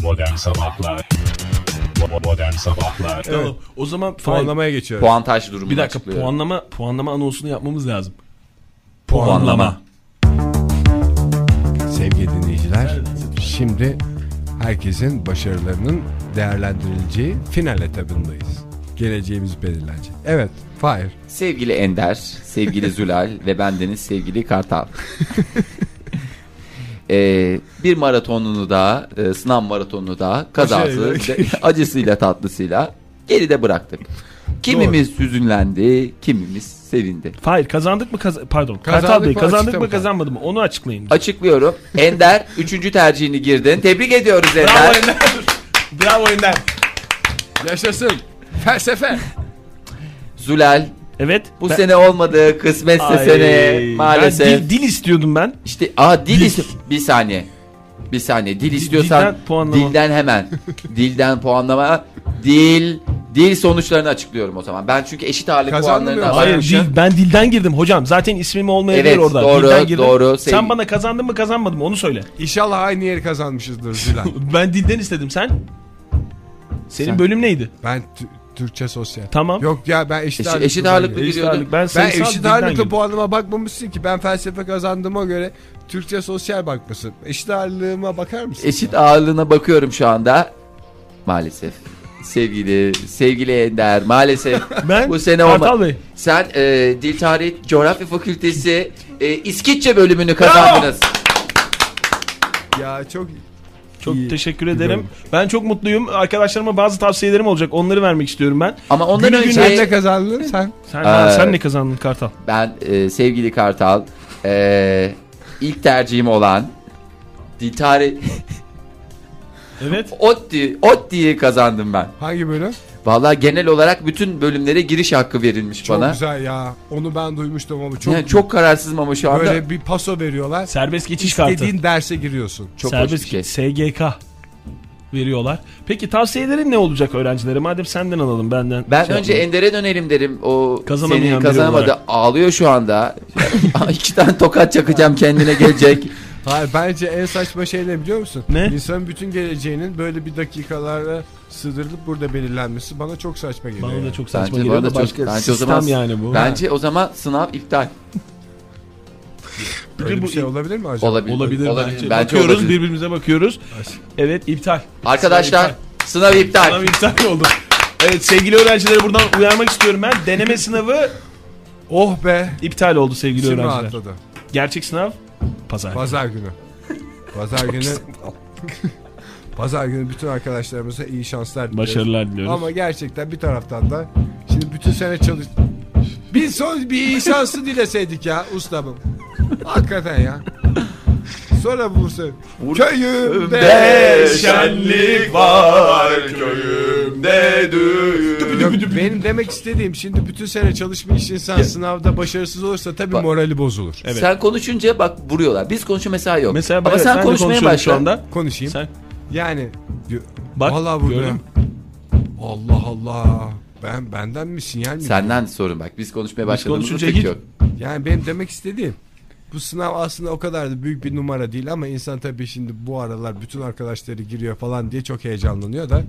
Speaker 1: Modern Sabahlar Modern Sabahlar
Speaker 3: Tamam. O zaman
Speaker 2: Puanlamaya geçiyoruz.
Speaker 4: Puan taş durumunu
Speaker 3: Bir dakika
Speaker 4: açıklıyorum.
Speaker 3: puanlama puanlama anonsunu yapmamız lazım.
Speaker 4: Puanlama.
Speaker 2: Sevgili dinleyiciler şimdi herkesin başarılarının değerlendirileceği final etabındayız. Geleceğimiz belirlenecek. Evet. Fahir.
Speaker 4: Sevgili Ender, sevgili Zülal ve bendeniz sevgili Kartal. Ee, bir maratonunu daha, e, sınav maratonunu daha kazası,
Speaker 2: Şey,
Speaker 4: de- acısıyla tatlısıyla geride bıraktık. Kimimiz hüzünlendi, kimimiz sevindi.
Speaker 3: Hayır kazandık mı kaz- pardon.
Speaker 2: Kazandık
Speaker 3: Kartal
Speaker 2: mı,
Speaker 3: Bey kazandık
Speaker 2: açıklama kaldı.
Speaker 3: mı kazanmadı mı onu açıklayın.
Speaker 4: Açıklıyorum. Ender 3. tercihini girdin. Tebrik ediyoruz
Speaker 3: Bravo
Speaker 4: Ender.
Speaker 3: Ender. Bravo Ender.
Speaker 2: Yaşasın. Felsefe.
Speaker 4: Zülal
Speaker 3: Evet.
Speaker 4: bu
Speaker 3: ben-
Speaker 4: sene olmadı. Kısmetse
Speaker 3: Ay,
Speaker 4: sene maalesef.
Speaker 3: Ben dil, dil istiyordum ben.
Speaker 4: İşte aa dil ist- bir saniye. Bir saniye dil istiyorsan
Speaker 3: dilden puanlama.
Speaker 4: dilden hemen. dilden puanlama. Dil dil sonuçlarını açıklıyorum o zaman. Ben çünkü eşit ağırlık
Speaker 2: Kazandın
Speaker 4: puanlarını
Speaker 2: mı?
Speaker 4: aldım.
Speaker 3: Hayır
Speaker 2: Ayşe.
Speaker 3: dil, ben dilden girdim hocam. Zaten ismimi olmayabilir
Speaker 4: Evet,
Speaker 3: orada.
Speaker 4: doğru,
Speaker 3: dilden girdim.
Speaker 4: doğru.
Speaker 3: Sen
Speaker 4: Sevgili-
Speaker 3: bana kazandın mı kazanmadın mı onu söyle.
Speaker 2: İnşallah aynı yeri kazanmışızdır Zülal.
Speaker 3: Ben dilden istedim sen. Senin
Speaker 4: Sen-
Speaker 3: bölüm neydi?
Speaker 2: Ben tü- Türkçe sosyal.
Speaker 3: Tamam.
Speaker 2: Yok ya ben eşit,
Speaker 4: Eşi-
Speaker 2: ağırlıklı
Speaker 4: eşit ağırlıklı
Speaker 2: ben-
Speaker 4: bir-
Speaker 3: Eşit ağırlık. Ben,
Speaker 2: Ben
Speaker 3: sayısal
Speaker 2: eşit
Speaker 3: dilden
Speaker 2: ağırlıklı
Speaker 3: girdim.
Speaker 2: puanıma bakmamışsın ki. Ben felsefe kazandığıma göre Türkçe sosyal bakmasın. Eşit ağırlığıma bakar mısın?
Speaker 4: Eşit ağırlığına bakıyorum şu anda. Maalesef. Sevgili sevgili Ender maalesef
Speaker 3: Ben
Speaker 4: bu sene
Speaker 3: Kartal
Speaker 4: olmadı.
Speaker 3: Bey.
Speaker 4: Sen e, Dil Tarih Coğrafya Fakültesi e, İskitçe bölümünü kazandınız.
Speaker 2: Ya çok
Speaker 3: Çok
Speaker 2: İyi.
Speaker 3: teşekkür
Speaker 2: Güzel
Speaker 3: ederim.
Speaker 2: olmuş.
Speaker 3: Ben çok mutluyum. Arkadaşlarıma bazı tavsiyelerim olacak. Onları vermek istiyorum ben.
Speaker 4: Ama ondan
Speaker 3: Günü
Speaker 4: önce
Speaker 2: sen ne kazandın sen?
Speaker 3: Sen,
Speaker 4: Ee,
Speaker 3: sen ne kazandın Kartal?
Speaker 4: Ben e, sevgili Kartal e, ilk tercihim olan dil tarih
Speaker 3: Evet.
Speaker 4: ODTÜ ODTÜ'yü kazandım ben.
Speaker 2: Hangi bölüm?
Speaker 4: Vallahi genel olarak bütün bölümlere giriş hakkı verilmiş
Speaker 2: Çok
Speaker 4: bana.
Speaker 2: güzel ya. Onu ben duymuştum ama çok
Speaker 4: Yani çok kararsızım ama şu anda
Speaker 2: böyle bir paso veriyorlar.
Speaker 3: Serbest geçiş kartı.
Speaker 2: Dediğin derse giriyorsun.
Speaker 4: çok hoş bir
Speaker 3: Serbest
Speaker 4: şey.
Speaker 3: geçiş. SGK veriyorlar. Peki tavsiyelerin ne olacak öğrencilere? Madem senden alalım benden.
Speaker 4: Ben
Speaker 3: şey
Speaker 4: önce
Speaker 3: yapmayalım.
Speaker 4: Ender'e dönelim derim. O
Speaker 3: Kazanamayan
Speaker 4: seni
Speaker 3: biri
Speaker 4: kazanamadı.
Speaker 3: olarak.
Speaker 4: Ağlıyor şu anda. İki tane tokat çakacağım kendine gelecek.
Speaker 2: Hayır bence en saçma şey ne biliyor musun?
Speaker 3: Ne?
Speaker 2: İnsanın bütün geleceğinin böyle bir dakikalara sığdırılıp burada belirlenmesi bana çok saçma geliyor.
Speaker 3: bana da
Speaker 2: yani.
Speaker 3: çok
Speaker 4: Bence
Speaker 3: saçma
Speaker 4: bana
Speaker 3: geliyor
Speaker 4: da
Speaker 3: da
Speaker 4: çok-
Speaker 3: başka
Speaker 4: bence o
Speaker 3: sistem
Speaker 4: zaman-
Speaker 3: yani bu.
Speaker 4: Bence o zaman sınav iptal.
Speaker 2: Öyle bir
Speaker 3: bu-
Speaker 2: şey olabilir mi acaba?
Speaker 4: Olabilir.
Speaker 3: olabilir, bence.
Speaker 4: Bence
Speaker 3: bakıyoruz
Speaker 4: olabilir.
Speaker 3: birbirimize bakıyoruz. Evet iptal.
Speaker 4: Arkadaşlar sınav iptal.
Speaker 3: Sınav iptal oldu. Evet sevgili öğrencileri buradan uyarmak istiyorum ben. Deneme sınavı
Speaker 2: Oh be.
Speaker 3: iptal oldu sevgili
Speaker 2: Kim
Speaker 3: öğrenciler.
Speaker 2: rahatladı?
Speaker 3: Gerçek sınav pazar.
Speaker 2: Pazar günü. Pazar günü. Pazar günü bütün arkadaşlarımıza iyi şanslar diliyoruz.
Speaker 3: Başarılar diliyoruz.
Speaker 2: Ama gerçekten bir taraftan da şimdi bütün sene çalış... Bir son bir iyi şansı dileseydik ya ustamım. Hakikaten ya. Sonra Bursa. Köyümde
Speaker 3: şenlik var
Speaker 4: köyümde
Speaker 2: Yok, benim demek istediğim şimdi bütün sene çalışmış insan sınavda başarısız olursa tabii
Speaker 4: Bak-
Speaker 2: morali bozulur.
Speaker 3: Evet.
Speaker 4: Sen konuşunca bak vuruyorlar. Biz konuşma mesela yok.
Speaker 3: Mesela
Speaker 4: Ama
Speaker 3: ben,
Speaker 4: sen
Speaker 3: sen
Speaker 4: konuşmaya başla.
Speaker 3: şu anda.
Speaker 2: Konuşayım.
Speaker 3: Sen
Speaker 2: Yani diyor-
Speaker 3: Bak,
Speaker 2: Vallahi burada.
Speaker 3: gördün mü?
Speaker 2: Allah Allah. Ben benden mi sinyal mi?
Speaker 4: Senden sorun bak. Biz konuşmaya başladığımızda
Speaker 3: konuşunca
Speaker 4: tek
Speaker 3: hiç-
Speaker 4: yok.
Speaker 2: Yani benim demek istediğim bu sınav aslında o kadar da büyük bir numara değil ama insan tabii şimdi bu aralar bütün arkadaşları giriyor falan diye çok heyecanlanıyor da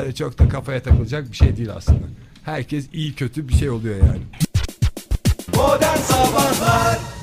Speaker 2: öyle çok da kafaya takılacak bir şey değil aslında. Herkes iyi kötü bir şey oluyor yani.
Speaker 4: Modern Sabahlar